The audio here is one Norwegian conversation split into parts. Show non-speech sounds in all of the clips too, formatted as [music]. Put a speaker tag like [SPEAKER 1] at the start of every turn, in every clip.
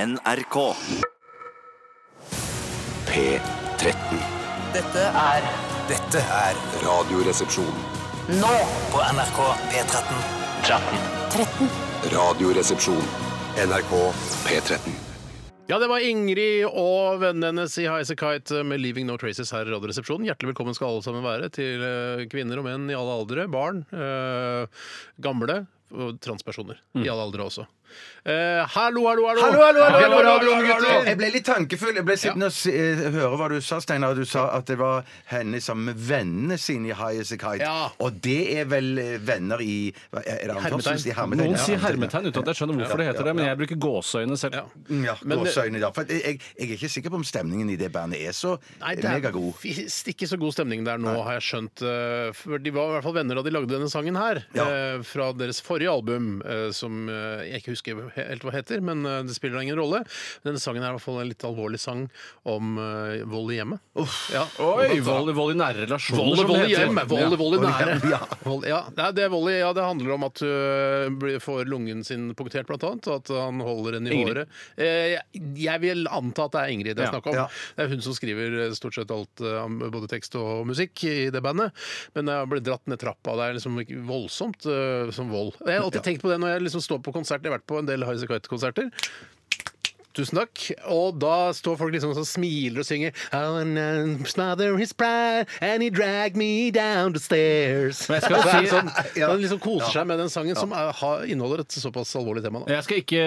[SPEAKER 1] NRK.
[SPEAKER 2] P13.
[SPEAKER 3] Dette er
[SPEAKER 4] Dette er
[SPEAKER 2] Radioresepsjon.
[SPEAKER 3] nå
[SPEAKER 4] på NRK P13.
[SPEAKER 2] Radioresepsjon. NRK P13.
[SPEAKER 5] Ja, det var Ingrid og vennene hennes i Highasakite med 'Leaving No Traces' her i Radioresepsjonen. Hjertelig velkommen skal alle sammen være til eh, kvinner og menn i alle aldre, barn, eh, gamle og transpersoner. I alle aldre også. Eh, hallo, hallo, hallo!
[SPEAKER 6] Hallo, hallo, hallo, hallo, hallo,
[SPEAKER 5] hallo, hallo, hallo.
[SPEAKER 6] Jeg ble litt tankefull. Jeg ble sittende og s- eh, høre hva du sa, Steinar. Du sa at det var henne sammen med vennene sine i High As A Kite.
[SPEAKER 5] Ja.
[SPEAKER 6] Og det er vel eh, venner i hva- Er det anførsels- i hermetegn?
[SPEAKER 7] Noen
[SPEAKER 6] Ja,
[SPEAKER 7] sier hermetegn uten at jeg skjønner hvorfor det heter det, men jeg bruker gåseøyne selv.
[SPEAKER 5] Ja.
[SPEAKER 6] Ja,
[SPEAKER 5] Men- eh,
[SPEAKER 6] gåseøyne, da. For jeg, jeg, jeg er ikke sikker på om stemningen i det bandet er så
[SPEAKER 5] Nei, det er
[SPEAKER 6] megagod.
[SPEAKER 5] visst ikke så god stemning der nå, har jeg skjønt. Eh, For de var i hvert fall venner da de lagde denne sangen her.
[SPEAKER 6] Ja.
[SPEAKER 5] eh, Fra deres forrige album, eh, som eh, jeg ikke husker he- helt hva heter, men eh, det spiller da ingen rolle. Denne sangen er i hvert fall en litt alvorlig sang om eh, vold i hjemmet. Ja.
[SPEAKER 7] Oi, vold, vold i nære relasjoner,
[SPEAKER 5] Vold,
[SPEAKER 7] som det
[SPEAKER 5] vold i
[SPEAKER 7] heter.
[SPEAKER 5] hjemmet. Vold, vold i
[SPEAKER 6] Vold i
[SPEAKER 5] nære. [laughs]
[SPEAKER 6] hjemmet, liksom, ja.
[SPEAKER 5] Vold, ja. Nei, det er vold i, ja, det handler om at du blir- får lungen sin punktert, blant annet. Og at han holder den i
[SPEAKER 7] Ingrid.
[SPEAKER 5] håret. Eh, jeg vil anta at det er Ingrid det er
[SPEAKER 7] Ja.
[SPEAKER 5] snakk om.
[SPEAKER 6] Ja.
[SPEAKER 5] Det er hun som skriver eh, stort sett alt, eh, om både tekst og musikk i det bandet. Men jeg blir dratt ned trappa. Det er liksom ikke voldsomt eh, som vold. Jeg har alltid tenkt på det når jeg liksom står på konsert. Jeg har vært på en del Highasakite konserter Tusen takk. Og da står folk liksom og så smiler og synger «Oh, and I smother his pride, and he dragged me down the stairs.
[SPEAKER 7] Men jeg skal
[SPEAKER 5] Så er det
[SPEAKER 7] si-
[SPEAKER 6] [laughs]
[SPEAKER 5] sånn, Man liksom koser seg med den sangen som er, har- inneholder et såpass alvorlig tema. Da.
[SPEAKER 7] Jeg skal ikke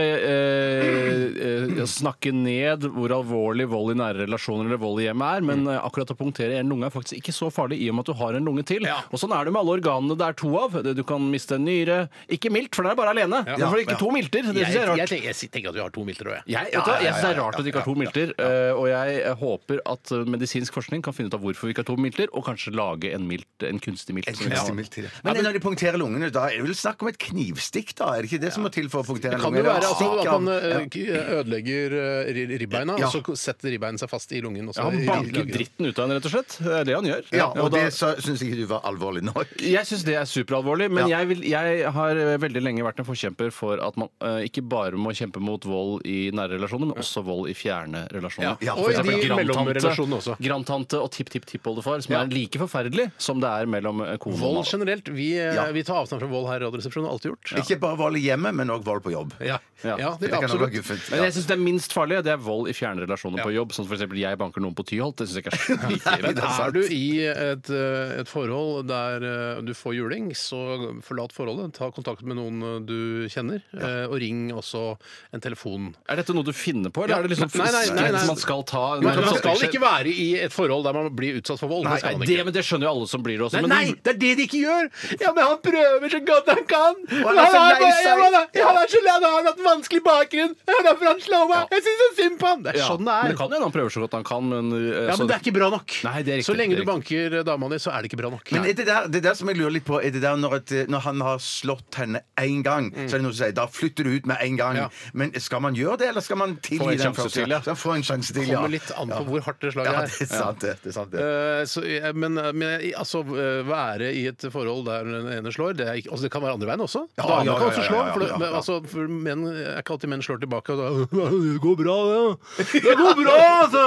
[SPEAKER 7] eh, eh, snakke ned hvor alvorlig vold i nære relasjoner eller vold i hjemmet er, men eh, akkurat å punktere en lunge er faktisk ikke så farlig i og med at du har en lunge til.
[SPEAKER 5] Ja.
[SPEAKER 7] Og sånn er det med alle organene det er to av. Du kan miste en nyre. Ikke milt, for den er bare alene.
[SPEAKER 5] Ja.
[SPEAKER 7] Hvorfor ikke to milter? Det syns jeg er rart.
[SPEAKER 5] Jeg, tenker, jeg tenker at vi har to milter òg, jeg.
[SPEAKER 7] Jeg, vet du, hva, jeg synes Det er rart at vi ikke har to milter, eh, og jeg håper at eh, medisinsk forskning kan finne ut av hvorfor vi ikke har to milter, og kanskje lage en, milt, en kunstig milt.
[SPEAKER 6] Et
[SPEAKER 7] som vi kan-
[SPEAKER 6] kunstig milt til det. Men når de punkterer lungene, da er det vel snakk om et knivstikk, da? Er det ikke det som må til for å punktere
[SPEAKER 5] Det
[SPEAKER 6] en
[SPEAKER 5] kan
[SPEAKER 6] lunge?
[SPEAKER 5] jo være
[SPEAKER 6] Eller
[SPEAKER 5] altså,
[SPEAKER 6] stikk
[SPEAKER 5] at
[SPEAKER 6] av-
[SPEAKER 5] man eh,
[SPEAKER 6] Ja.
[SPEAKER 5] k- ødelegger eh, ri- ribbeina,
[SPEAKER 6] Ja.
[SPEAKER 5] og så setter ribbeinet seg fast i lungen. og så-
[SPEAKER 7] Ja, han
[SPEAKER 5] i-
[SPEAKER 7] banker
[SPEAKER 5] i-
[SPEAKER 7] dritten ut av henne, rett og slett. Det er det han gjør.
[SPEAKER 6] Ja,
[SPEAKER 7] Ja,
[SPEAKER 6] og
[SPEAKER 7] da-
[SPEAKER 6] det syns ikke du var alvorlig nok.
[SPEAKER 7] Jeg syns det er superalvorlig, men
[SPEAKER 6] Ja.
[SPEAKER 7] jeg, vil, jeg har eh, veldig lenge vært en forkjemper for at man eh, ikke bare må kjempe mot vold i nære relasjoner, men også vold i fjerne relasjoner.
[SPEAKER 6] Ja,
[SPEAKER 7] For
[SPEAKER 6] og i
[SPEAKER 7] eksempel
[SPEAKER 5] de
[SPEAKER 7] grandtante-
[SPEAKER 5] mellomrelasjonene også.
[SPEAKER 7] Grandtante og tipp-tipp-tippoldefar, som er like forferdelig som det er mellom eh, kone
[SPEAKER 5] Vold
[SPEAKER 7] og mann.
[SPEAKER 5] generelt. Vi, eh,
[SPEAKER 6] Ja.
[SPEAKER 5] vi tar avstand fra vold her i Radioresepsjonen. har Alltid gjort.
[SPEAKER 6] Ikke bare vold i hjemmet, men òg vold på jobb.
[SPEAKER 5] Ja, ja.
[SPEAKER 7] Ja.
[SPEAKER 5] det,
[SPEAKER 6] Det kan også
[SPEAKER 5] absolutt.
[SPEAKER 6] være guffent.
[SPEAKER 7] Men
[SPEAKER 6] Ja.
[SPEAKER 7] jeg syns det er minst farlige, det er vold i fjerne relasjoner på jobb. Som for eksempel jeg banker noen på Tyholt. Det syns jeg [laughs] ikke er så
[SPEAKER 6] Nei,
[SPEAKER 7] ille.
[SPEAKER 6] det er
[SPEAKER 5] Er
[SPEAKER 6] sant.
[SPEAKER 5] du i et, eh, et forhold der eh, du får juling, så forlat forholdet. Ta kontakt med noen eh, du kjenner, eh, og ring også en telefon.
[SPEAKER 7] Er dette noe du finner på, eller
[SPEAKER 5] Ja.
[SPEAKER 7] er det liksom
[SPEAKER 5] Nei, nei, nei, nei.
[SPEAKER 7] skritt man skal ta?
[SPEAKER 5] Men man skal ikke være i et forhold der man blir utsatt for vold.
[SPEAKER 7] Nei,
[SPEAKER 5] det skal man
[SPEAKER 7] det,
[SPEAKER 5] ikke.
[SPEAKER 7] men det skjønner jo alle som blir det
[SPEAKER 5] Nei,
[SPEAKER 7] også. men-
[SPEAKER 5] nei, det er det de ikke gjør! Ja, men han prøver så godt han kan!
[SPEAKER 6] han
[SPEAKER 5] Men
[SPEAKER 6] er
[SPEAKER 5] han
[SPEAKER 6] så
[SPEAKER 5] har
[SPEAKER 6] lei
[SPEAKER 5] bare- ja,
[SPEAKER 6] seg.
[SPEAKER 5] men han er- han er så lei, han har hatt en vanskelig bakgrunn! Det er derfor han slår meg! Jeg syns så synd på han! Det er
[SPEAKER 7] Ja,
[SPEAKER 5] sånn det
[SPEAKER 7] Men
[SPEAKER 5] er.
[SPEAKER 7] det kan hende han prøver så godt han kan, men, eh,
[SPEAKER 5] Ja,
[SPEAKER 7] så-
[SPEAKER 5] Men det er ikke bra nok.
[SPEAKER 7] Nei, det er
[SPEAKER 5] så
[SPEAKER 7] riktig,
[SPEAKER 5] lenge
[SPEAKER 7] det er
[SPEAKER 5] du banker eh, dama di, så er det ikke bra nok.
[SPEAKER 6] Men er det der, det der som jeg lurer litt på, er det der når, et, når han har slått henne én gang, så er det noen som sier da flytter du ut med en gang.
[SPEAKER 5] Mm. Ja.
[SPEAKER 6] Men skal man gjøre det, eller skal man
[SPEAKER 7] Få
[SPEAKER 6] tilgi
[SPEAKER 7] en
[SPEAKER 6] den
[SPEAKER 7] sjanse
[SPEAKER 6] første?
[SPEAKER 7] til, ja.
[SPEAKER 6] Så Få en sjanse til,
[SPEAKER 5] Det
[SPEAKER 6] ja.
[SPEAKER 5] kommer litt an på
[SPEAKER 6] Ja.
[SPEAKER 5] hvor hardt det slaget
[SPEAKER 6] Ja,
[SPEAKER 5] er.
[SPEAKER 6] det er sant, det. det, er sant, det.
[SPEAKER 5] Eh, Så, eh, men men i- altså, eh, være i et forhold der den ene slår Det, er ikke, altså, det kan være andre veien også.
[SPEAKER 6] Ja,
[SPEAKER 5] Damene
[SPEAKER 6] ja,
[SPEAKER 5] kan
[SPEAKER 6] ja,
[SPEAKER 5] også
[SPEAKER 6] ja,
[SPEAKER 5] slå.
[SPEAKER 6] ja, ja,
[SPEAKER 5] for, det-
[SPEAKER 6] ja,
[SPEAKER 5] men,
[SPEAKER 6] ja.
[SPEAKER 5] altså, for menn er ikke alltid menn slår tilbake. Og da, [laughs] det går bra, det. ja. Det går bra, altså!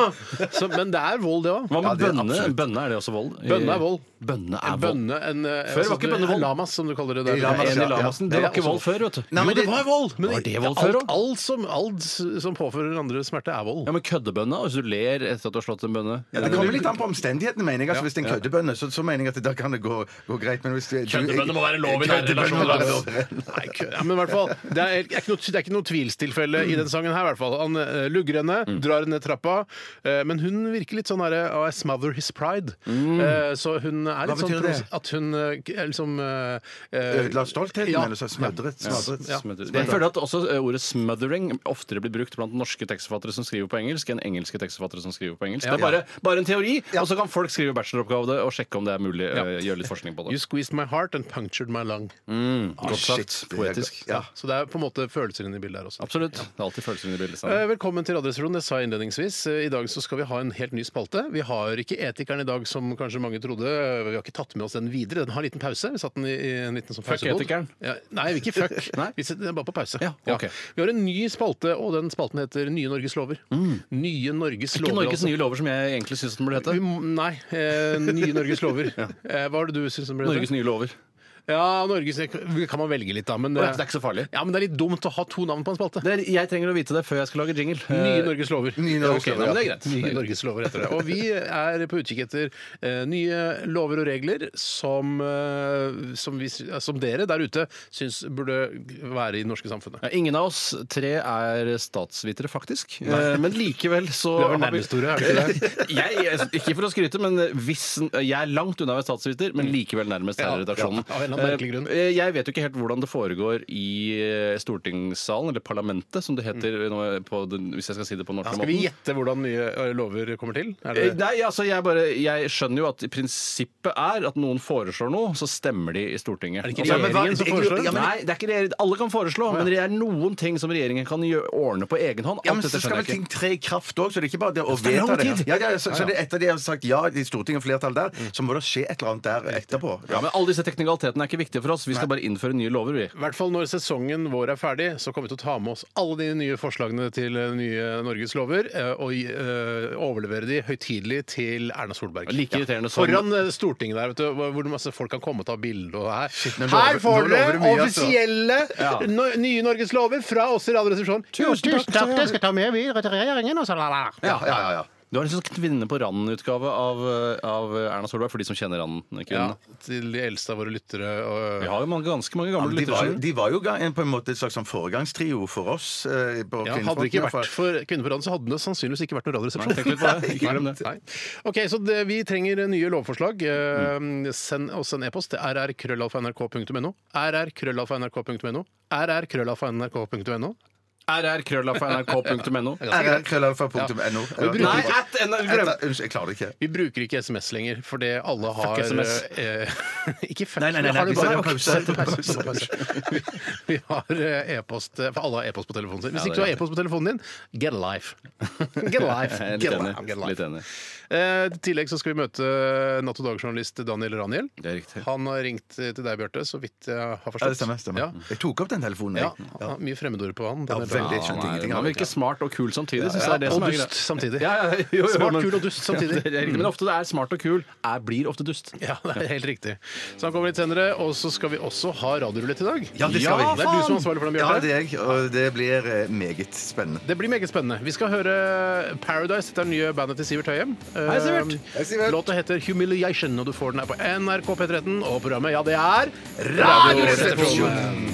[SPEAKER 5] Så, men det er vold, det òg.
[SPEAKER 7] Hva med
[SPEAKER 6] Ja, det er
[SPEAKER 7] bønne?
[SPEAKER 6] absolutt.
[SPEAKER 7] Bønne er det også vold?
[SPEAKER 5] Bønne er vold.
[SPEAKER 7] Bønne er vold.
[SPEAKER 5] Bønne en, eh,
[SPEAKER 7] Før var ikke
[SPEAKER 5] sånn-
[SPEAKER 7] bønne vold.
[SPEAKER 5] Lamas, som du kaller det. Der.
[SPEAKER 6] Lamas,
[SPEAKER 7] En
[SPEAKER 6] ja,
[SPEAKER 7] i
[SPEAKER 5] ja.
[SPEAKER 7] Lamassen. Det var ikke
[SPEAKER 5] også
[SPEAKER 7] vold før, vet du.
[SPEAKER 5] altså
[SPEAKER 6] Nei, men
[SPEAKER 5] jo, det
[SPEAKER 6] det-
[SPEAKER 5] var vold! Men
[SPEAKER 7] Var det vold før
[SPEAKER 5] alt,
[SPEAKER 7] også?
[SPEAKER 5] alt, som, alt som påfører andre smerte, er vold.
[SPEAKER 7] Ja, men køddebønne, hvis du ler etter at du har slått en bønne
[SPEAKER 6] Ja, det kommer litt an på omstendighetene, mener jeg. Altså, hvis det er en køddebønne, så, så mener jeg at da kan det gå, gå greit. Men hvis det, du-
[SPEAKER 7] Køddebønne må være lov i nære
[SPEAKER 6] Køddebønne må
[SPEAKER 7] relasjoner,
[SPEAKER 6] være lov
[SPEAKER 7] altså.
[SPEAKER 6] i nære relasjoner.
[SPEAKER 5] Nei, kø- ja, men i hvert fall, det er, det er ikke noe, det er ikke noe tvilstilfelle i den sangen her. i hvert fall. Han eh, lugger henne,
[SPEAKER 7] Mm.
[SPEAKER 5] drar henne ned trappa, eh, men hun virker litt sånn herre I smother his pride.
[SPEAKER 7] Mm.
[SPEAKER 5] Eh, så hun er litt
[SPEAKER 6] Hva
[SPEAKER 5] sånn
[SPEAKER 6] betyr det?
[SPEAKER 5] provos- at hun eh, er liksom eh, eh,
[SPEAKER 6] Ødela stoltheten,
[SPEAKER 5] Ja.
[SPEAKER 6] eller så smadret. smadret.
[SPEAKER 5] Ja.
[SPEAKER 7] Smutter- Jeg føler at også eh, ordet 'smothering' oftere blir brukt blant norske tekstforfattere som skriver på engelsk, enn engelske tekstforfattere som skriver på engelsk. Det er bare, bare en teori, og så kan folk skrive bacheloroppgave og sjekke om det er mulig. eh, Gjøre litt forskning på
[SPEAKER 5] You
[SPEAKER 7] det.
[SPEAKER 5] squeezed my heart and punctured my lung.
[SPEAKER 7] Mm.
[SPEAKER 5] Ah,
[SPEAKER 7] Godt sagt.
[SPEAKER 6] det er
[SPEAKER 7] Poetisk.
[SPEAKER 6] godt. Ja.
[SPEAKER 5] Så det er på en måte følelser inne i bildet her også.
[SPEAKER 7] Absolutt. Det er alltid følelser inne i bildet.
[SPEAKER 5] Eh,
[SPEAKER 7] Steinar.
[SPEAKER 5] Velkommen til Radioresepsjonen. Det sa jeg innledningsvis. Eh, I dag så skal vi ha en helt ny spalte. Vi har ikke Etikeren i dag, som kanskje mange trodde. eh, vi har ikke tatt med oss den videre. Den har en liten pause. Vi satt den i, i en liten sånn
[SPEAKER 7] Fuck
[SPEAKER 5] pausebod.
[SPEAKER 7] etikeren.
[SPEAKER 5] Ja, nei, vi ikke fuck.
[SPEAKER 7] [laughs] Nei.
[SPEAKER 5] Vi setter den bare på pause.
[SPEAKER 7] Ja, ok.
[SPEAKER 5] Vi har en ny spalte, og den spalten heter Nye Norges lover. Nye Norges
[SPEAKER 7] Mm. Ikke
[SPEAKER 5] lover.
[SPEAKER 7] Norges
[SPEAKER 5] altså.
[SPEAKER 7] nye lover, som jeg egentlig syns den burde hete.
[SPEAKER 5] Vi må- Nei. Eh, nye Norges
[SPEAKER 7] [laughs]
[SPEAKER 5] lover. eh, hva er det du syns den burde hete?
[SPEAKER 7] Norges nye lover.
[SPEAKER 5] Ja, Norges kan man velge litt, da. Men, eh,
[SPEAKER 7] Å ja, så det er ikke så farlig.
[SPEAKER 5] Ja, men det er litt dumt å ha to navn på en spalte.
[SPEAKER 7] Det er, jeg trenger å vite det før jeg skal lage jingle.
[SPEAKER 5] Nye Norges lover.
[SPEAKER 6] Eh, Nye Norges
[SPEAKER 5] Ja, ok,
[SPEAKER 6] lover,
[SPEAKER 5] nei, men det er
[SPEAKER 7] ja.
[SPEAKER 5] greit. Nye Norges lover heter det. Og vi er på utkikk etter eh, nye lover og regler som, eh, som, vi, sy- som dere der ute syns burde være i det norske samfunnet.
[SPEAKER 7] Ja, ingen av oss tre er statsvitere, faktisk. Eh, Men likevel så
[SPEAKER 5] Du er vel
[SPEAKER 7] har vi-
[SPEAKER 5] nærmest, Tore, er du ikke
[SPEAKER 7] [laughs] jeg, jeg, ikke for å skryte, men hvis, jeg er langt unna å være statsviter, men likevel nærmest her i
[SPEAKER 5] Mm. Ja,
[SPEAKER 7] redaksjonen.
[SPEAKER 5] ja, av en eller annen merkelig grunn.
[SPEAKER 7] Eh, Jeg vet jo ikke helt hvordan det foregår i eh, stortingssalen, eller parlamentet, som det heter nå på den, hvis jeg skal si det på norsk.
[SPEAKER 5] Mm. Skal vi gjette hvordan nye eh, lover kommer til? Er
[SPEAKER 7] Eh,
[SPEAKER 5] det...
[SPEAKER 7] Nei, altså jeg, bare, jeg skjønner jo at prinsippet er at noen foreslår noe, så stemmer de i Stortinget.
[SPEAKER 5] Er det ikke
[SPEAKER 7] Altså,
[SPEAKER 5] regjeringen
[SPEAKER 7] men hva-
[SPEAKER 5] som
[SPEAKER 7] det-
[SPEAKER 5] foreslår?
[SPEAKER 7] Ja, men, nei, det er ikke regjeringen. Alle kan foreslå, men det er noen ting som regjeringen kan gjø- ordne på egen hånd. Alt
[SPEAKER 6] Ja, men
[SPEAKER 7] dette
[SPEAKER 6] så skal
[SPEAKER 7] skjønner
[SPEAKER 6] vel
[SPEAKER 7] jeg ikke.
[SPEAKER 6] ting tre i kraft òg, så det er ikke bare det å
[SPEAKER 7] det er
[SPEAKER 6] vedta
[SPEAKER 7] lang
[SPEAKER 6] det.
[SPEAKER 7] tid.
[SPEAKER 6] Ja, ja, så, så det er etter de har sagt ja i Stortinget og flertallet der, så må det skje et eller annet der etterpå.
[SPEAKER 7] Ja, men Alle disse teknikalitetene er ikke viktige for oss. Vi skal bare innføre nye lover. vi.
[SPEAKER 5] I hvert fall når sesongen vår er ferdig, så kommer vi til å ta med oss alle de nye forslagene til eh, nye Norges lover eh, og gi- eh, overlevere de høytidelig til Erna Solberg.
[SPEAKER 7] Like irriterende som-
[SPEAKER 5] Foran eh, Stortinget der, vet du, hvor- hvor masse folk kan komme og ta bilde og her.
[SPEAKER 6] nå lover-
[SPEAKER 5] Her får
[SPEAKER 6] nå lover
[SPEAKER 5] dere
[SPEAKER 6] du mye, altså.
[SPEAKER 5] offisielle
[SPEAKER 7] Ja.
[SPEAKER 5] no, nye Norges lover fra oss i Radioresepsjonen. Tusen takk, det skal ta med videre til regjeringen og så la la.
[SPEAKER 6] Ja, ja, ja, ja.
[SPEAKER 7] Du har en sånn Kvinne på randen-utgave av, eh, av Erna Solberg, for de som kjenner randen. eh,
[SPEAKER 5] Ja,
[SPEAKER 7] kvinnen.
[SPEAKER 5] til de eldste av våre lyttere. Og,
[SPEAKER 7] Vi har jo mange, ganske mange gamle
[SPEAKER 6] De
[SPEAKER 7] lyttere.
[SPEAKER 6] var, jo-
[SPEAKER 7] skjønner du.
[SPEAKER 6] de var jo ga- en, på en måte et slags sånn foregangstrio for oss. Eh, på
[SPEAKER 5] Ja, hadde
[SPEAKER 6] kvinnefronten
[SPEAKER 5] det ikke
[SPEAKER 6] i hvert fall.
[SPEAKER 5] vært for Kvinner på rad, så hadde det sannsynligvis ikke vært noen
[SPEAKER 7] Nei, tenk
[SPEAKER 5] radioresepsjon.
[SPEAKER 7] litt på det. Ikke glem
[SPEAKER 5] [laughs]
[SPEAKER 7] det.
[SPEAKER 5] Nei. Ok, så det, Vi trenger nye lovforslag. Eh, Send oss en e-post til rrkrøllalfa.nrk.no. rrkrøllalfa.nrk.no. rrkrøllalfa.nrk.no.
[SPEAKER 7] rrkrøllalfa.nrk.no.
[SPEAKER 6] rrkrøllalfa.no.
[SPEAKER 5] bruker-
[SPEAKER 7] Nei, at
[SPEAKER 6] Etter- Unnskyld, jeg klarer det ikke.
[SPEAKER 5] Vi bruker ikke SMS lenger, fordi alle har
[SPEAKER 7] SMS.
[SPEAKER 5] eh, [laughs] ikke fuck.
[SPEAKER 6] Nei, nei, nei,
[SPEAKER 5] Har du
[SPEAKER 6] vi setter
[SPEAKER 5] bare- [laughs]
[SPEAKER 6] pause.
[SPEAKER 5] setter pause, setter pause. Vi- Vi har eh, e-post For alle har e-post på telefonen sin. Hvis
[SPEAKER 7] Ja, det
[SPEAKER 5] ikke du har
[SPEAKER 7] er
[SPEAKER 5] e-post på telefonen din, get a life. [laughs] Get a life.
[SPEAKER 7] Jeg
[SPEAKER 5] Get
[SPEAKER 7] er [laughs] Litt
[SPEAKER 5] a life. Get a
[SPEAKER 7] enig.
[SPEAKER 5] life.
[SPEAKER 7] Litt enig.
[SPEAKER 5] Eh, I tillegg så skal vi møte Natt og Dag-journalist Daniel Raniel.
[SPEAKER 7] Det er riktig.
[SPEAKER 5] Han har ringt til deg, Bjarte, så vidt jeg har forstått.
[SPEAKER 6] Ja, det stemmer. stemmer.
[SPEAKER 5] Ja.
[SPEAKER 6] Jeg tok opp den telefonen.
[SPEAKER 5] Ja,
[SPEAKER 6] jeg.
[SPEAKER 5] han har mye fremmedord på han. Daniel
[SPEAKER 6] Ja, veldig.
[SPEAKER 5] Raniel.
[SPEAKER 6] Jeg skjønte
[SPEAKER 7] han, er,
[SPEAKER 6] ingenting av
[SPEAKER 7] han
[SPEAKER 6] det.
[SPEAKER 7] virker smart og kul samtidig. synes jeg er det
[SPEAKER 5] Ja,
[SPEAKER 7] som
[SPEAKER 5] og
[SPEAKER 7] er
[SPEAKER 5] dust
[SPEAKER 7] greia.
[SPEAKER 5] samtidig.
[SPEAKER 7] Ja, ja, jo, jo,
[SPEAKER 5] Smart,
[SPEAKER 7] men-
[SPEAKER 5] kul og dust samtidig.
[SPEAKER 7] Ja, det er riktig, men ofte det er smart og kul er, blir ofte dust.
[SPEAKER 5] Ja, det er helt riktig. Så han kommer litt senere. Og så skal vi også ha radiorulett i dag.
[SPEAKER 6] Ja, det skal vi.
[SPEAKER 5] Det er du som er ansvarlig for den,
[SPEAKER 6] Ja,
[SPEAKER 5] Bjarte.
[SPEAKER 6] det er jeg, og det blir eh, meget spennende.
[SPEAKER 5] Det blir meget spennende. Vi skal høre Paradise. Dette er det nye bandet til Sivert Høyem.
[SPEAKER 7] Hei, Sivert.
[SPEAKER 5] Eh, Låta heter Humiliation, og du får den her på NRK P13. Og programmet, ja, det er Radioresepsjonen!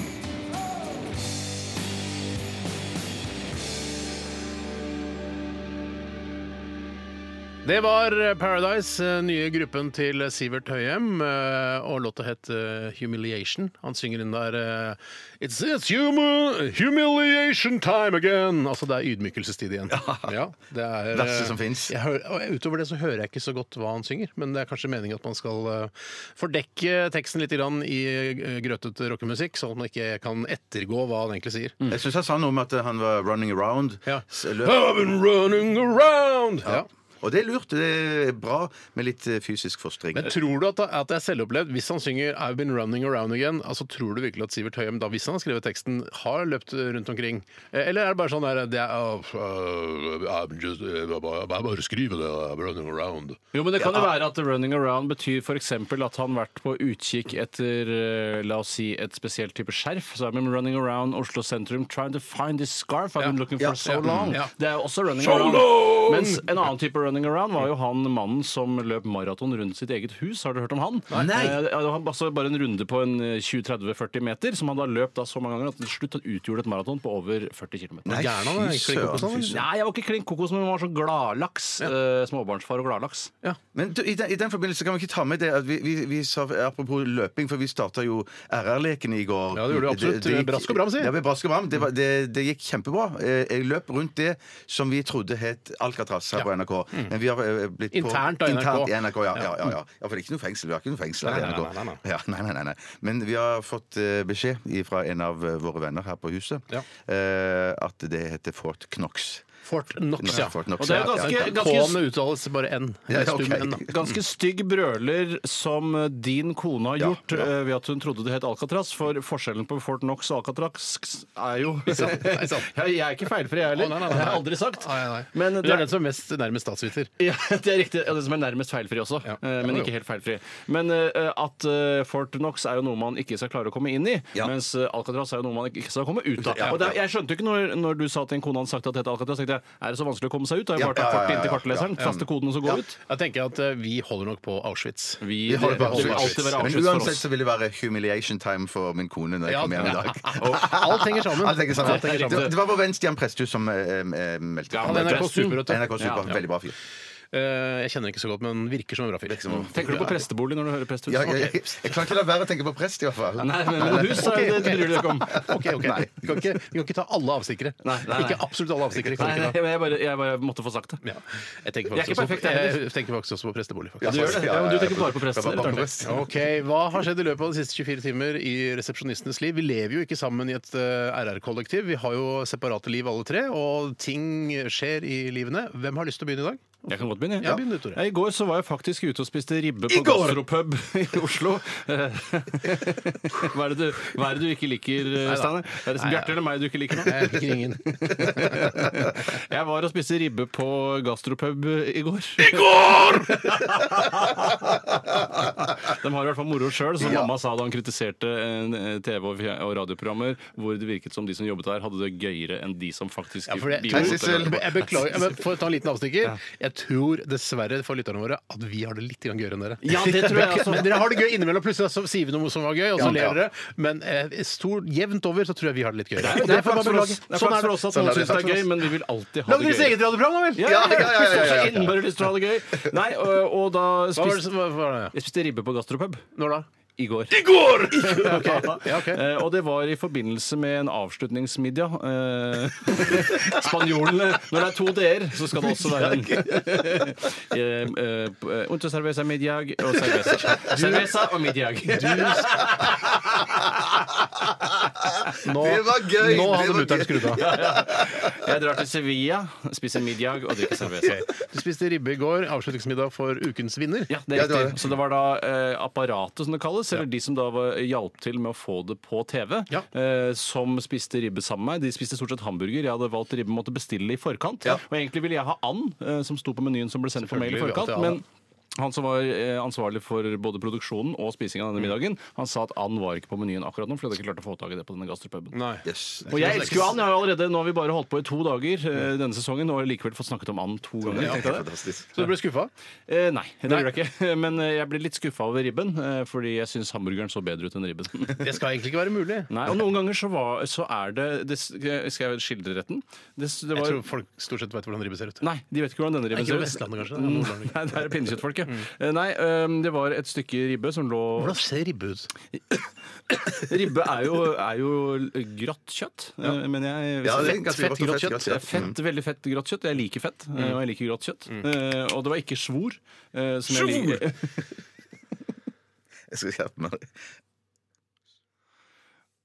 [SPEAKER 5] Det var Paradise, eh, nye gruppen til Sivert Høyem. eh, Og låta het eh, Humiliation. Han synger inn der eh, It's, it's human, humiliation time again. Altså det er ydmykelsestid igjen. Ja, det er, eh,
[SPEAKER 6] Verste som finnes.
[SPEAKER 5] jeg hører, og utover det så hører jeg ikke så godt hva han synger, men det er kanskje meningen at man skal eh, fordekke teksten litt grann i eh, grøtete rockemusikk, sånn at man ikke kan ettergå hva han egentlig sier.
[SPEAKER 6] Jeg syns han sa noe om at eh, han var running around.
[SPEAKER 5] Mm. Ja.
[SPEAKER 6] S- løp.
[SPEAKER 5] I've been running around! Ja.
[SPEAKER 6] Og det er lurt. Det er bra med litt eh, fysisk forstring.
[SPEAKER 5] Men tror du at, at det er selvopplevd? Hvis han synger 'I've been running around again', altså tror du virkelig at Sivert Høyem, da, hvis han har skrevet teksten, har løpt rundt omkring? Eh, Eller er det bare sånn der det er, «Oh, uh, I'm just, uh, Jeg bare skriver det. I'm running around.
[SPEAKER 7] Jo, men Det kan jo være at running around betyr f.eks. at han har vært på utkikk etter eh, la oss si, et spesielt type skjerf. Så er man running around Oslo sentrum trying to find this scarf I've been looking for so
[SPEAKER 5] ja,
[SPEAKER 7] long.
[SPEAKER 5] ja.
[SPEAKER 7] Det er jo også running
[SPEAKER 5] So
[SPEAKER 7] around.
[SPEAKER 5] long!
[SPEAKER 7] Mens en annen type running around var jo han mannen som løp maraton rundt sitt eget hus. Har du hørt om han?
[SPEAKER 6] Nei.
[SPEAKER 7] Eh, det var altså bare en runde på en eh, 20-30-40 meter, som han da løp da så mange ganger at til slutt han utgjorde et maraton på over 40 km.
[SPEAKER 6] Nei,
[SPEAKER 5] Gæren han er,
[SPEAKER 6] fy
[SPEAKER 5] klin kokos han,
[SPEAKER 6] søren. fy søren.
[SPEAKER 7] Nei, jeg var ikke klin kokos, men jeg var så gladlaks. eh, Småbarnsfar og gladlaks.
[SPEAKER 6] Men du, i, den, i den forbindelse kan vi ikke ta med det at vi, vi, vi sa Apropos løping, for vi starta jo RR-leken i går.
[SPEAKER 5] Ja, det gjorde du absolutt.
[SPEAKER 6] gikk-
[SPEAKER 5] Brask og bram, si.
[SPEAKER 6] Ja, vi brask og bram. Det, var, det, det gikk kjempebra. Eh, Jeg løp rundt det som vi trodde het Alcatraz her på NRK. Men vi har eh, blitt på
[SPEAKER 5] Mm. Internt av NRK.
[SPEAKER 6] Internt i NRK, ja, ja, ja, ja. ja, for det er ikke noe fengsel. Vi har ikke noe fengsel her i
[SPEAKER 5] Nei, nei,
[SPEAKER 6] NRK.
[SPEAKER 5] nei, nei,
[SPEAKER 6] Ja, [laughs] nei, nei, nei, nei. Men vi har fått eh, beskjed fra en av eh, våre venner her på huset
[SPEAKER 5] Ja.
[SPEAKER 6] eh, at det heter Fort Knox.
[SPEAKER 5] Fort Knox, ja.
[SPEAKER 6] Fort Knox,
[SPEAKER 7] Og det er jo
[SPEAKER 6] ja,
[SPEAKER 7] ganske-
[SPEAKER 6] ja.
[SPEAKER 5] K-en uttales bare N. Det
[SPEAKER 6] Ja,
[SPEAKER 5] er stum
[SPEAKER 6] ok.
[SPEAKER 5] N, da.
[SPEAKER 7] Ganske stygg brøler som din kone har
[SPEAKER 6] Ja,
[SPEAKER 7] gjort eh, ved at hun trodde det het Alcatraz, for forskjellen på Fort Knox og Alcatraz er jo
[SPEAKER 5] sant, nei,
[SPEAKER 7] [laughs]
[SPEAKER 5] sant.
[SPEAKER 7] Jeg jeg er ikke feilfri,
[SPEAKER 5] Å,
[SPEAKER 7] jeg heller.
[SPEAKER 5] nei, nei, nei.
[SPEAKER 7] Det har jeg aldri sagt.
[SPEAKER 5] Nei, nei.
[SPEAKER 7] Men
[SPEAKER 5] Du er den som er mest nærmest statsviter.
[SPEAKER 7] [laughs] Ja, det er riktig. Ja, Det som er nærmest feilfri også,
[SPEAKER 5] Ja.
[SPEAKER 7] eh, men
[SPEAKER 5] Jo, jo.
[SPEAKER 7] ikke helt feilfri. Men eh, at eh, Fort Knox er jo noe man ikke skal klare å komme inn i,
[SPEAKER 6] Ja.
[SPEAKER 7] mens eh, Alcatraz er jo noe man ikke skal komme ut av.
[SPEAKER 6] Ja,
[SPEAKER 7] Og det, er- jeg skjønte jo ikke når, når du sa til en kone han sagt at det heter Alcatraz, tenkte jeg, er det så vanskelig å komme seg ut? Da har jeg
[SPEAKER 6] Ja,
[SPEAKER 7] bare tatt
[SPEAKER 6] ja, ja,
[SPEAKER 7] kortet inn til
[SPEAKER 6] ja,
[SPEAKER 7] kartleseren,
[SPEAKER 6] ja.
[SPEAKER 7] faste koden og så gå ut.
[SPEAKER 5] Jeg tenker at eh, vi holder nok på Auschwitz.
[SPEAKER 7] Vi,
[SPEAKER 6] Vi holder
[SPEAKER 7] det,
[SPEAKER 6] bare
[SPEAKER 7] det vil
[SPEAKER 6] Auschwitz.
[SPEAKER 7] alltid være
[SPEAKER 6] Men
[SPEAKER 7] Auschwitz for
[SPEAKER 6] uansett
[SPEAKER 7] oss.
[SPEAKER 6] så vil det være humiliation time for min kone når jeg
[SPEAKER 5] Ja,
[SPEAKER 6] kommer hjem i
[SPEAKER 5] ja.
[SPEAKER 7] [laughs]
[SPEAKER 6] dag.
[SPEAKER 5] Og alt henger sammen.
[SPEAKER 6] Alt henger sammen.
[SPEAKER 5] Alt henger sammen.
[SPEAKER 6] Det, det var vår venn Stian Presthus som eh, eh, meldte
[SPEAKER 7] Ja,
[SPEAKER 6] fram
[SPEAKER 5] Han er
[SPEAKER 6] dette.
[SPEAKER 5] NRK Super. vet du.
[SPEAKER 6] NRK Super.
[SPEAKER 7] Ja, ja.
[SPEAKER 6] Veldig bra fyr.
[SPEAKER 5] Eh, Jeg kjenner ikke så godt, men virker som en bra fyr.
[SPEAKER 7] Tenker du på prestebolig når du hører presthus?
[SPEAKER 6] Ja, jeg,
[SPEAKER 7] Ok.
[SPEAKER 6] jeg, jeg klarer ikke la være å tenke på prest, i hvert fall.
[SPEAKER 7] Nei, men med hus er det, det bryr du deg ikke om.
[SPEAKER 5] Ok,
[SPEAKER 7] [laughs]
[SPEAKER 5] ok.
[SPEAKER 6] Nei.
[SPEAKER 5] Vi kan ikke, vi kan ikke ta alle avstikkere.
[SPEAKER 7] Nei, nei, nei.
[SPEAKER 5] Ikke absolutt alle avstikkere.
[SPEAKER 7] Nei,
[SPEAKER 5] Kan vi
[SPEAKER 7] nei,
[SPEAKER 5] ikke ta.
[SPEAKER 7] jeg, jeg, bare, jeg bare måtte få sagt det.
[SPEAKER 5] Ja. Jeg, tenker
[SPEAKER 7] Jeg er
[SPEAKER 5] faktisk
[SPEAKER 7] ikke
[SPEAKER 5] også,
[SPEAKER 7] perfekt, jeg heller.
[SPEAKER 5] jeg tenker faktisk også på prestebolig.
[SPEAKER 7] Ja, du
[SPEAKER 5] faktisk.
[SPEAKER 7] gjør det. Ja, men du tenker bare på prest.
[SPEAKER 6] Jeg var
[SPEAKER 7] rett
[SPEAKER 6] bare
[SPEAKER 7] og
[SPEAKER 6] på
[SPEAKER 7] slett.
[SPEAKER 6] prest.
[SPEAKER 5] Ok, Hva har skjedd i løpet av de siste 24 timer i resepsjonistenes liv? Vi lever jo ikke sammen i et eh, RR-kollektiv. Vi har jo separate liv alle tre, og ting skjer i livene. Hvem har lyst til å begynne i dag?
[SPEAKER 7] Jeg kan godt begynne.
[SPEAKER 5] Ja, begynn du, Tore.
[SPEAKER 7] Ja, I går så var jeg faktisk ute og spiste ribbe på
[SPEAKER 6] I går!
[SPEAKER 7] gastropub [laughs] i Oslo. Eh, hva, er det du, hva er det du ikke liker, eh, Steiner? Er det Bjarte eller meg du ikke liker nå?
[SPEAKER 5] Jeg liker ingen.
[SPEAKER 7] [laughs] Jeg var og spiste ribbe på gastropub i går. I går! De har i hvert fall moro sjøl, som mamma sa da hun kritiserte eh, TV- og fjer- og radioprogrammer hvor det virket som de som jobbet der, hadde det gøyere enn de som faktisk
[SPEAKER 5] Ja, for det,
[SPEAKER 7] bidro
[SPEAKER 5] jeg,
[SPEAKER 6] Nei,
[SPEAKER 7] til
[SPEAKER 6] Sissel.
[SPEAKER 5] tror,
[SPEAKER 7] det.
[SPEAKER 5] jeg beklager, jeg får ta en liten avstikker. Jeg tror dessverre for lytterne våre at vi har det litt grann gøyere enn dere.
[SPEAKER 7] Ja, det tror jeg også.
[SPEAKER 5] Men dere har det gøy innimellom. Plutselig så sier vi noe som var gøy, og så
[SPEAKER 6] Ja, ja.
[SPEAKER 5] ler dere. Men eh, stor, jevnt over så tror jeg vi har det litt gøyere.
[SPEAKER 7] Det er,
[SPEAKER 5] Og
[SPEAKER 7] det
[SPEAKER 5] det
[SPEAKER 7] er
[SPEAKER 5] får jeg
[SPEAKER 7] flaks
[SPEAKER 5] bare
[SPEAKER 7] for oss.
[SPEAKER 5] beklage.
[SPEAKER 7] Det er
[SPEAKER 5] Sånn
[SPEAKER 7] flaks
[SPEAKER 5] er
[SPEAKER 7] for oss
[SPEAKER 5] det.
[SPEAKER 7] at noen
[SPEAKER 6] det.
[SPEAKER 7] syns det er gøy, men vi vil alltid ha
[SPEAKER 5] Lag
[SPEAKER 7] det
[SPEAKER 5] deres
[SPEAKER 7] gøy.
[SPEAKER 5] eget radioprogram, da vel!
[SPEAKER 7] Ja, ja, ja,
[SPEAKER 6] ja, ja, ja, ja.
[SPEAKER 7] Så innmari lyst til å ha det gøy. Nei, og, og da
[SPEAKER 5] Hva var det
[SPEAKER 7] spiste
[SPEAKER 5] som hva var det?
[SPEAKER 7] jeg spiste ribbe på gastropub
[SPEAKER 5] Når da?
[SPEAKER 7] i går. [laughs]
[SPEAKER 5] Ja, ok.
[SPEAKER 7] Eh, og det var i forbindelse med en avslutningsmiddag. Eh, [laughs] spanjolene Når det er to d-er, så skal det også være en eh, [laughs] eh, Unto cerveza middag og cerveza. Cerveza og middag.
[SPEAKER 5] Nå,
[SPEAKER 6] Det var gøy!
[SPEAKER 5] Nå
[SPEAKER 6] Det
[SPEAKER 5] hadde
[SPEAKER 6] var
[SPEAKER 5] mutter'n
[SPEAKER 6] gøy.
[SPEAKER 5] skrudd av.
[SPEAKER 7] Jeg drar til Sevilla, spiser middag og drikker cerveza.
[SPEAKER 5] Ok. Du spiste ribbe i går. Avslutningsmiddag for ukens vinner.
[SPEAKER 7] Ja, det er
[SPEAKER 6] Ja, det var det.
[SPEAKER 7] riktig. Så det var da eh, apparatet, som det kalles, eller de som da var, hjalp til med å få det på TV,
[SPEAKER 5] Ja.
[SPEAKER 7] eh, som spiste ribbe sammen med meg. De spiste stort sett hamburger. Jeg hadde valgt ribbe, måtte bestille i forkant. Og egentlig ville jeg ha and, eh, som sto på menyen som ble sendt på mail i
[SPEAKER 5] Selvfølgelig, vi
[SPEAKER 7] forkant.
[SPEAKER 5] alltid har
[SPEAKER 7] men han som var eh, ansvarlig for både produksjonen og spisingen av denne
[SPEAKER 5] Mm.
[SPEAKER 7] middagen, han sa at and var ikke på menyen akkurat nå, for de hadde ikke klart å få tak i det på denne gastropuben.
[SPEAKER 5] Nei.
[SPEAKER 6] Yes.
[SPEAKER 7] Og jeg elsker jo and. Jeg har jo allerede, nå har vi bare holdt på i to dager eh, denne sesongen, og likevel fått snakket om and to ganger. Tenk deg det.
[SPEAKER 6] Fantastisk.
[SPEAKER 5] Så du ble skuffa?
[SPEAKER 7] Eh, nei, det gjorde jeg ikke. [laughs] Men eh, jeg ble litt skuffa over ribben, eh, fordi jeg syns hamburgeren så bedre ut enn ribben.
[SPEAKER 5] [laughs] Det skal egentlig ikke være mulig.
[SPEAKER 7] Nei, og noen ganger så, var, så er det, det eh, Skal jeg skildre retten? Det, det
[SPEAKER 5] Jeg
[SPEAKER 7] var,
[SPEAKER 5] tror folk stort sett vet hvordan ribbe ser ut.
[SPEAKER 7] Nei, de vet ikke hvordan denne ribben
[SPEAKER 5] Ikke på
[SPEAKER 7] ser ut.
[SPEAKER 5] Vestlandet, kanskje? da? Nordlandet.
[SPEAKER 7] [laughs] Nei, det er pinnekjøttfolket. Eh, Nei, eh, det var et stykke ribbe som lå
[SPEAKER 5] Hvordan ser ribbe [laughs] ut?
[SPEAKER 7] [laughs] Ribbe er jo, er jo grått kjøtt, eh, men jeg
[SPEAKER 6] Ja, det er ganske
[SPEAKER 7] Fett
[SPEAKER 6] grått og
[SPEAKER 7] grått
[SPEAKER 6] fett
[SPEAKER 7] kjøtt.
[SPEAKER 6] grått, ja.
[SPEAKER 7] Eh, Fett, Veldig fett grått kjøtt. Jeg liker fett, eh, og jeg liker grått kjøtt. Eh, Og det var ikke svor. eh, som jeg
[SPEAKER 5] Svor!
[SPEAKER 7] liker-
[SPEAKER 6] Jeg skal skjerpe meg.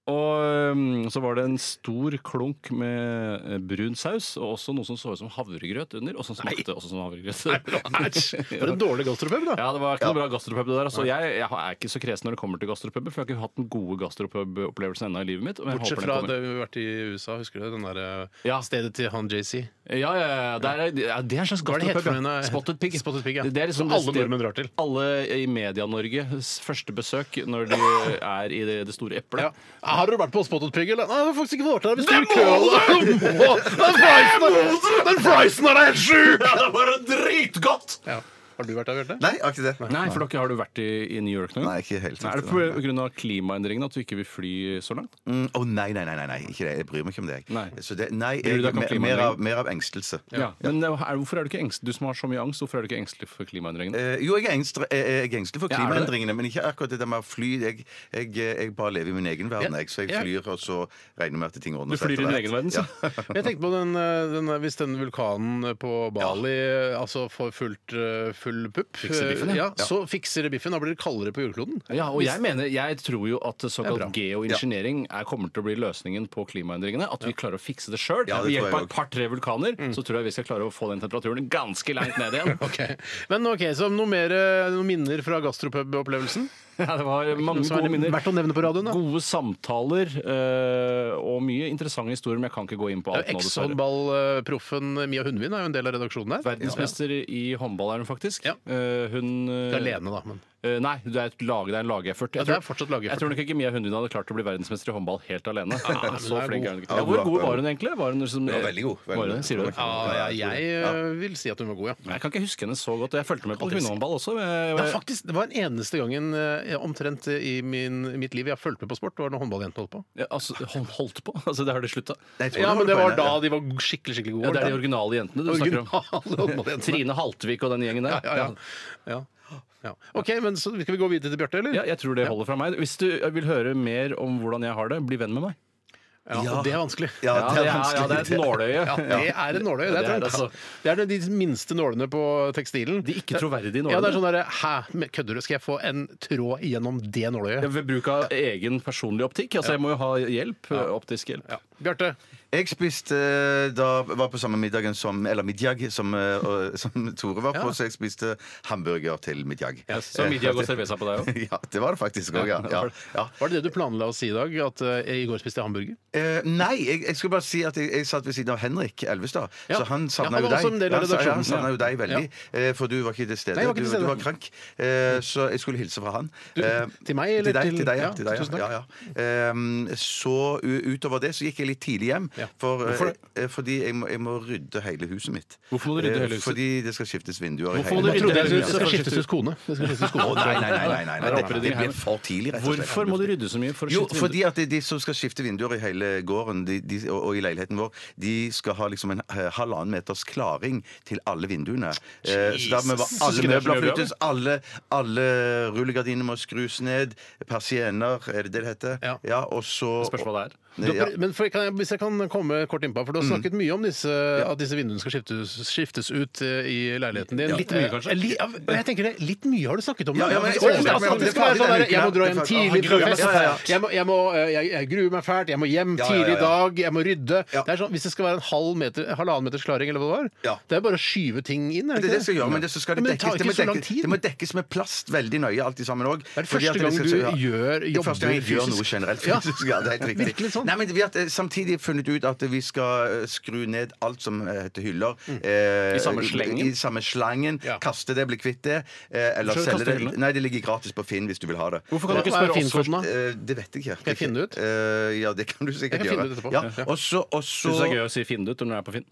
[SPEAKER 7] Og um, så var det en stor klunk med eh, brun saus, og også noe som så ut som havregrøt under, og sånn som smakte også som [laughs]
[SPEAKER 5] For en
[SPEAKER 7] havregrøt.
[SPEAKER 5] dårlig gastropub, da.
[SPEAKER 7] Ja, Det var ikke noe bra gastropub. det der altså, jeg, jeg er ikke så kresen når det kommer til gastropuber, for jeg har ikke hatt den gode gastropub-opplevelsen ennå i livet mitt. Men jeg
[SPEAKER 5] Bortsett
[SPEAKER 7] håper
[SPEAKER 5] fra
[SPEAKER 7] den
[SPEAKER 5] det
[SPEAKER 7] kommer.
[SPEAKER 5] vi har vært i USA, husker du det? Den der, eh,
[SPEAKER 7] Ja.
[SPEAKER 5] stedet til han JC.
[SPEAKER 7] Ja, ja, ja, det er, ja, det er en slags
[SPEAKER 5] Hva er det heter
[SPEAKER 7] gastropub.
[SPEAKER 5] for
[SPEAKER 7] ja.
[SPEAKER 5] den, eh,
[SPEAKER 7] Spotted pig.
[SPEAKER 5] Spotted Pig, ja.
[SPEAKER 7] Det er liksom
[SPEAKER 5] Som alle
[SPEAKER 7] det sted-
[SPEAKER 5] nordmenn drar til.
[SPEAKER 7] Alle i Media-Norges første besøk når de
[SPEAKER 5] [laughs]
[SPEAKER 7] er i det, det store eplet.
[SPEAKER 5] Ja. [laughs] Ah, Har dere vært på Spotted Pig, eller? Nei, det har faktisk ikke vært der. Vi står i kø. og- Den prisen er- Den prisen er helt sjuk!
[SPEAKER 7] det var dritgodt!
[SPEAKER 5] Ja. Har du vært der, Bjarte?
[SPEAKER 6] Nei, jeg har ikke det.
[SPEAKER 7] Nei, for dere har du vært i, i New York noen gang?
[SPEAKER 6] Nei, ikke helt.
[SPEAKER 7] Nei, Er det pga. klimaendringene at du ikke vil fly så langt?
[SPEAKER 6] Mm, Å nei, nei, nei, nei, nei, ikke det. Jeg bryr meg ikke om det. jeg.
[SPEAKER 7] Nei.
[SPEAKER 6] Så det nei,
[SPEAKER 7] Bryr
[SPEAKER 6] jeg,
[SPEAKER 7] du deg
[SPEAKER 6] mer-
[SPEAKER 7] ikke om
[SPEAKER 6] mer,
[SPEAKER 7] klimaendringer?
[SPEAKER 6] av, mer av engstelse.
[SPEAKER 7] Ja. Men eh, er, hvorfor er du ikke engstelig? Du som har så mye angst, hvorfor er du ikke engstelig for klimaendringene?
[SPEAKER 6] Eh, jo, jeg er, engst, jeg, jeg er engstelig for
[SPEAKER 7] Ja, er du det?
[SPEAKER 6] klimaendringene, men ikke akkurat det der med å fly. Jeg, jeg, jeg bare lever i min egen verden, jeg. Så jeg
[SPEAKER 5] Ja.
[SPEAKER 6] flyr, og så regner jeg med at ting ordner
[SPEAKER 7] Du flyr
[SPEAKER 6] etter
[SPEAKER 7] i din
[SPEAKER 6] hvert.
[SPEAKER 7] egen verden, så.
[SPEAKER 5] Men Jeg tenkte på den, eh, den, Hvis den vulkanen på Bali eh, altså får eh, fullt, eh, full full pupp,
[SPEAKER 7] Fikser biffen,
[SPEAKER 5] eh,
[SPEAKER 7] ja.
[SPEAKER 5] ja, så fikser det biffen. Da blir det kaldere på jordkloden.
[SPEAKER 7] Ja, og jeg mener, jeg tror jo at
[SPEAKER 5] Det er bra.
[SPEAKER 7] såkalt geoengineering er, kommer til å bli løsningen på klimaendringene. At vi klarer å fikse det sjøl.
[SPEAKER 6] Ja, det tror
[SPEAKER 7] Ved hjelp
[SPEAKER 6] jeg
[SPEAKER 7] av et par-tre vulkaner så tror jeg vi skal klare å få den temperaturen ganske langt ned igjen.
[SPEAKER 5] Ok, Men ok, så noe mer, eh, noen minner fra gastropub-opplevelsen?
[SPEAKER 7] [laughs] Ja, det var mange
[SPEAKER 5] som er
[SPEAKER 7] gode minner.
[SPEAKER 5] verdt å nevne på radioen, da?
[SPEAKER 7] Gode samtaler eh, og mye interessante historier, men jeg kan ikke gå inn på
[SPEAKER 5] Det er
[SPEAKER 7] alt
[SPEAKER 5] jo
[SPEAKER 7] nå, dessverre.
[SPEAKER 5] Eks-håndballproffen Mia Hundvin er jo en del av redaksjonen der.
[SPEAKER 7] Verdensmester i håndball er hun faktisk.
[SPEAKER 5] Ja.
[SPEAKER 7] Eh, hun eh,
[SPEAKER 5] Ikke alene, da, men
[SPEAKER 7] eh, Nei, det er, et lag, det er en lageffort.
[SPEAKER 5] Ja, det er fortsatt lageffort.
[SPEAKER 7] Jeg tror nok ikke Mia Hundvin hadde klart å bli verdensmester i håndball helt alene. [laughs] så
[SPEAKER 5] hun er
[SPEAKER 7] flink
[SPEAKER 5] god.
[SPEAKER 7] er hun ikke.
[SPEAKER 6] Ja,
[SPEAKER 7] Ja, hvor
[SPEAKER 6] bra,
[SPEAKER 7] god
[SPEAKER 6] bra.
[SPEAKER 7] var hun egentlig? Var hun, liksom,
[SPEAKER 6] Hun var veldig god, veldig
[SPEAKER 7] Var
[SPEAKER 6] god.
[SPEAKER 7] hun, sier du det?
[SPEAKER 5] ja, jeg, eh, vil si at hun var god, ja. Eh,
[SPEAKER 7] Jeg kan ikke huske henne så godt. Jeg fulgte med på kvinnehåndball også. Jeg,
[SPEAKER 5] Ja, faktisk, Det var den eneste gangen eh, omtrent i min, mitt liv jeg har fulgt med på sport. Det var når håndballjentene holdt på.
[SPEAKER 7] Ja, altså, hold- holdt på? [laughs] Altså, det har de slutta?
[SPEAKER 6] [laughs] Nei, jeg tror
[SPEAKER 5] Ja,
[SPEAKER 6] var
[SPEAKER 5] men Det var
[SPEAKER 6] poenget.
[SPEAKER 5] da de var skikkelig skikkelig
[SPEAKER 7] Ja,
[SPEAKER 5] gode.
[SPEAKER 7] det er de originale jentene du
[SPEAKER 5] Originale
[SPEAKER 7] snakker om.
[SPEAKER 5] [laughs] håndballjentene.
[SPEAKER 7] Trine Haltvik og den gjengen der.
[SPEAKER 5] ja, ja. ja. ja. OK, men så skal vi gå videre til Bjarte, eller?
[SPEAKER 7] Ja, jeg tror det holder fra meg. Hvis du vil høre mer om hvordan jeg har det, bli venn med meg.
[SPEAKER 5] Ja, og det er vanskelig.
[SPEAKER 6] Ja,
[SPEAKER 7] Ja,
[SPEAKER 6] det
[SPEAKER 7] det
[SPEAKER 6] er
[SPEAKER 7] er, ja, det er et
[SPEAKER 6] vanskelig.
[SPEAKER 7] nåløye.
[SPEAKER 5] Ja, det er en nåløye.
[SPEAKER 7] Ja,
[SPEAKER 5] Det
[SPEAKER 7] det
[SPEAKER 5] er,
[SPEAKER 7] er det, altså.
[SPEAKER 5] trangt. det er de minste nålene på tekstilen.
[SPEAKER 7] De ikke troverdige
[SPEAKER 5] Ja, det er
[SPEAKER 7] nålene.
[SPEAKER 5] sånn derre Hæ, men kødder du? Skal jeg få en tråd gjennom det nåløyet?
[SPEAKER 7] Ja, Ved bruk av egen personlig optikk. Altså, jeg må jo ha hjelp. Optisk hjelp.
[SPEAKER 5] Ja. Bjarte,
[SPEAKER 6] Jeg spiste eh, da var på samme middagen som Eller middag som, eh, og- [laughs] som Tore var på,
[SPEAKER 5] Ja.
[SPEAKER 6] så jeg spiste hamburger til middag.
[SPEAKER 7] Så middag og cerveza på deg òg.
[SPEAKER 6] [laughs] Ja, det var det faktisk òg, ja. ja. ja.
[SPEAKER 5] var det det du planla å si i dag? At eh, jeg i går spiste jeg hamburger?
[SPEAKER 6] Eh, nei, jeg, jeg skulle bare si at jeg, jeg satt ved siden av Henrik Elvestad.
[SPEAKER 5] Ja.
[SPEAKER 6] Så han
[SPEAKER 5] Ja,
[SPEAKER 6] savna
[SPEAKER 5] han
[SPEAKER 6] jo
[SPEAKER 5] var
[SPEAKER 6] deg.
[SPEAKER 5] også en del av
[SPEAKER 6] han sa- ja, han
[SPEAKER 5] redaksjonen.
[SPEAKER 6] savna jo deg veldig, eh, for du var ikke til stede.
[SPEAKER 5] Nei, jeg var ikke til
[SPEAKER 6] du,
[SPEAKER 5] stede.
[SPEAKER 6] du var krank. Eh, så jeg skulle hilse fra han. Eh,
[SPEAKER 5] til meg, eller
[SPEAKER 6] til deg?
[SPEAKER 5] til-
[SPEAKER 6] Til deg, ja.
[SPEAKER 5] ja,
[SPEAKER 6] Til deg,
[SPEAKER 5] tusen takk.
[SPEAKER 6] ja, ja, ja. Ehm, så u- utover det så gikk jeg litt tidlig hjem,
[SPEAKER 5] Ja.
[SPEAKER 6] for, eh,
[SPEAKER 5] Hvorfor det?
[SPEAKER 6] eh, fordi jeg må, jeg må rydde hele huset mitt.
[SPEAKER 7] Hvorfor må du rydde
[SPEAKER 6] Eh,
[SPEAKER 7] hele huset?
[SPEAKER 6] Fordi det skal skiftes vinduer. i
[SPEAKER 7] Hvorfor
[SPEAKER 6] hele
[SPEAKER 7] må du
[SPEAKER 5] Jeg
[SPEAKER 6] huset.
[SPEAKER 7] rydde
[SPEAKER 5] trodde
[SPEAKER 7] hele
[SPEAKER 5] jeg skulle-
[SPEAKER 7] huset?
[SPEAKER 5] Det skal skiftes kone. Det skal skiftes kone.
[SPEAKER 6] Å, nei, nei, nei, nei, nei,
[SPEAKER 7] Da
[SPEAKER 6] nei.
[SPEAKER 7] opprydder
[SPEAKER 6] Det,
[SPEAKER 7] de
[SPEAKER 6] det
[SPEAKER 7] hjemme.
[SPEAKER 6] blir for tidlig, rett og slett.
[SPEAKER 7] Hvorfor må du rydde så mye? For å
[SPEAKER 6] Jo,
[SPEAKER 7] skifte vindu?
[SPEAKER 6] fordi at de som skal skifte vinduer i hele gården de, de, og, og i leiligheten vår, de skal ha liksom en eh, halvannen meters klaring til alle vinduene. Eh, så dermed var
[SPEAKER 7] Så
[SPEAKER 6] alle
[SPEAKER 7] skal det
[SPEAKER 6] møbler
[SPEAKER 7] ikke
[SPEAKER 6] flyttes, alle, alle rullegardiner må skrus ned, persiener, er det det det heter?
[SPEAKER 5] Ja.
[SPEAKER 6] og så
[SPEAKER 7] Spørs hva det er.
[SPEAKER 5] Du,
[SPEAKER 6] Ja. Mm.
[SPEAKER 5] men for, kan jeg, hvis jeg kan komme kort innpå, for du har snakket mye om disse, at disse vinduene skal skiftes, skiftes ut eh, i leiligheten din.
[SPEAKER 7] Litt mye, kanskje?
[SPEAKER 5] Eh, li- ja, jeg tenker det, Litt mye har du snakket om.
[SPEAKER 6] Ja,
[SPEAKER 5] det.
[SPEAKER 6] ja, men-
[SPEAKER 5] Det er overraskende at det skal være sånn der, jeg må dra hjem tidlig fra
[SPEAKER 6] Ja,
[SPEAKER 5] fest.
[SPEAKER 6] ja, ja.
[SPEAKER 5] Jeg, må, jeg, må, eh, jeg, jeg gruer meg fælt. Jeg må hjem
[SPEAKER 6] Ja, ja, ja,
[SPEAKER 5] tidlig i
[SPEAKER 6] ja.
[SPEAKER 5] dag. Jeg må rydde.
[SPEAKER 6] Ja.
[SPEAKER 5] Det er sånn, hvis det skal være en halv meter, halvannen meters klaring, eller hva det
[SPEAKER 6] Ja.
[SPEAKER 5] var, det er bare å skyve ting inn. Er
[SPEAKER 6] Det er det jeg skal
[SPEAKER 5] ikke
[SPEAKER 6] gjøre, men det, så skal det,
[SPEAKER 5] Men det
[SPEAKER 6] dekkes,
[SPEAKER 5] tar
[SPEAKER 6] det, må
[SPEAKER 5] ikke så lang
[SPEAKER 6] dekkes,
[SPEAKER 5] tid.
[SPEAKER 6] det må dekkes med plast veldig nøye, alt sammen òg.
[SPEAKER 5] Er det første gang du gjør
[SPEAKER 6] liksom Det er første gang jeg gjør
[SPEAKER 5] jobber
[SPEAKER 6] noe generelt.
[SPEAKER 5] Ja.
[SPEAKER 6] Fysisk, [laughs] ja, det er helt riktig.
[SPEAKER 5] Virkelig sånn.
[SPEAKER 6] Nei, men Vi har eh, samtidig funnet ut at vi skal eh, skru ned alt som eh, heter hyller. eh,
[SPEAKER 7] I samme slengen?
[SPEAKER 6] I, i samme slangen.
[SPEAKER 5] Mm. Ja.
[SPEAKER 6] Kaste det, bli kvitt det. eh, eller
[SPEAKER 7] Skal
[SPEAKER 6] selge
[SPEAKER 7] du kaste
[SPEAKER 6] det.
[SPEAKER 7] hyllene?
[SPEAKER 6] Nei, det ligger gratis på Finn hvis du vil ha det.
[SPEAKER 7] Hvorfor
[SPEAKER 5] Hva
[SPEAKER 7] kan du
[SPEAKER 5] er
[SPEAKER 7] ikke spørre oss
[SPEAKER 5] Finnfjorden,
[SPEAKER 7] først?
[SPEAKER 5] da?
[SPEAKER 6] Eh, det vet jeg ikke.
[SPEAKER 5] jeg finne det ut?
[SPEAKER 6] Eh, ja, det kan du sikkert
[SPEAKER 5] Jeg kan
[SPEAKER 6] gjøre.
[SPEAKER 5] finne det etterpå.
[SPEAKER 6] Ja.
[SPEAKER 5] Ja.
[SPEAKER 6] Og så og så-
[SPEAKER 7] Syns det er gøy å si Findut når du er på Finn.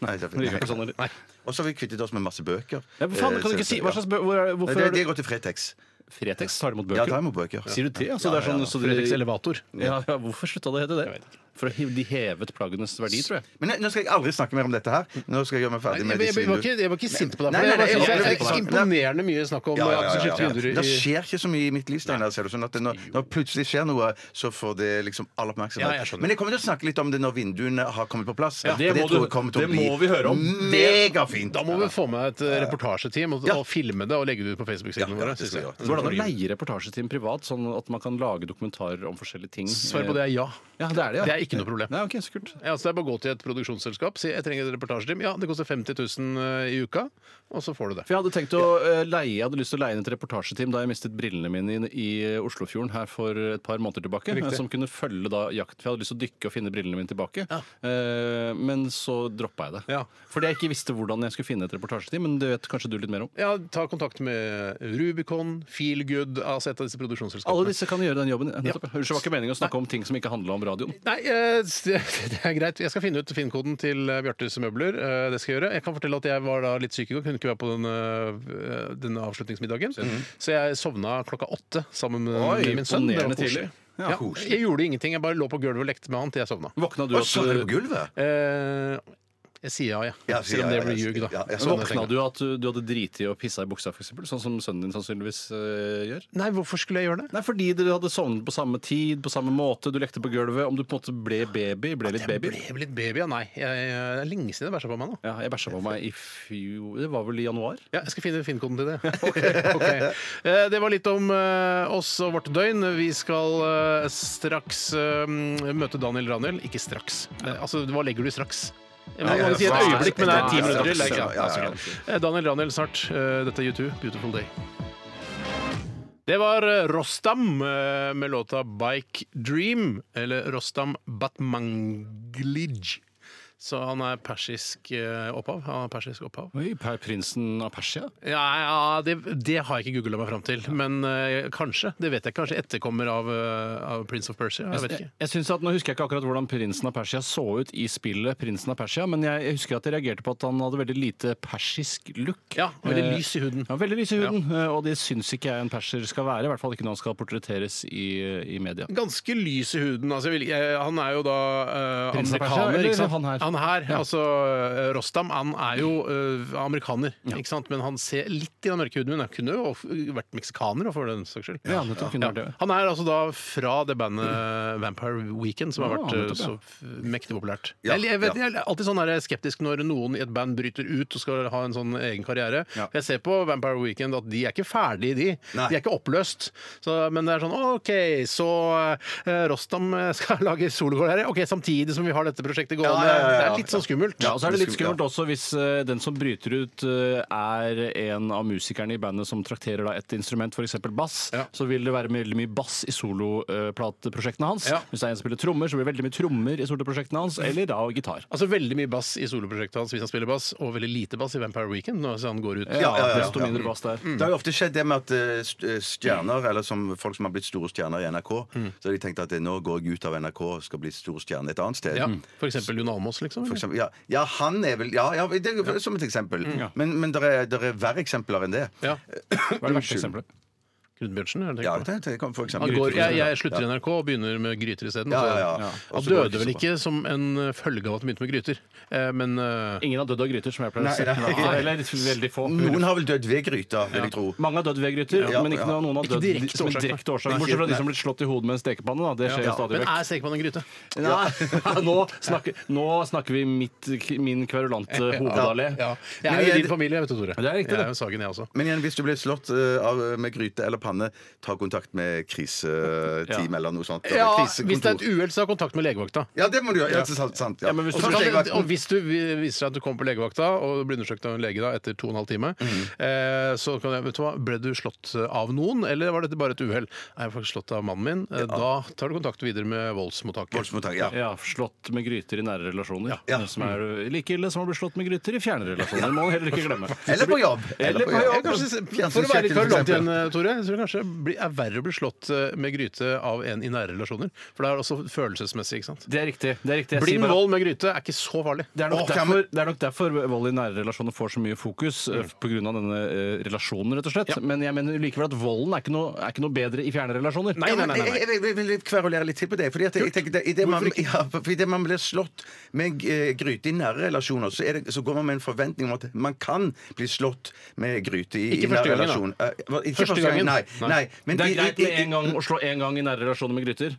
[SPEAKER 6] Nei,
[SPEAKER 7] Det gjør ikke sånn, eller?
[SPEAKER 5] Nei.
[SPEAKER 6] Og så har vi kvittet oss med masse bøker.
[SPEAKER 7] Ja, men faen,
[SPEAKER 6] Eh,
[SPEAKER 7] kan du
[SPEAKER 6] så-
[SPEAKER 7] ikke si hva slags bø hvor er,
[SPEAKER 6] Nei,
[SPEAKER 7] Hvorfor
[SPEAKER 6] det,
[SPEAKER 7] er
[SPEAKER 6] det
[SPEAKER 7] du
[SPEAKER 6] går til Fretex.
[SPEAKER 7] Fretex tar imot
[SPEAKER 6] Ja, da
[SPEAKER 7] bøker?
[SPEAKER 6] må bøker.
[SPEAKER 7] Sier du det? Altså, det er sånn, så de-
[SPEAKER 5] Fretex Elevator.
[SPEAKER 7] Ja, ja, hvorfor slutta det Mm. å hete det? For å hiv- de hevet plaggenes verdi, tror jeg.
[SPEAKER 6] Men nei, nå skal jeg aldri snakke mer om dette her.
[SPEAKER 7] Mm.
[SPEAKER 6] Nå skal jeg gjøre meg
[SPEAKER 5] Nei,
[SPEAKER 6] ferdig
[SPEAKER 5] Jeg,
[SPEAKER 6] med
[SPEAKER 5] jeg,
[SPEAKER 6] disse
[SPEAKER 5] jeg, var ikke,
[SPEAKER 6] vinduene.
[SPEAKER 5] jeg var ikke sint på deg. for
[SPEAKER 6] Nei, nei,
[SPEAKER 5] jeg bare
[SPEAKER 6] nei,
[SPEAKER 5] synes
[SPEAKER 6] jeg-
[SPEAKER 5] det er
[SPEAKER 6] jeg-
[SPEAKER 5] imponerende mye snakk om
[SPEAKER 6] Ja,
[SPEAKER 5] at
[SPEAKER 6] ja,
[SPEAKER 5] du skal
[SPEAKER 6] ja,
[SPEAKER 5] skifte
[SPEAKER 6] ja,
[SPEAKER 5] vinduer
[SPEAKER 6] ja.
[SPEAKER 5] i
[SPEAKER 6] Det skjer ikke så mye i mitt liv, Steinar. ser du, Sånn at det, når, når plutselig skjer noe, så får det liksom all
[SPEAKER 5] Ja, jeg
[SPEAKER 6] oppmerksomhet.
[SPEAKER 5] skjønner.
[SPEAKER 6] Men jeg kommer til å snakke litt om det når vinduene har kommet på plass.
[SPEAKER 7] Ja, det
[SPEAKER 6] for
[SPEAKER 7] må
[SPEAKER 6] tror
[SPEAKER 7] du-
[SPEAKER 6] jeg kommer til å
[SPEAKER 7] det
[SPEAKER 6] bli
[SPEAKER 7] må vi høre om.
[SPEAKER 6] Megafint!
[SPEAKER 5] Da må vi få med et eh, reportasjeteam og, og filme det og legge det ut på Facebook-sidene
[SPEAKER 6] Ja,
[SPEAKER 5] våre.
[SPEAKER 6] det
[SPEAKER 5] synes
[SPEAKER 6] skal vi
[SPEAKER 5] jeg.
[SPEAKER 6] gjøre.
[SPEAKER 7] Går det an å leie reportasjeteam privat, sånn at man kan lage dokumentarer om forskjellige ting? Eh,
[SPEAKER 5] Svar på det er ja.
[SPEAKER 7] Ja, det er det, ja.
[SPEAKER 5] Det er ikke noe problem.
[SPEAKER 7] Nei, ok, så kult.
[SPEAKER 5] Ja, altså det er bare å gå til et produksjonsselskap, si jeg trenger et reportasjeteam. Ja, det koster 50 000 i uka, og så får du det.
[SPEAKER 7] For jeg hadde tenkt å eh, leie, jeg hadde lyst til å leie inn et reportasjeteam da jeg mistet brillene mine i, i Oslofjorden her for et par måneder tilbake. eh, Som kunne følge da jakt. For jeg hadde lyst til å dykke og finne brillene mine tilbake. Eh, men så droppa jeg det.
[SPEAKER 5] Ja.
[SPEAKER 7] Fordi jeg ikke visste hvordan jeg skulle finne et reportasjeteam. Men det vet kanskje du litt mer om?
[SPEAKER 5] Ja, Ta kontakt med Rubicon, Feelgood, jeg har sett disse
[SPEAKER 7] Alle
[SPEAKER 5] produksjonsselskapene.
[SPEAKER 7] disse kan gjøre den jobben. Nettopp. Unnskyld, det var ikke meningen å snakke om ting som ikke handla om radioen.
[SPEAKER 5] Nei, eh, s- [laughs] det er greit. Jeg skal finne ut Finn-koden til eh, Bjartes møbler. Eh, Det skal jeg gjøre. Jeg kan fortelle at jeg var da litt syk i går, kunne ikke være på den, eh, den avslutningsmiddagen. Så jeg sovna klokka åtte sammen med
[SPEAKER 7] Oi,
[SPEAKER 5] min sønn. Det var
[SPEAKER 7] imponerende
[SPEAKER 5] koselig.
[SPEAKER 7] tidlig. Ja,
[SPEAKER 5] Ja, jeg gjorde ingenting. Jeg bare lå på gulvet og lekte med han til jeg sovna.
[SPEAKER 7] Våkna du
[SPEAKER 6] Og så er det på gulvet!
[SPEAKER 5] Eh, Jeg sier ja, jeg.
[SPEAKER 6] Ja, sier
[SPEAKER 5] Selv om
[SPEAKER 6] ja,
[SPEAKER 5] det blir
[SPEAKER 6] ja,
[SPEAKER 5] ljug, da.
[SPEAKER 6] ja, ja.
[SPEAKER 5] Sånn jeg
[SPEAKER 7] Våkna
[SPEAKER 5] tenker.
[SPEAKER 7] du at du, du hadde driti i å pisse i buksa, f.eks.? Sånn som sønnen din sannsynligvis eh, gjør?
[SPEAKER 5] Nei, hvorfor skulle jeg gjøre det?
[SPEAKER 7] Nei, fordi dere hadde sovnet på samme tid, på samme måte, du lekte på gulvet. Om du på en måte ble baby, ble litt baby.
[SPEAKER 5] Jeg ble litt baby, ja. Nei. Jeg, det er lenge siden jeg bæsja på meg nå.
[SPEAKER 7] Ja, jeg bæsja på meg i fjor Det var vel i januar?
[SPEAKER 5] Ja, jeg skal finne finnkoden til
[SPEAKER 6] [laughs]
[SPEAKER 5] det. Ok. Eh, Det var litt om eh, oss og vårt døgn. Vi skal eh, straks eh, møte Daniel Raniel. Ikke straks. Eh, Altså, hva legger du i straks? Jeg må
[SPEAKER 6] Nei,
[SPEAKER 5] bare si et
[SPEAKER 6] straks.
[SPEAKER 5] øyeblikk, men det er ti
[SPEAKER 6] Ja,
[SPEAKER 5] minutter til.
[SPEAKER 6] straks,
[SPEAKER 5] det er ikke sant?
[SPEAKER 6] ja, ja, ja.
[SPEAKER 5] Ja, så greit. Eh, Daniel Raniel snart. Eh, Dette er U2, 'Beautiful Day'. Det var eh, Rostam eh, med låta 'Bike Dream', eller Rostam Batmanglij. Så han er persisk eh, opphav. Han har persisk opphav.
[SPEAKER 7] Oi, per prinsen av Persia?
[SPEAKER 5] Ja, ja det, det har jeg ikke googla meg fram til. Men eh, kanskje. Det vet jeg ikke. Kanskje etterkommer av, eh, av Prince of Persia. Jeg vet
[SPEAKER 7] Jeg,
[SPEAKER 5] ikke.
[SPEAKER 7] jeg synes at Nå husker jeg ikke akkurat hvordan prinsen av Persia så ut i spillet, Prinsen av Persia, men jeg, jeg husker at jeg reagerte på at han hadde veldig lite persisk look.
[SPEAKER 5] Ja, veldig
[SPEAKER 7] Eh,
[SPEAKER 5] lys i huden.
[SPEAKER 7] Ja, veldig lys i huden, eh, Og det syns ikke jeg en perser skal være. I hvert fall ikke når han skal portretteres i, i media.
[SPEAKER 5] Ganske lys i huden. Altså, jeg vil, jeg, han er jo da eh,
[SPEAKER 7] Prinsen av Persia,
[SPEAKER 5] amerikaner.
[SPEAKER 7] eller
[SPEAKER 5] Ikke sant?
[SPEAKER 7] han her? Ja.
[SPEAKER 5] Altså eh, Rostam, han er jo eh, amerikaner, ikke sant? men han ser litt grann mørk i huden. Men han kunne jo of- vært meksikaner for den saks skyld.
[SPEAKER 7] Ja, nettopp kunne
[SPEAKER 5] Ja.
[SPEAKER 7] vært det.
[SPEAKER 5] Han er altså da fra det bandet Vampire Weekend, som har
[SPEAKER 7] Ja,
[SPEAKER 5] vært eh,
[SPEAKER 7] Ah, nettopp, ja.
[SPEAKER 5] så f- mektig populært.
[SPEAKER 6] Ja,
[SPEAKER 5] jeg, jeg, vet,
[SPEAKER 6] ja.
[SPEAKER 5] jeg er alltid sånn der skeptisk når noen i et band bryter ut og skal ha en sånn egen karriere.
[SPEAKER 7] Ja.
[SPEAKER 5] Jeg ser på Vampire Weekend at de er ikke ferdige, de.
[SPEAKER 6] Nei.
[SPEAKER 5] De er ikke oppløst. Så, men det er sånn OK, så eh, Rostam skal [laughs] lage solokarriere. OK, samtidig som vi har dette prosjektet gående.
[SPEAKER 6] ja, ja, altså- ja.
[SPEAKER 5] Det er litt sånn skummelt.
[SPEAKER 7] Ja, og så er det litt
[SPEAKER 6] det skulle-
[SPEAKER 7] skummelt også hvis eh, den som bryter ut eh, er en av musikerne i bandet som trakterer da et instrument, f.eks. bass,
[SPEAKER 5] Ja.
[SPEAKER 7] så vil det være veldig mye bass i soloplateprosjektene hans.
[SPEAKER 5] Ja.
[SPEAKER 7] Hvis det er en som spiller trommer, så blir det veldig mye trommer i soloprosjektene hans, eller da gitar.
[SPEAKER 5] Altså Veldig mye bass i soloprosjektet hans hvis han spiller bass, og veldig lite bass i Vampire Weekend. Når han går ut.
[SPEAKER 6] ja, ja, Mm. ja.
[SPEAKER 7] Eh, Desto mindre bass der.
[SPEAKER 5] Mm.
[SPEAKER 6] Det har jo ofte skjedd det med at eh, st- eh, stjerner, eller som folk som har blitt store stjerner i NRK,
[SPEAKER 5] Mm.
[SPEAKER 6] så har de tenkt at eh, nå går jeg ut av NRK og skal bli stor stjerne et annet sted.
[SPEAKER 5] Ja, for eksempel Jon Almaas, liksom.
[SPEAKER 6] Mm.
[SPEAKER 5] eller?
[SPEAKER 6] For eksempel, ja, ja, han er vel Ja, ja det er jo som et eksempel. Men, men det er, der er verre eksempler enn det.
[SPEAKER 5] Mm, Ja.
[SPEAKER 7] Hva er det verste eksempelet?
[SPEAKER 5] Knut-Bjørnsen, er det det
[SPEAKER 6] Ja,
[SPEAKER 5] du tenker på?
[SPEAKER 6] det, det kan for eksempel
[SPEAKER 5] Han går, jeg, jeg
[SPEAKER 6] Ja.
[SPEAKER 5] slutter i NRK og begynner med gryter isteden. altså.
[SPEAKER 6] Ja,
[SPEAKER 5] og så-
[SPEAKER 6] ja, ja.
[SPEAKER 5] Han
[SPEAKER 6] Og så går
[SPEAKER 5] døde vel
[SPEAKER 6] det så bra.
[SPEAKER 5] ikke som en eh, følge av at han begynte med gryter, eh, men eh,
[SPEAKER 7] Ingen har dødd av gryter, som jeg pleier å si.
[SPEAKER 6] Nei, nei.
[SPEAKER 7] Nei, Eller veldig få.
[SPEAKER 6] Noen har vel dødd ved gryta, vil jeg tro.
[SPEAKER 7] Mange har dødd ved gryter,
[SPEAKER 6] Ja,
[SPEAKER 7] men ikke
[SPEAKER 6] ja.
[SPEAKER 7] noen har
[SPEAKER 5] Ikke
[SPEAKER 7] dødd
[SPEAKER 5] direkte
[SPEAKER 7] som en
[SPEAKER 5] årsak, da.
[SPEAKER 7] direkte årsak. Bortsett fra de som har blitt slått i hodet med en stekepanne. Da. Det skjer jo
[SPEAKER 5] ja.
[SPEAKER 7] stadig
[SPEAKER 5] Men
[SPEAKER 7] vekk.
[SPEAKER 5] er stekepann en gryte?
[SPEAKER 7] Nei, [laughs] nå snakker, nå snakker vi mitt, min kverulante hovedallé.
[SPEAKER 5] Ja. Jeg
[SPEAKER 6] Men
[SPEAKER 5] er jo i
[SPEAKER 6] jeg-
[SPEAKER 5] din familie, vet du, Tore.
[SPEAKER 7] det er riktig,
[SPEAKER 5] jeg
[SPEAKER 7] det.
[SPEAKER 5] er jo Sagen, jeg også.
[SPEAKER 6] Men igjen, hvis du blir slått eh, av, med gryte eller panne, ta kontakt med kriseteam
[SPEAKER 7] Ja.
[SPEAKER 6] eller noe sånt.
[SPEAKER 5] Ja,
[SPEAKER 6] eller
[SPEAKER 5] hvis det er et
[SPEAKER 6] krisekontor.
[SPEAKER 5] uhell, så ha kontakt med legevakta.
[SPEAKER 6] Ja, det må du gjøre. Ja, det er sant, sant, ja.
[SPEAKER 7] Ja, men hvis
[SPEAKER 6] Og
[SPEAKER 5] Og,
[SPEAKER 7] du-
[SPEAKER 6] så
[SPEAKER 5] så kan
[SPEAKER 6] legevakt-
[SPEAKER 5] det- og hvis du vi- viser deg at du kommer på legevakta og blir undersøkt av en lege da, etter to og en halv time,
[SPEAKER 6] Mhm.
[SPEAKER 5] eh, så kan jeg, vet du hva, ble du slått av noen, eller var dette bare et uhell? Nei, Jeg ble faktisk slått av mannen min. Eh, Da tar du kontakt videre med voldsmottaket.
[SPEAKER 6] Voldsmottak, ja.
[SPEAKER 7] Ja, Slått med gryter i nære relasjoner.
[SPEAKER 6] Ja.
[SPEAKER 7] Som er like ille som å bli slått med gryter i fjerne relasjoner. Det må man heller ikke glemme.
[SPEAKER 6] Eller på jobb.
[SPEAKER 7] Eller på
[SPEAKER 5] Ja,
[SPEAKER 7] jobb.
[SPEAKER 5] kanskje,
[SPEAKER 6] Fjernsynskjøkken,
[SPEAKER 5] for å være litt for
[SPEAKER 6] for
[SPEAKER 5] langt
[SPEAKER 6] eksempel.
[SPEAKER 5] igjen, Tore, så tror jeg kanskje det blir- er verre å bli slått eh, med gryte av en i nære relasjoner. For det er også følelsesmessig, ikke sant.
[SPEAKER 7] Det er riktig. det er riktig. Jeg sier
[SPEAKER 5] Blind
[SPEAKER 7] bare-
[SPEAKER 5] vold med gryte er ikke så farlig.
[SPEAKER 7] Det er, nok
[SPEAKER 6] Åh, kan
[SPEAKER 7] derfor, det er nok derfor vold i nære relasjoner får så mye fokus, mm. pga. denne eh, relasjonen, rett og slett. Men jeg mener likevel at volden er ikke noe, er ikke noe bedre i fjerne relasjoner.
[SPEAKER 5] Nei, nei, nei, nei.
[SPEAKER 6] Jeg, jeg, jeg vil litt kverulere litt til på det. Fordi at jeg tenker det, i det man, ja, fordi det man blir slått med en eh, gryte i nære relasjoner, så, er det, så går man med en forventning om at man kan bli slått med gryte i,
[SPEAKER 5] Ikke
[SPEAKER 6] i nære
[SPEAKER 5] første gangen, da.
[SPEAKER 6] relasjon. Eh, hva- ikke
[SPEAKER 5] Første
[SPEAKER 6] første gangen,
[SPEAKER 5] gangen.
[SPEAKER 6] nei. nei. Men
[SPEAKER 7] Det
[SPEAKER 6] i-
[SPEAKER 7] er
[SPEAKER 6] i-
[SPEAKER 7] greit
[SPEAKER 6] i-
[SPEAKER 7] med en gang å slå en gang i nære relasjoner med gryter.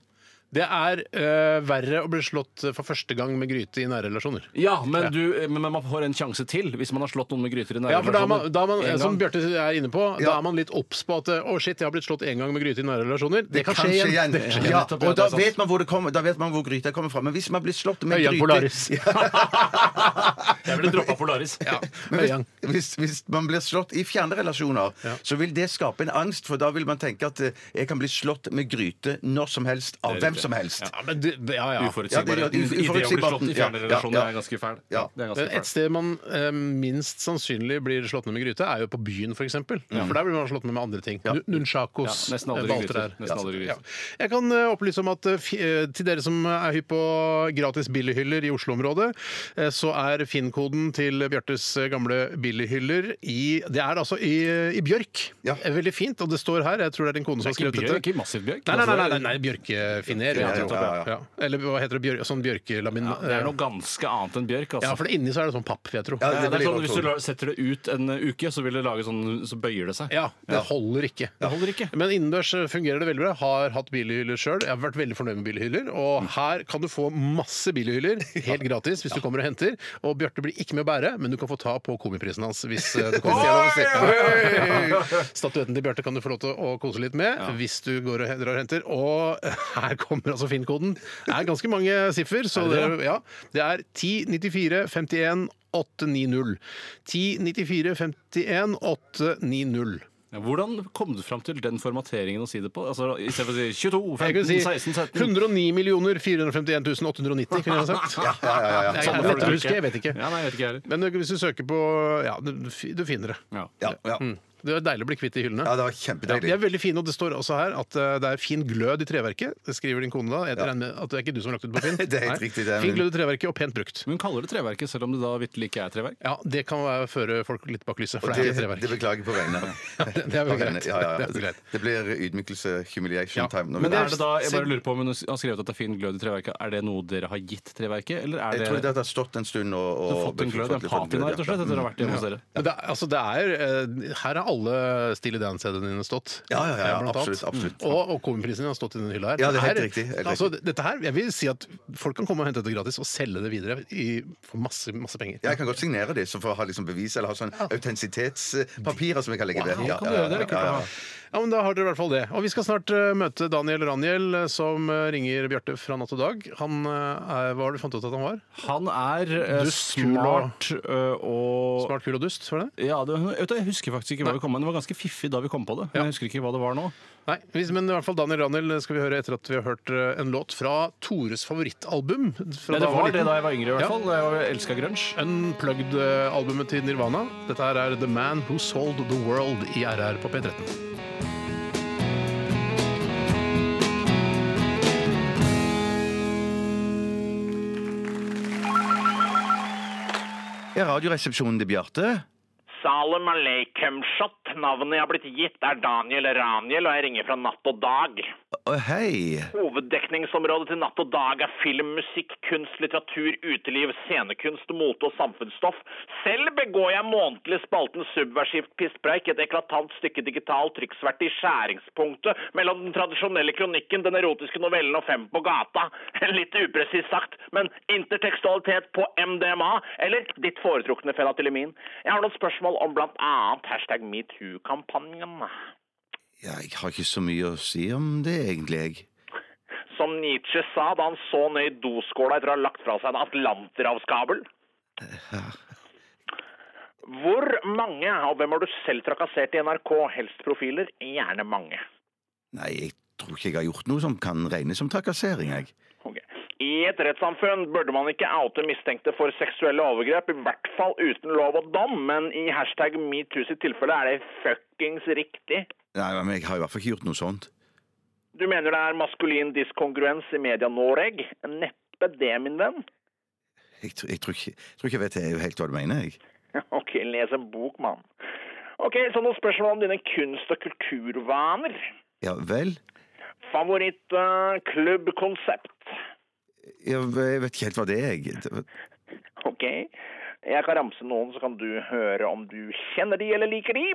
[SPEAKER 5] Det er eh, verre å bli slått eh, for første gang med gryte i nære relasjoner.
[SPEAKER 7] Ja, men, du, eh, men man får en sjanse til hvis man har slått noen med gryter i nære
[SPEAKER 5] Ja, for da er man, da er man
[SPEAKER 7] En
[SPEAKER 5] som
[SPEAKER 7] gang.
[SPEAKER 5] Bjarte er inne på, da
[SPEAKER 6] Ja.
[SPEAKER 5] er man litt obs på at eh, å shit, jeg har blitt slått én gang med gryte i nære relasjoner. Det, kan skje igjen.
[SPEAKER 6] igjen.
[SPEAKER 7] skjer igjen.
[SPEAKER 6] Ja,
[SPEAKER 7] Nettopp, ja,
[SPEAKER 6] og
[SPEAKER 7] det
[SPEAKER 6] da
[SPEAKER 7] er sant.
[SPEAKER 6] vet man hvor, det kommer, da vet man hvor gryta kommer fra. Men hvis man blir slått med
[SPEAKER 5] Øyan
[SPEAKER 6] gryte
[SPEAKER 5] Polaris.
[SPEAKER 7] Jeg ville droppa Polaris.
[SPEAKER 5] Ja.
[SPEAKER 6] Men
[SPEAKER 5] Øyang.
[SPEAKER 6] hvis, hvis, hvis man blir slått i fjerne relasjoner, så vil det skape en angst, for da vil man tenke at eh, jeg kan bli slått med gryte når som helst, av
[SPEAKER 7] Det er
[SPEAKER 6] hvem
[SPEAKER 7] riktig.
[SPEAKER 6] som helst.
[SPEAKER 5] Ja, men det, ja, ja.
[SPEAKER 7] Uforutsigbare.
[SPEAKER 6] Ja,
[SPEAKER 7] Ja,
[SPEAKER 6] det er jo-
[SPEAKER 7] Idé å bli slått i
[SPEAKER 6] Ja,
[SPEAKER 7] fjerne
[SPEAKER 6] ja,
[SPEAKER 7] relasjoner
[SPEAKER 6] ja.
[SPEAKER 7] er ganske fæl.
[SPEAKER 6] Ja.
[SPEAKER 7] Det er ganske
[SPEAKER 5] Men Et
[SPEAKER 7] fæl.
[SPEAKER 5] sted man eh, minst sannsynlig blir slått ned med gryte, er jo på byen, f.eks. For, eksempel. for der blir man slått ned med andre ting. Nu- Nunchakos,
[SPEAKER 7] Ja, nesten aldri
[SPEAKER 5] eh, valter
[SPEAKER 7] gryter.
[SPEAKER 5] her.
[SPEAKER 7] Nesten aldri
[SPEAKER 5] Ja.
[SPEAKER 7] gryter.
[SPEAKER 5] Jeg kan eh, opplyse om at eh, fi- eh, til dere som er hypp på gratis billighyller i Oslo-området, eh, så er Finn-koden til Bjartes eh, gamle billighyller i Det er altså i, i bjørk.
[SPEAKER 6] Ja.
[SPEAKER 5] Eh, Veldig fint, og det står her, jeg tror det er din kone som har
[SPEAKER 7] Det er ikke
[SPEAKER 5] skrevet
[SPEAKER 7] bjørk,
[SPEAKER 5] dette.
[SPEAKER 7] ikke massiv bjørk.
[SPEAKER 5] Nei, nei, nei, nei, nei, bjørkefiné Trener.
[SPEAKER 6] Ja,
[SPEAKER 5] Ja,
[SPEAKER 6] ja, ja, ja.
[SPEAKER 5] ja. Eller hva heter det? Bjør, sånn bjørkelamin...
[SPEAKER 7] Ja, det er noe ganske annet enn bjørk. Altså.
[SPEAKER 5] Ja, for det inni så er det sånn papp, vil jeg tro.
[SPEAKER 6] Ja,
[SPEAKER 7] Ja, det er
[SPEAKER 6] blir
[SPEAKER 7] sånn,
[SPEAKER 6] godt
[SPEAKER 7] hvis
[SPEAKER 6] ord.
[SPEAKER 7] du la- setter det ut en uke, så vil det lage sånn, så bøyer det seg.
[SPEAKER 5] Ja, det holder ikke.
[SPEAKER 7] Det holder ikke.
[SPEAKER 5] Men innendørs fungerer det veldig bra. Har hatt billighyller sjøl. Jeg har vært veldig fornøyd med billighyller. Og her kan du få masse billighyller helt gratis hvis du kommer og henter. Og Bjarte blir ikke med å bære, men du kan få ta på komiprisen hans hvis eh, du kommer. Oi! [laughs] Statuetten til Bjarte kan du få lov til å kose litt med hvis du går og drar og henter. Og [laughs] her kommer altså Finn-koden. Det er ganske mange siffer, så det,
[SPEAKER 7] Er det
[SPEAKER 5] ja, det er 1094 51 890. 1094 51 890.
[SPEAKER 7] Ja, hvordan kom du fram til den formateringen å si det på? Altså, I stedet for å si 22,
[SPEAKER 5] Jeg kunne
[SPEAKER 7] 15,
[SPEAKER 5] si
[SPEAKER 7] 16, 17
[SPEAKER 5] 109 451 890, kunne jeg sagt.
[SPEAKER 6] Ja, ja, ja, ja.
[SPEAKER 5] Jeg
[SPEAKER 7] Samme
[SPEAKER 5] er
[SPEAKER 7] for
[SPEAKER 5] lett å
[SPEAKER 7] deg.
[SPEAKER 5] huske, jeg vet ikke.
[SPEAKER 7] Ja, nei, jeg vet ikke heller.
[SPEAKER 5] Men hvis du søker på Ja, du fi- du finner det.
[SPEAKER 7] Ja.
[SPEAKER 6] Ja, ja.
[SPEAKER 5] Mm. Det er deilig å bli kvitt de hyllene.
[SPEAKER 6] ja, det var
[SPEAKER 5] Ja, de
[SPEAKER 6] kjempedeilig.
[SPEAKER 5] er veldig fine, og det står også her at eh, det er fin glød i treverket. Det skriver din kone da. Jeg
[SPEAKER 6] Ja.
[SPEAKER 5] regner med at det er ikke du som har lagt ut på Finn.
[SPEAKER 6] [laughs] Det er helt
[SPEAKER 5] Nei.
[SPEAKER 6] riktig, det er
[SPEAKER 5] Fin
[SPEAKER 6] min-
[SPEAKER 5] glød i treverket og pent brukt.
[SPEAKER 7] Men hun kaller det treverket, selv om det da vitterlig ikke er treverk.
[SPEAKER 5] Ja, det kan være føre folk litt bak lyset, for det er ikke
[SPEAKER 6] Det, det
[SPEAKER 5] treverk.
[SPEAKER 6] beklager jeg på vegne av
[SPEAKER 7] [laughs]
[SPEAKER 5] det- det er vel
[SPEAKER 6] på vegne-
[SPEAKER 5] greit.
[SPEAKER 6] Ja, ja,
[SPEAKER 5] Det
[SPEAKER 6] ja.
[SPEAKER 5] er vel greit.
[SPEAKER 6] Det blir ydmykelse, humiliation
[SPEAKER 5] Ja.
[SPEAKER 6] time. når
[SPEAKER 7] Men
[SPEAKER 6] vi-
[SPEAKER 7] er det da, jeg bare lurer på om hun har skrevet at det er fin glød i treverket. Er det noe dere har gitt treverket, eller
[SPEAKER 6] Jeg
[SPEAKER 7] er det
[SPEAKER 6] tror det har stått en stund og,
[SPEAKER 7] du
[SPEAKER 6] og
[SPEAKER 7] har fått en glød, en
[SPEAKER 6] fått- fått
[SPEAKER 7] patina, rett og
[SPEAKER 6] ja.
[SPEAKER 7] slett, etter å ha vært hjemme hos dere?
[SPEAKER 5] Men det, er- altså, det er, eh, her har alle Stille Dan-CD-ene dine stått.
[SPEAKER 6] Ja, ja, ja,
[SPEAKER 5] Eh, blant
[SPEAKER 6] absolutt,
[SPEAKER 5] annet.
[SPEAKER 6] absolutt.
[SPEAKER 5] Og, og Komiprisen din har stått i denne hylla her.
[SPEAKER 6] Ja, det er helt
[SPEAKER 5] Her-
[SPEAKER 6] riktig, helt riktig.
[SPEAKER 5] altså, dette her, jeg vil si at folk kan komme og hente dette gratis og selge det videre i, for masse, masse penger.
[SPEAKER 6] Mm. Ja, jeg kan godt signere det, så for å ha liksom bevis eller ha sånn autentisitetspapir som jeg kan legge i det.
[SPEAKER 7] Ja, kan du gjøre det, det er kult å ha.
[SPEAKER 5] Ja, men Da har dere i hvert fall det. Og Vi skal snart eh, møte Daniel Ranjel, eh, som eh, ringer Bjarte fra Natt og Dag. Han, eh, er- hva har du fant ut at han var?
[SPEAKER 7] Han er eh,
[SPEAKER 5] Dust, kul og-
[SPEAKER 7] smart eh, og
[SPEAKER 5] Smart, kul og dust? var det?
[SPEAKER 7] Ja, det, vet du, Jeg husker faktisk ikke hva vi kom med. Det var ganske fiffig da vi kom på det. Men jeg husker ikke hva det var nå.
[SPEAKER 5] Nei, hvis- men i hvert fall Daniel Ranjel skal vi høre etter at vi har hørt eh, en låt fra Tores favorittalbum. Fra
[SPEAKER 7] Nei,
[SPEAKER 5] da han
[SPEAKER 7] det var det
[SPEAKER 5] liten.
[SPEAKER 7] da jeg var yngre, i
[SPEAKER 5] Ja.
[SPEAKER 7] hvert fall. Jeg elska grunge.
[SPEAKER 5] Unplugged-albumet eh, til Nirvana. Dette her er The Man Who Sold The World i RR på P13.
[SPEAKER 6] Ja, radioresepsjonen til Bjarte.
[SPEAKER 1] Salem aleikum shot. Navnet jeg har blitt gitt er Daniel Raniel, og jeg ringer fra Natt og Dag.
[SPEAKER 6] Å, hei.
[SPEAKER 1] Hoveddekningsområdet til Natt og Dag er film, musikk, kunst, litteratur, uteliv, scenekunst, mote og samfunnsstoff. Selv begår jeg månedlig spalten subversivt pisspreik, et eklatant stykke digital trykksverte i skjæringspunktet mellom den tradisjonelle kronikken, den erotiske novellen og Fem på gata. [laughs] Litt upresist sagt, men intertekstualitet på MDMA, eller ditt foretrukne fenatilamin. Jeg har noen spørsmål om blant annet hashtag metoo-kampanjen.
[SPEAKER 6] Ja, jeg har ikke så mye å si om det, egentlig. jeg.
[SPEAKER 1] Som Nietzsche sa da han så ned i doskåla etter å ha lagt fra seg en atlanterhavskabel. Hvor mange, og hvem har du selv trakassert i NRK, helst profiler? Gjerne mange.
[SPEAKER 6] Nei, jeg tror ikke jeg har gjort noe som kan regnes som trakassering, jeg.
[SPEAKER 1] Ok. I et rettssamfunn burde man ikke oute mistenkte for seksuelle overgrep, i hvert fall uten lov og dom, men i hashtag metoo sitt tilfelle er det fuckings riktig.
[SPEAKER 6] Nei, men jeg har i hvert fall ikke gjort noe sånt.
[SPEAKER 1] Du mener det er maskulin diskongruens i media Noreg? Neppe det, min venn.
[SPEAKER 6] Jeg, tr- jeg, tror, ikke, jeg tror ikke jeg vet helt hva du mener, jeg.
[SPEAKER 1] [laughs] Ok, les en bok, mann. Ok, så noen spørsmål om dine kunst- og kulturvaner. eh,
[SPEAKER 6] Ja vel?
[SPEAKER 1] Favorittklubbkonsept.
[SPEAKER 6] Ja, jeg vet ikke helt hva det er, jeg. Det-
[SPEAKER 1] ok, jeg kan ramse noen, så kan du høre om du kjenner de eller liker de.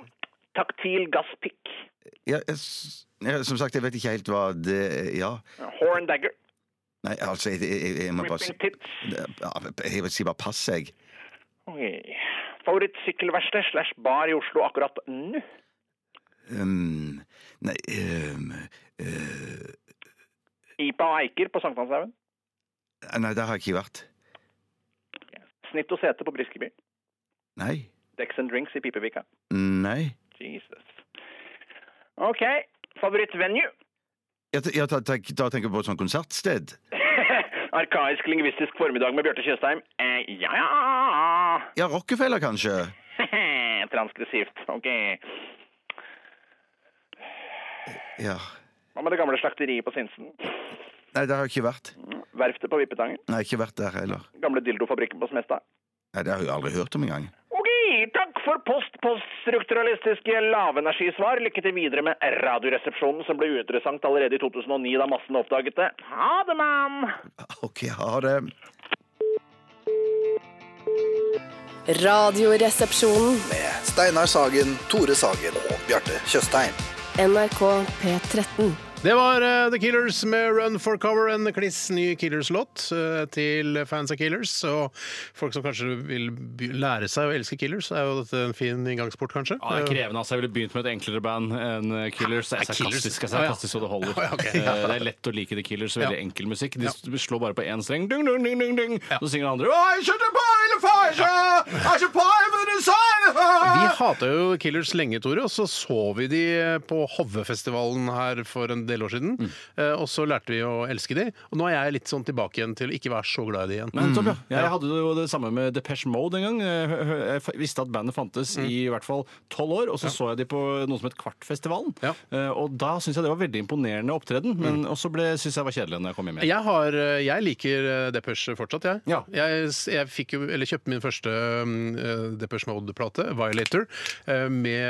[SPEAKER 1] Taktil gasspikk.
[SPEAKER 6] Ja, jeg, s- ja, som sagt, jeg vet ikke helt hva det Ja.
[SPEAKER 1] Horn dagger.
[SPEAKER 6] Nei, altså, jeg, jeg, jeg- jeg må bare si
[SPEAKER 1] Ripping tits.
[SPEAKER 6] Ja, Jeg vil si bare pass, jeg.
[SPEAKER 1] Ok. Favorittsykkelverksted slash bar i Oslo akkurat nå.
[SPEAKER 6] Um, nei um, eh,
[SPEAKER 1] Ipa og Eiker på Sankthanshaugen.
[SPEAKER 6] Nei, der har jeg ikke vært.
[SPEAKER 1] Snitt og sete på Briskeby.
[SPEAKER 6] Nei.
[SPEAKER 1] Dex and drinks i Pipevika.
[SPEAKER 6] Nei.
[SPEAKER 1] Jesus. Ok, favorittvenue.
[SPEAKER 6] Ja, t- ja, ta- tenk- da tenker jeg på et sånt konsertsted.
[SPEAKER 1] [laughs] Arkaisk lingvistisk formiddag med Bjarte Tjøstheim. Eh, ja, [laughs] ja.
[SPEAKER 6] Ja, Rockefeller, kanskje?
[SPEAKER 1] Transkripsivt. Ok.
[SPEAKER 6] Ja.
[SPEAKER 1] Hva med det gamle slakteriet på Sinsen?
[SPEAKER 6] Nei, der har jeg ikke vært.
[SPEAKER 1] Verftet på Vippetangen?
[SPEAKER 6] Nei, jeg har ikke vært der heller.
[SPEAKER 1] Gamle dildofabrikken på Smestad?
[SPEAKER 6] Nei, Det har jeg jo aldri hørt om engang.
[SPEAKER 1] Ok, takk for post poststrukturalistiske lavenergisvar. Lykke til videre med Radioresepsjonen, som ble uinteressant allerede i 2009 da massen oppdaget det. Ha det, mann!
[SPEAKER 6] OK, ha det.
[SPEAKER 8] Radioresepsjonen.
[SPEAKER 9] med Steinar Sagen, Tore Sagen og Bjarte Tjøstheim.
[SPEAKER 8] NRK P13.
[SPEAKER 5] Det var eh, The Killers med Run for cover, en kliss ny Killers-låt eh, til fans av Killers. Og folk som kanskje vil by- lære seg å elske Killers, er jo dette en fin inngangsport, kanskje.
[SPEAKER 7] Ja, det er krevende. altså. Jeg ville begynt med et enklere band enn eh, Killers. Det er sarkastisk, det er sarkastisk så det holder.
[SPEAKER 5] [laughs] Ja, ok.
[SPEAKER 7] Eh, Det er lett å like The Killers. Veldig
[SPEAKER 5] Ja.
[SPEAKER 7] enkel musikk. De s- slår bare på én streng. Dung, dung, dung, dung, dung.
[SPEAKER 5] Ja.
[SPEAKER 7] Så synger den andre I should have piled a fire, I should pile with a sign.
[SPEAKER 5] Eh, Vi hata jo Killers lenge, Tore, og så så vi de eh, på Hovefestivalen her for en del år siden.
[SPEAKER 7] Mm.
[SPEAKER 5] Eh, Og så lærte vi å elske de, og nå er jeg litt sånn tilbake igjen til å ikke være så glad i de igjen.
[SPEAKER 7] Nei, nettopp, Mm. ja. Jeg hadde jo det samme med Depeche Mode en gang. Jeg hø- hø- Jeg f- visste at bandet fantes
[SPEAKER 5] Mm.
[SPEAKER 7] i i hvert fall tolv år, og så så jeg de på noe som het Kvartfestivalen.
[SPEAKER 5] Ja. Mm.
[SPEAKER 7] Eh, Og da syntes jeg det var veldig imponerende opptreden, men også ble- syntes jeg var kjedelig når jeg kom hjem igjen.
[SPEAKER 5] Jeg, har, jeg liker eh, Depeche fortsatt, jeg.
[SPEAKER 7] Ja.
[SPEAKER 5] Jeg, jeg fikk jo, eller kjøpte min første mm, eh, Depeche Mode-plate, Violator, eh, med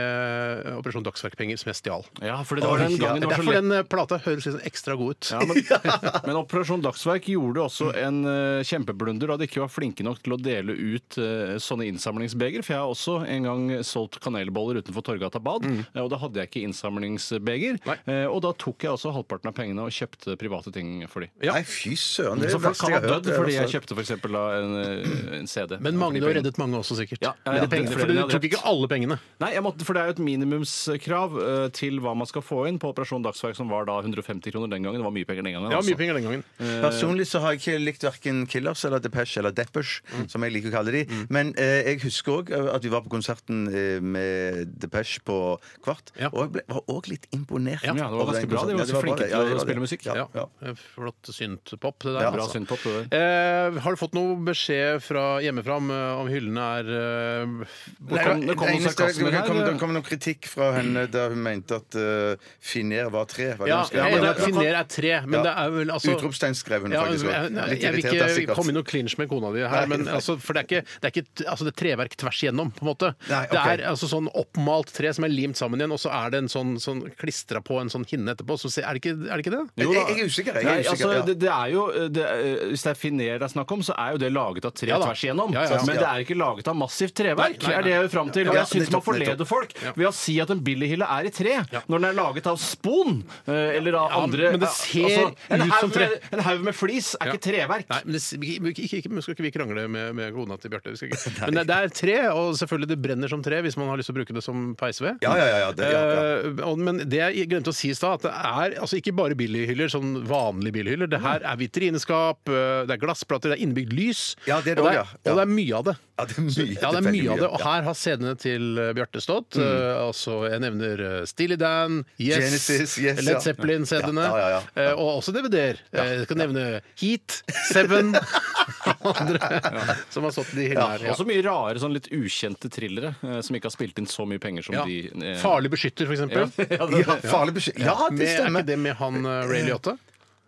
[SPEAKER 5] eh, Operasjon Dagsverkpenger, som jeg stjal.
[SPEAKER 7] Ja, fordi det var den gangen det var så
[SPEAKER 5] Derfor
[SPEAKER 7] lett.
[SPEAKER 5] den eh, plata høres litt sånn ekstra god ut.
[SPEAKER 7] Ja,
[SPEAKER 5] [laughs]
[SPEAKER 7] men, men Operasjon Dagsverk gjorde også en eh, kjempeblunder da de ikke var flinke nok til å dele ut eh, sånne innsamlingsbeger. For jeg har også en gang solgt kanelboller utenfor Torgata bad,
[SPEAKER 6] Mm.
[SPEAKER 7] eh, og da hadde jeg ikke innsamlingsbeger. Eh, og da tok jeg også halvparten av pengene og kjøpte private ting for de.
[SPEAKER 6] Nei, fy søren. Det er
[SPEAKER 7] Så
[SPEAKER 6] det
[SPEAKER 7] folk
[SPEAKER 6] verste
[SPEAKER 7] kan
[SPEAKER 6] jeg
[SPEAKER 7] ha
[SPEAKER 6] har hørt.
[SPEAKER 7] dødd
[SPEAKER 6] det,
[SPEAKER 7] fordi jeg
[SPEAKER 6] altså.
[SPEAKER 7] kjøpte f.eks. en, eh, en CD.
[SPEAKER 5] Men mange, du har reddet mange også, sikkert.
[SPEAKER 7] Ja, ja, ja.
[SPEAKER 5] Med de pengene, for
[SPEAKER 7] Flere
[SPEAKER 5] du
[SPEAKER 7] hadde
[SPEAKER 5] tok
[SPEAKER 7] rett.
[SPEAKER 5] ikke alle pengene.
[SPEAKER 7] Nei, jeg måtte, for det er jo et minimumskrav eh, til hva man skal få inn på Operasjon Dagsverk, som var da 150 kroner den gangen. Det var mye penger den gangen.
[SPEAKER 5] Det var
[SPEAKER 7] altså.
[SPEAKER 5] mye penger den gangen.
[SPEAKER 6] Personlig så har jeg ikke likt verken Killers eller Depeche eller Deppers,
[SPEAKER 7] Mm.
[SPEAKER 6] som jeg liker å kalle de. Men eh, jeg husker òg at vi var på konserten eh, med Depeche på Kvart,
[SPEAKER 5] Ja.
[SPEAKER 6] og jeg ble, var òg litt imponert.
[SPEAKER 7] Ja, det var
[SPEAKER 6] over den
[SPEAKER 7] ganske bra. De
[SPEAKER 6] konserten. Ja,
[SPEAKER 7] var ganske
[SPEAKER 6] det bra,
[SPEAKER 7] flinke
[SPEAKER 6] det. Ja,
[SPEAKER 7] til å
[SPEAKER 6] det var det.
[SPEAKER 7] spille musikk.
[SPEAKER 6] Ja,
[SPEAKER 5] Ja.
[SPEAKER 6] ja.
[SPEAKER 5] Flott syntpop, det der.
[SPEAKER 6] Ja,
[SPEAKER 7] Bra
[SPEAKER 5] altså.
[SPEAKER 7] syndpop, det der.
[SPEAKER 5] Eh, har du fått noe beskjed fra hjemmefra om, eh, om hyllene er eh,
[SPEAKER 7] Det kom- det kom noe
[SPEAKER 6] eneste-
[SPEAKER 7] sarkasme
[SPEAKER 6] det kom-
[SPEAKER 7] her. eh.
[SPEAKER 6] Det kom noe kritikk fra henne da hun mente at uh, Finer var tre. Var det
[SPEAKER 5] Ja,
[SPEAKER 6] hun skrev?
[SPEAKER 5] men det,
[SPEAKER 6] Ja,
[SPEAKER 5] Finer er tre, men
[SPEAKER 6] Ja.
[SPEAKER 5] det er vel altså
[SPEAKER 6] Utropstegn skrev hun
[SPEAKER 5] ja,
[SPEAKER 6] faktisk.
[SPEAKER 5] jeg,
[SPEAKER 6] også.
[SPEAKER 5] jeg,
[SPEAKER 6] Litt
[SPEAKER 5] jeg
[SPEAKER 6] irritert da,
[SPEAKER 5] vil ikke
[SPEAKER 6] sikkert.
[SPEAKER 5] komme i noe clinch med kona di her,
[SPEAKER 6] Nei,
[SPEAKER 5] men,
[SPEAKER 6] nei.
[SPEAKER 5] altså, for det er ikke, det er ikke t- altså, det er treverk tvers igjennom, på en måte.
[SPEAKER 6] Nei,
[SPEAKER 5] Det
[SPEAKER 6] ok.
[SPEAKER 5] er altså sånn oppmalt tre som er limt sammen igjen, og så er det en sånn, sånn klistra på en sånn hinne etterpå. Så se- er, det ikke, er det ikke det?
[SPEAKER 6] Jeg, jeg er usikker. Jeg
[SPEAKER 7] Nei,
[SPEAKER 6] er usikker
[SPEAKER 7] altså,
[SPEAKER 6] ja.
[SPEAKER 7] det, det er jo, det, er- hvis det er finer det er snakk om, så er jo det laget av tre
[SPEAKER 5] Ja da.
[SPEAKER 7] tvers igjennom.
[SPEAKER 5] Ja, ja, ja.
[SPEAKER 7] Men det er ikke laget av massivt
[SPEAKER 5] Nei,
[SPEAKER 7] treverk,
[SPEAKER 5] nei, nei.
[SPEAKER 7] er det jeg vil fram til. Og
[SPEAKER 6] Ja,
[SPEAKER 7] jeg syns man
[SPEAKER 6] nettopp, nettopp.
[SPEAKER 7] forleder folk ved å si at en billighille er i tre, når den er laget av spon eh, eller av
[SPEAKER 5] Ja,
[SPEAKER 7] andre altså,
[SPEAKER 5] men det ser
[SPEAKER 7] en
[SPEAKER 5] ut
[SPEAKER 7] haug
[SPEAKER 5] som tre.
[SPEAKER 7] Med, en haug med flis er
[SPEAKER 5] Ja.
[SPEAKER 7] ikke treverk.
[SPEAKER 5] Nei, men det, vi, vi, ikke, ikke, nå skal ikke vi krangle med, med kona til Bjarte. vi skal
[SPEAKER 6] [laughs]
[SPEAKER 5] ikke. Men det, det er tre, og selvfølgelig det brenner som tre hvis man har lyst til å bruke det som peisved.
[SPEAKER 6] Ja, ja, ja, ja, det- ja, ja.
[SPEAKER 5] Eh, og- men det jeg glemte å si i stad, at det er altså ikke bare billighyller, sånn vanlige billighyller. Det her er vitrineskap, eh, det er glassplater, det er innebygd lys.
[SPEAKER 6] Ja, det er det
[SPEAKER 5] og,
[SPEAKER 6] også, ja.
[SPEAKER 5] og det er mye av det.
[SPEAKER 6] Ja, det er mye,
[SPEAKER 5] Ja, det er
[SPEAKER 6] veldig
[SPEAKER 5] mye av det. Og
[SPEAKER 6] ja. Mm.
[SPEAKER 5] her har scenene til eh, Bjarte stått. Eh, altså, jeg nevner eh, Steely Dan, Yes,
[SPEAKER 6] Genesis, Yes, ja.
[SPEAKER 5] Led Zeppelin-CD-ene.
[SPEAKER 6] Ja, ja, ja, ja.
[SPEAKER 5] eh, og også DVD-er. Eh, jeg skal nevne Heat, Seven [laughs] og andre som har stått i hyllene her. Ja.
[SPEAKER 7] Også mye rare, sånn litt ukjente thrillere eh, som ikke har spilt inn så mye penger som
[SPEAKER 5] Ja.
[SPEAKER 7] de eh,
[SPEAKER 5] Farlig beskytter, for eksempel.
[SPEAKER 7] Ja, [laughs] det-
[SPEAKER 6] Ja, farlig beskjed. Ja,
[SPEAKER 5] Med,
[SPEAKER 6] det
[SPEAKER 5] er
[SPEAKER 6] stemmer.
[SPEAKER 5] ikke det med han eh, Ray Liotta?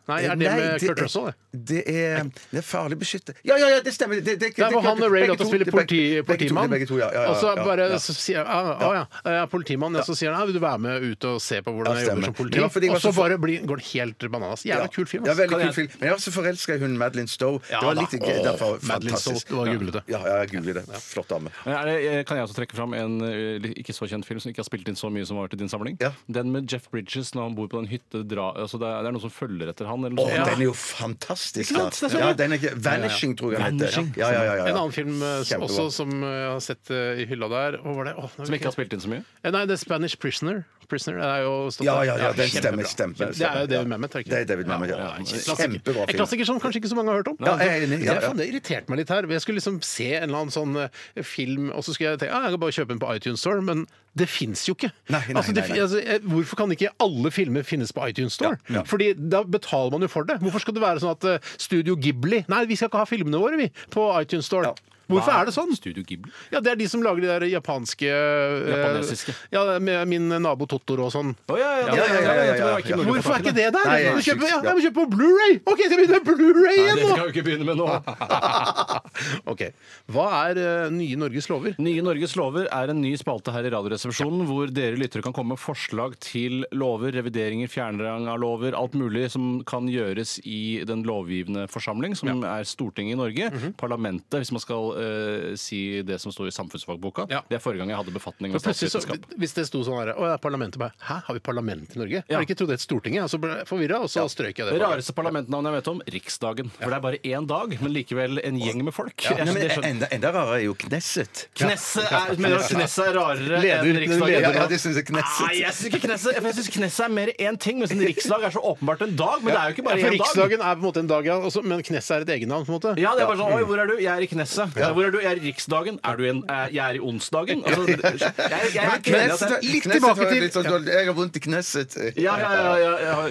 [SPEAKER 5] Nei, er det
[SPEAKER 6] Nei,
[SPEAKER 5] med Kurt
[SPEAKER 6] er-
[SPEAKER 5] Russell? det?
[SPEAKER 6] Det er, det er farlig beskytte. Ja, ja, ja, det stemmer! Det, det, det,
[SPEAKER 5] Det er hvor han og Ray
[SPEAKER 6] begge
[SPEAKER 5] Liotta
[SPEAKER 6] to,
[SPEAKER 5] spiller
[SPEAKER 6] det er begge-
[SPEAKER 5] politi,
[SPEAKER 6] begge to, det er
[SPEAKER 5] politimann.
[SPEAKER 6] Begge to, ja, ja, ja,
[SPEAKER 5] og så
[SPEAKER 6] ja,
[SPEAKER 5] bare
[SPEAKER 6] ja.
[SPEAKER 5] så sier han ah, ah, ja, jeg er politimann, og så sier han ah, vil du være med ut og se på hvordan
[SPEAKER 6] Ja,
[SPEAKER 5] jeg jobber
[SPEAKER 6] stemmer.
[SPEAKER 5] som politi?
[SPEAKER 6] Det var fordi jeg
[SPEAKER 5] Og
[SPEAKER 6] var
[SPEAKER 5] så
[SPEAKER 6] så-
[SPEAKER 5] bare blir, går det helt bananas. Jævla kul film. altså.
[SPEAKER 6] Ja,
[SPEAKER 5] ass.
[SPEAKER 6] veldig
[SPEAKER 5] Kan
[SPEAKER 6] kul
[SPEAKER 5] jeg-
[SPEAKER 6] film. Men jeg var så forelska i hun Madeline Stowe.
[SPEAKER 5] Ja,
[SPEAKER 6] det var
[SPEAKER 5] da.
[SPEAKER 6] litt gøy.
[SPEAKER 5] Åh,
[SPEAKER 6] Derfor
[SPEAKER 5] Madeline Stowe,
[SPEAKER 6] fantastisk.
[SPEAKER 5] det var jublete.
[SPEAKER 6] Ja, ja, jeg googler det. Flott dame.
[SPEAKER 7] Er det, eh, kan jeg også trekke fram en eh, litt- ikke så kjent film som ikke har spilt inn så mye som har vært i din samling?
[SPEAKER 6] Ja.
[SPEAKER 7] Den med Jeff Bridges når han bor på den hytte dra, altså det, er, det er noen som følger etter han. Eller
[SPEAKER 6] Å,
[SPEAKER 7] noe sånt.
[SPEAKER 6] den er jo fantastisk! altså.
[SPEAKER 7] Ikke sant? Det er så
[SPEAKER 6] Ja,
[SPEAKER 7] bra.
[SPEAKER 6] den er ikke, Vanishing, tror jeg den heter.
[SPEAKER 7] Vanishing.
[SPEAKER 6] Ja, ja, ja, ja, ja.
[SPEAKER 5] En annen film eh, som-
[SPEAKER 6] Kjempebra.
[SPEAKER 5] også som eh, jeg har sett eh, i hylla der Hva var det? Åh, nå
[SPEAKER 7] Som
[SPEAKER 5] husker
[SPEAKER 7] ikke har
[SPEAKER 5] jeg.
[SPEAKER 7] spilt inn så mye?
[SPEAKER 5] Eh, Nei, The Spanish Prisoner. Prisoner er jo stått
[SPEAKER 6] Ja,
[SPEAKER 5] der.
[SPEAKER 6] ja, ja, den
[SPEAKER 5] kjempebra.
[SPEAKER 6] stemmer, stemmer,
[SPEAKER 5] Det er jo
[SPEAKER 6] stemmer, ja.
[SPEAKER 5] David Mamet, er
[SPEAKER 6] Det er David Mamet, ja. Kjempebra
[SPEAKER 5] En
[SPEAKER 6] film.
[SPEAKER 5] klassiker som kanskje ikke så mange har hørt om.
[SPEAKER 6] Ja, jeg er enig, ja,
[SPEAKER 5] Det
[SPEAKER 6] ja.
[SPEAKER 5] faen, det irriterte meg litt her. Jeg skulle liksom se en eller annen sånn eh, film, og så skulle jeg tenke ah, jeg kan bare kjøpe den på iTunes Store, men det fins jo ikke.
[SPEAKER 6] Nei, nei,
[SPEAKER 5] altså, det,
[SPEAKER 6] nei, nei.
[SPEAKER 5] fin- Altså, eh, hvorfor kan ikke alle filmer finnes på iTunes Store? Fordi da betaler man jo for det. Hvorfor skal det være sånn at eh, Studio Ghibli Nei, vi skal ikke ha filmene våre, vi, på iTunes Store.
[SPEAKER 6] Ja.
[SPEAKER 5] Hvorfor er det sånn?
[SPEAKER 7] Studio Ghibli.
[SPEAKER 5] Ja, det er de som lager de der japanske eh,
[SPEAKER 7] Japanesiske.
[SPEAKER 5] Ja, med min nabo Totoro og sånn.
[SPEAKER 7] Å ja, ja,
[SPEAKER 6] ja,
[SPEAKER 7] det-
[SPEAKER 6] ja, ja,
[SPEAKER 7] jeg tror det var
[SPEAKER 6] ja.
[SPEAKER 7] mulig å
[SPEAKER 5] Hvorfor
[SPEAKER 7] få
[SPEAKER 5] er
[SPEAKER 7] tak i
[SPEAKER 5] ikke det der?
[SPEAKER 6] Nei, jeg-
[SPEAKER 5] Du kjøper, ja, jeg må kjøpe på Blu-ray! OK, jeg skal begynne med Blu-ray
[SPEAKER 7] Nei,
[SPEAKER 5] igjen
[SPEAKER 7] det
[SPEAKER 5] nå!
[SPEAKER 7] skal vi ikke begynne med nå.
[SPEAKER 5] [laughs] OK. Hva er eh, nye Norges lover?
[SPEAKER 7] Nye Norges lover er en ny spalte her i Radioresepsjonen, hvor dere lyttere kan komme med forslag til lover, revideringer, fjernrang av lover, alt mulig som kan gjøres i den lovgivende forsamling, som er Stortinget i Norge.
[SPEAKER 5] Mhm.
[SPEAKER 7] Parlamentet, hvis man skal eh, si det som står i samfunnsfagboka.
[SPEAKER 5] Ja.
[SPEAKER 7] Det er forrige gang jeg hadde befatning med
[SPEAKER 5] For plutselig så,
[SPEAKER 7] statsvitenskap.
[SPEAKER 5] Hvis det sto sånn her Å, det er parlamentet bare Hæ, har vi parlament i Norge? Jeg
[SPEAKER 7] Ja.
[SPEAKER 5] har ikke trodd det het Stortinget, og så ble jeg forvirra, og så strøk jeg
[SPEAKER 7] Det
[SPEAKER 5] det.
[SPEAKER 7] rareste parlamentnavnet jeg vet om, Riksdagen. For det er bare én dag, men likevel en gjeng med folk. [laughs] Jeg-
[SPEAKER 6] Nei, men
[SPEAKER 7] det skjønner-
[SPEAKER 6] enda, enda rarere er jo Knesset.
[SPEAKER 7] Knesset er, mener du at Knesset er rarere enn
[SPEAKER 5] Leder-
[SPEAKER 7] Riksdagen?
[SPEAKER 6] Ja, ja, det synes jeg Knesset.
[SPEAKER 7] Nei, jeg syns ikke Knesset for jeg synes Knesset er mer én ting, mens en riksdag er så åpenbart en dag. Men det er jo ikke
[SPEAKER 5] Ja,
[SPEAKER 7] bare
[SPEAKER 5] for
[SPEAKER 7] én dag.
[SPEAKER 5] Riksdagen er på en måte en dag, ja, også, men Knesset er et egennavn, på en måte.
[SPEAKER 7] Ja, det er bare sånn Oi, hvor er du? Jeg er i Knesset. Hvor er du? Jeg er i Riksdagen. Er du i en, eh, jeg er i onsdagen. Altså, jeg, jeg, jeg er ikke enig i at
[SPEAKER 6] Knesset,
[SPEAKER 7] jeg-
[SPEAKER 5] altså, litt
[SPEAKER 6] Knesset
[SPEAKER 5] tilbake
[SPEAKER 6] var
[SPEAKER 5] til-
[SPEAKER 6] litt sånn dårlig. Jeg har vondt i Knesset.
[SPEAKER 7] ja, ja, ja, ja, ja.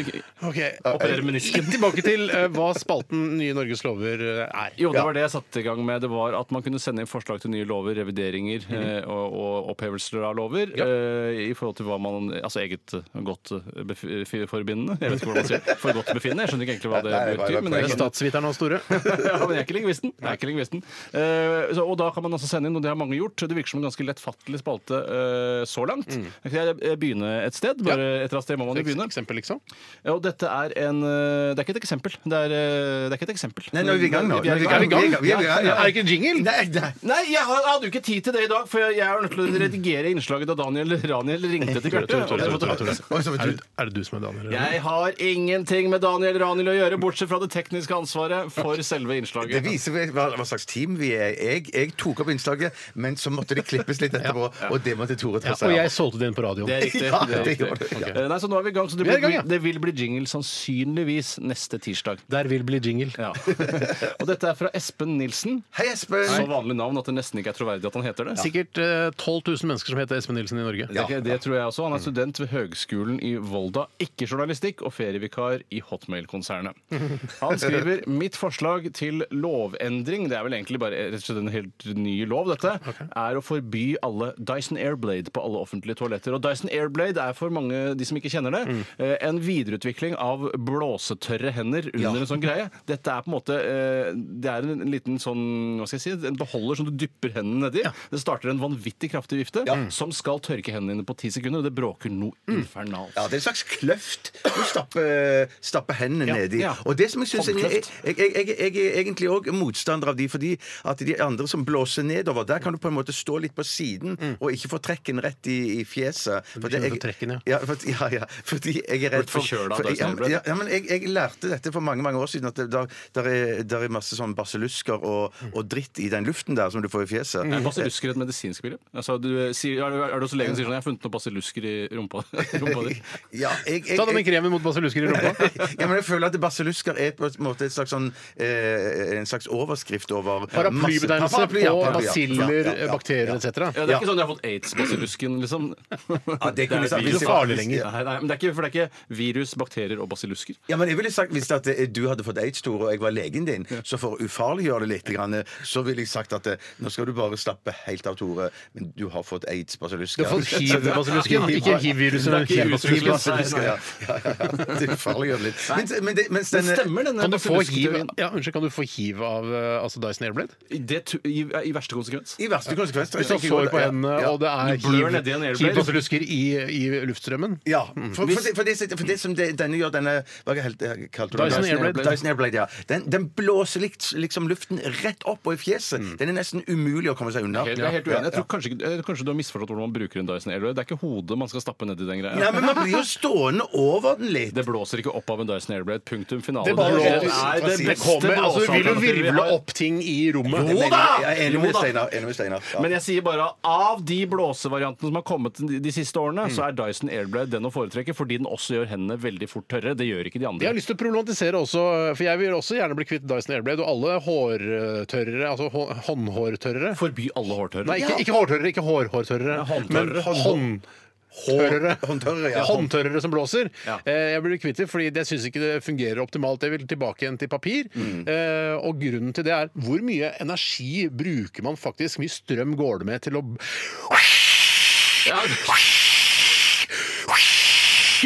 [SPEAKER 5] Ok.
[SPEAKER 7] Opererer menisken.
[SPEAKER 5] Litt [laughs] tilbake til eh, hva spalten Nye Norges lover eh, er.
[SPEAKER 7] Jo, det var det jeg satte i gang med. Det var At man kunne sende inn forslag til nye lover, revideringer
[SPEAKER 6] Mhm.
[SPEAKER 7] eh, og, og opphevelser av lover. eh, I forhold til hva man Altså eget eh, godt eh, bef- eh, forbindende. Jeg vet ikke hvordan man sier det. For godt befinnende. Jeg skjønner ikke egentlig hva det
[SPEAKER 6] Nei, nei, hva- hva
[SPEAKER 7] betyr. Men
[SPEAKER 5] Det
[SPEAKER 7] jeg
[SPEAKER 5] er
[SPEAKER 7] skjønner-
[SPEAKER 5] statsviteren hans store.
[SPEAKER 7] [laughs] ja, men jeg er ikke lingvisten. Jeg er ikke lingvisten. Eh, så, og da kan man altså sende inn, og det har mange gjort. Det virker som en ganske lettfattelig spalte eh, så langt.
[SPEAKER 6] Mm.
[SPEAKER 7] Skal jeg eh, begynne et sted? Bare et eller annet sted må man jo begynne.
[SPEAKER 5] Eksempel, liksom.
[SPEAKER 7] Ja, og dette er en eh, Det er ikke et eksempel. Det er, eh, det er ikke et eksempel.
[SPEAKER 6] Nei, nå er vi i gang nå.
[SPEAKER 7] Vi er i
[SPEAKER 6] Nå
[SPEAKER 7] gang.
[SPEAKER 5] Er vi i gang?
[SPEAKER 6] Vi er i gang, ja.
[SPEAKER 5] Er det ikke en jingle?
[SPEAKER 6] Nei, nei.
[SPEAKER 7] Nei, jeg har- jeg hadde jo ikke tid til det i dag, for jeg, jeg er nødt til å redigere innslaget da Daniel [laughs] Raniel ringte til Bjarte.
[SPEAKER 5] Tore, Tore, Tore, Tore, Tore.
[SPEAKER 6] Oi, så var
[SPEAKER 5] Er
[SPEAKER 6] du-
[SPEAKER 5] det, er det du som er Daniel? eller?
[SPEAKER 7] Jeg har ingenting med Daniel Raniel å gjøre, bortsett fra det tekniske ansvaret for selve
[SPEAKER 6] Det
[SPEAKER 7] innslaget.
[SPEAKER 6] viser vel hva, hva slags team vi er. Jeg, jeg tok opp innslaget, men så måtte det klippes litt etterpå. Og det måtte Tore
[SPEAKER 5] Ja,
[SPEAKER 6] ta
[SPEAKER 5] og
[SPEAKER 6] seg
[SPEAKER 5] jeg solgte den på radioen.
[SPEAKER 7] Det er
[SPEAKER 5] [laughs]
[SPEAKER 7] riktig.
[SPEAKER 6] Ja,
[SPEAKER 7] det er
[SPEAKER 6] det
[SPEAKER 7] riktig.
[SPEAKER 6] gjorde du, ja.
[SPEAKER 7] Ok. Eh, Nei, så nå er vi i gang, så det,
[SPEAKER 5] Vi er i
[SPEAKER 7] blir,
[SPEAKER 5] gang, ja.
[SPEAKER 7] det vil bli jingle sannsynligvis neste tirsdag.
[SPEAKER 5] Der vil bli jingle. [laughs]
[SPEAKER 7] Ja. Og dette er fra Espen Nilsen.
[SPEAKER 6] Hei,
[SPEAKER 7] Så
[SPEAKER 6] Espen!
[SPEAKER 7] vanlig navn at det nesten ikke er troverdig at han heter det.
[SPEAKER 5] Sikkert eh, 12 000 mennesker som heter Espen Nilsen i Norge.
[SPEAKER 7] Det, er ikke- det tror jeg også.
[SPEAKER 5] Mm.
[SPEAKER 7] Han er student ved Høgskolen i Volda, ikke journalistikk, og ferievikar i Hotmail-konsernet.
[SPEAKER 5] [laughs]
[SPEAKER 7] Han skriver mitt forslag til lovendring, det er vel egentlig bare rett og slett en helt ny lov, dette, er å forby alle Dyson Airblade på alle offentlige toaletter. Og Dyson Airblade er for mange, de som ikke kjenner det, eh, en videreutvikling av blåsetørre hender under en sånn greie. Dette er på en måte eh, Det er en liten sånn, hva skal jeg si, en beholder som du dypper hendene nedi. Det starter en vanvittig kraftig vifte som skal tørke hendene dine på ti sekunder, og det bråker noe infernalt.
[SPEAKER 6] Ja, Det er en slags kløft du stapper, eh, stapper hendene nedi.
[SPEAKER 7] ja.
[SPEAKER 6] Og det som jeg synes, jeg, jeg,
[SPEAKER 7] Håndkløft.
[SPEAKER 6] jeg, jeg, jeg er egentlig òg motstander av de, fordi at de andre som blåser nedover, der kan du på en måte stå litt på siden og ikke få trekken rett i, i fjeset. For
[SPEAKER 5] kjenner på trekken, ja.
[SPEAKER 6] Ja, for, ja, ja, fordi jeg er
[SPEAKER 7] Blitt
[SPEAKER 6] redd for,
[SPEAKER 7] forkjølet av
[SPEAKER 6] for
[SPEAKER 7] Dyson
[SPEAKER 6] ja,
[SPEAKER 7] Airblade.
[SPEAKER 6] ja, ja, men jeg, jeg lærte dette for mange mange år siden, at det der, der, er, der er masse sånn basillusker og, og dritt i den luften der som du får i fjeset. Eh,
[SPEAKER 7] Er basillusker et medisinsk begrep? Altså, du, sier, er, du- er du også legen som sier sånn 'Jeg har funnet noen basillusker i rumpa, rumpa di'? [laughs]
[SPEAKER 6] Ja, jeg, jeg,
[SPEAKER 5] Ta denne
[SPEAKER 6] jeg,
[SPEAKER 5] kremen mot basillusker i rumpa.
[SPEAKER 6] ja, men jeg føler at basillusker er på en måte et slags sånn, eh, en slags overskrift over
[SPEAKER 5] [laughs] Paraplybetegnelse
[SPEAKER 6] Paraply, ja,
[SPEAKER 5] på
[SPEAKER 6] paraply, ja.
[SPEAKER 5] basiller,
[SPEAKER 6] Ja, ja, ja.
[SPEAKER 5] bakterier
[SPEAKER 7] Ja,
[SPEAKER 5] etc.
[SPEAKER 7] det er ikke sånn 'jeg har fått aids-basillusken', liksom.
[SPEAKER 6] det kunne
[SPEAKER 7] er
[SPEAKER 6] sagt-
[SPEAKER 7] et virus.
[SPEAKER 5] Ikke så farlig lenger.
[SPEAKER 7] Nei, nei, men det er ikke, for det er ikke virus, bakterier og basillusker.
[SPEAKER 6] Ja, men jeg ville sagt Hvis at eh, du hadde fått aids, Tore, og jeg var legen din, så for å ufarliggjøre det litt, grann, eh, så ville jeg sagt at eh, nå skal du bare slappe helt av, Tore, men du har fått aids, basillusker.
[SPEAKER 5] Du har fått
[SPEAKER 6] [laughs]
[SPEAKER 5] hiv-basillusken, ikke hiv-viruset. men
[SPEAKER 7] Det er ikke
[SPEAKER 5] hiv-basillusken.
[SPEAKER 7] hiv-basillusken.
[SPEAKER 6] Hiv-basillusker, ja. ja, ja, ja. Det ufarliggjør det litt. Men, men det, mens
[SPEAKER 7] Men
[SPEAKER 6] den,
[SPEAKER 7] stemmer denne
[SPEAKER 5] Kan du få hiv
[SPEAKER 7] basillusketeorien?
[SPEAKER 5] ja, unnskyld, kan du få hiv av eh, altså Dyson Airblade?
[SPEAKER 7] Det tu- i, I verste konsekvens.
[SPEAKER 6] I verste konsekvens tror
[SPEAKER 5] Hvis
[SPEAKER 6] jeg
[SPEAKER 5] han
[SPEAKER 6] ikke
[SPEAKER 5] sår
[SPEAKER 6] går-
[SPEAKER 5] på
[SPEAKER 6] ja,
[SPEAKER 5] hendene,
[SPEAKER 6] ja.
[SPEAKER 5] og det er
[SPEAKER 7] Du blør nedi en Airblade.
[SPEAKER 5] hiv- hiv-basillusker i, i luftstrømmen
[SPEAKER 6] Ja.
[SPEAKER 7] Mm.
[SPEAKER 6] For, for, det, for, det, for det som det, denne gjør, denne hva er det helt, eh, kalte du den?
[SPEAKER 5] Dyson Airblade.
[SPEAKER 6] Dyson Airblade ja. den, den blåser likt, liksom luften rett opp og i fjeset.
[SPEAKER 7] Mm.
[SPEAKER 6] Den er nesten umulig å komme seg unna.
[SPEAKER 7] Jeg er helt uenig. Jeg tror kanskje, ikke- jeg tror kanskje du har misforstått hvordan man bruker en Dyson Airblade. Det er ikke hodet man skal stappe nedi den greia.
[SPEAKER 6] Nei, men man blir jo stående over den litt.
[SPEAKER 7] Det blåser ikke opp av en Dyson Airblade. Punktum finale.
[SPEAKER 5] Det blåser-
[SPEAKER 7] er det
[SPEAKER 6] Det
[SPEAKER 7] beste
[SPEAKER 5] kommer, altså, Du vil jo
[SPEAKER 7] blåsealternativet vi
[SPEAKER 5] virvle
[SPEAKER 7] har.
[SPEAKER 5] opp ting i rommet.
[SPEAKER 6] Jeg er enig- Jeg er enig
[SPEAKER 7] Jo
[SPEAKER 6] med
[SPEAKER 7] da.
[SPEAKER 6] Steinar. enig med Steinar. Ja.
[SPEAKER 7] Men jeg sier bare av de blåsevariantene som har kommet de de siste
[SPEAKER 5] Mm.
[SPEAKER 7] årene, så er Dyson Airblade den å foretrekke fordi den også gjør hendene veldig fort tørre. Det gjør ikke de
[SPEAKER 5] Jeg
[SPEAKER 7] andre.
[SPEAKER 5] har lyst til å problematisere også, for jeg vil også gjerne bli kvitt Dyson Airblade og alle hårtørrere, altså hå- håndhårtørrere.
[SPEAKER 7] Forby alle hårtørre.
[SPEAKER 5] Nei, ikke, ikke hårtørrere, ikke hårhårtørrere,
[SPEAKER 7] Nei, håndtørrere.
[SPEAKER 5] men hånd... håndtørrere.
[SPEAKER 6] Håndtørrere, ja.
[SPEAKER 5] Håndtørrere som blåser.
[SPEAKER 7] Ja.
[SPEAKER 5] Eh, Jeg burde kvitte det, fordi jeg syns ikke det fungerer optimalt. Jeg vil tilbake igjen til papir. Eh, Og grunnen til det er hvor mye energi bruker man faktisk? Mye strøm går det med til å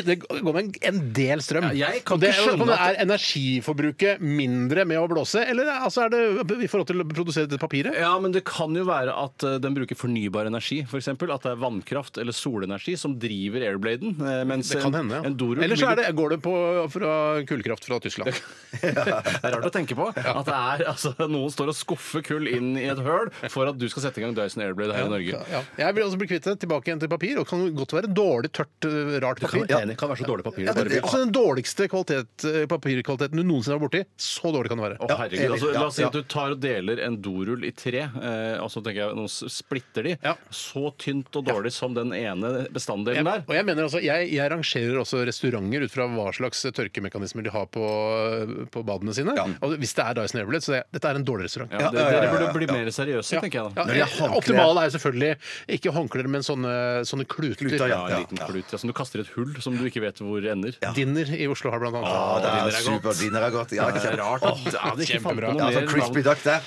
[SPEAKER 5] Det går med en- en del strøm.
[SPEAKER 7] Ja, jeg kan
[SPEAKER 5] Og det,
[SPEAKER 7] ikke
[SPEAKER 5] er jo-
[SPEAKER 7] skjønne
[SPEAKER 5] men
[SPEAKER 7] at-
[SPEAKER 5] Er energiforbruket mindre med å blåse, eller er- altså er det i forhold til å produsere dette papiret?
[SPEAKER 7] [laughs] Ja, men det kan jo være at eh, den bruker fornybar energi, f.eks. At det er vannkraft eller solenergi som driver airbladen. eh, Mens
[SPEAKER 5] Det kan hende, ja.
[SPEAKER 7] en Dorup
[SPEAKER 5] Eller så
[SPEAKER 7] ligger-
[SPEAKER 5] er det, går det på, fra kullkraft fra Tyskland.
[SPEAKER 7] [laughs] Det er rart å tenke på
[SPEAKER 5] [laughs]
[SPEAKER 7] at det er, altså, noen står og skuffer kull inn i et høl for at du skal sette i gang Dyson Airblade her i Norge.
[SPEAKER 5] Ja. Jeg vil også bli kvitt det. Tilbake igjen til papir. Og det kan jo godt være dårlig, tørt, øh, rart papir.
[SPEAKER 7] Det ene kan være så dårlig papir.
[SPEAKER 5] Ja,
[SPEAKER 7] det bare
[SPEAKER 5] det er
[SPEAKER 7] blir.
[SPEAKER 5] også den dårligste kvalitet, øh, papirkvaliteten du noensinne har vært borti. Så dårlig kan det
[SPEAKER 7] Å,
[SPEAKER 5] være.
[SPEAKER 7] herregud.
[SPEAKER 6] enig.
[SPEAKER 7] Altså, la oss si
[SPEAKER 6] Ja,
[SPEAKER 7] at du tar og deler en dorull i tre, eh, og så tenker jeg, nå s- splitter de.
[SPEAKER 5] Ja.
[SPEAKER 7] Så tynt og dårlig som den ene
[SPEAKER 5] Jeg,
[SPEAKER 7] bestanddelen der.
[SPEAKER 5] og jeg mener altså, jeg, jeg rangerer også restauranter ut fra hva slags tørkemekanismer de har på, øh, på badene sine. Og hvis det er Dyson Airblade, så det, dette er en dårlig restaurant.
[SPEAKER 7] Ja, det- Dere burde bli mer seriøse,
[SPEAKER 5] Ja.
[SPEAKER 7] tenker jeg
[SPEAKER 5] Ja,
[SPEAKER 7] da.
[SPEAKER 6] det er håndklær-
[SPEAKER 5] optimale er jo selvfølgelig ikke håndklær, men sånne, sånne kluter.
[SPEAKER 6] Kluter,
[SPEAKER 7] Ja, en
[SPEAKER 6] Ja,
[SPEAKER 7] liten
[SPEAKER 6] ja.
[SPEAKER 7] klut ja, som du kaster i et hull som du ikke vet hvor ender.
[SPEAKER 5] Dinner i Oslo har blant annet.
[SPEAKER 6] Ja, det er
[SPEAKER 7] Dinner er
[SPEAKER 6] super.
[SPEAKER 7] godt.
[SPEAKER 6] Dinner er godt. Ja,
[SPEAKER 7] Det er rart at ja, det ikke fant på
[SPEAKER 5] kjempebra.
[SPEAKER 7] noe
[SPEAKER 6] Ja,
[SPEAKER 7] mer
[SPEAKER 6] for crispy
[SPEAKER 7] navn.
[SPEAKER 6] duck der.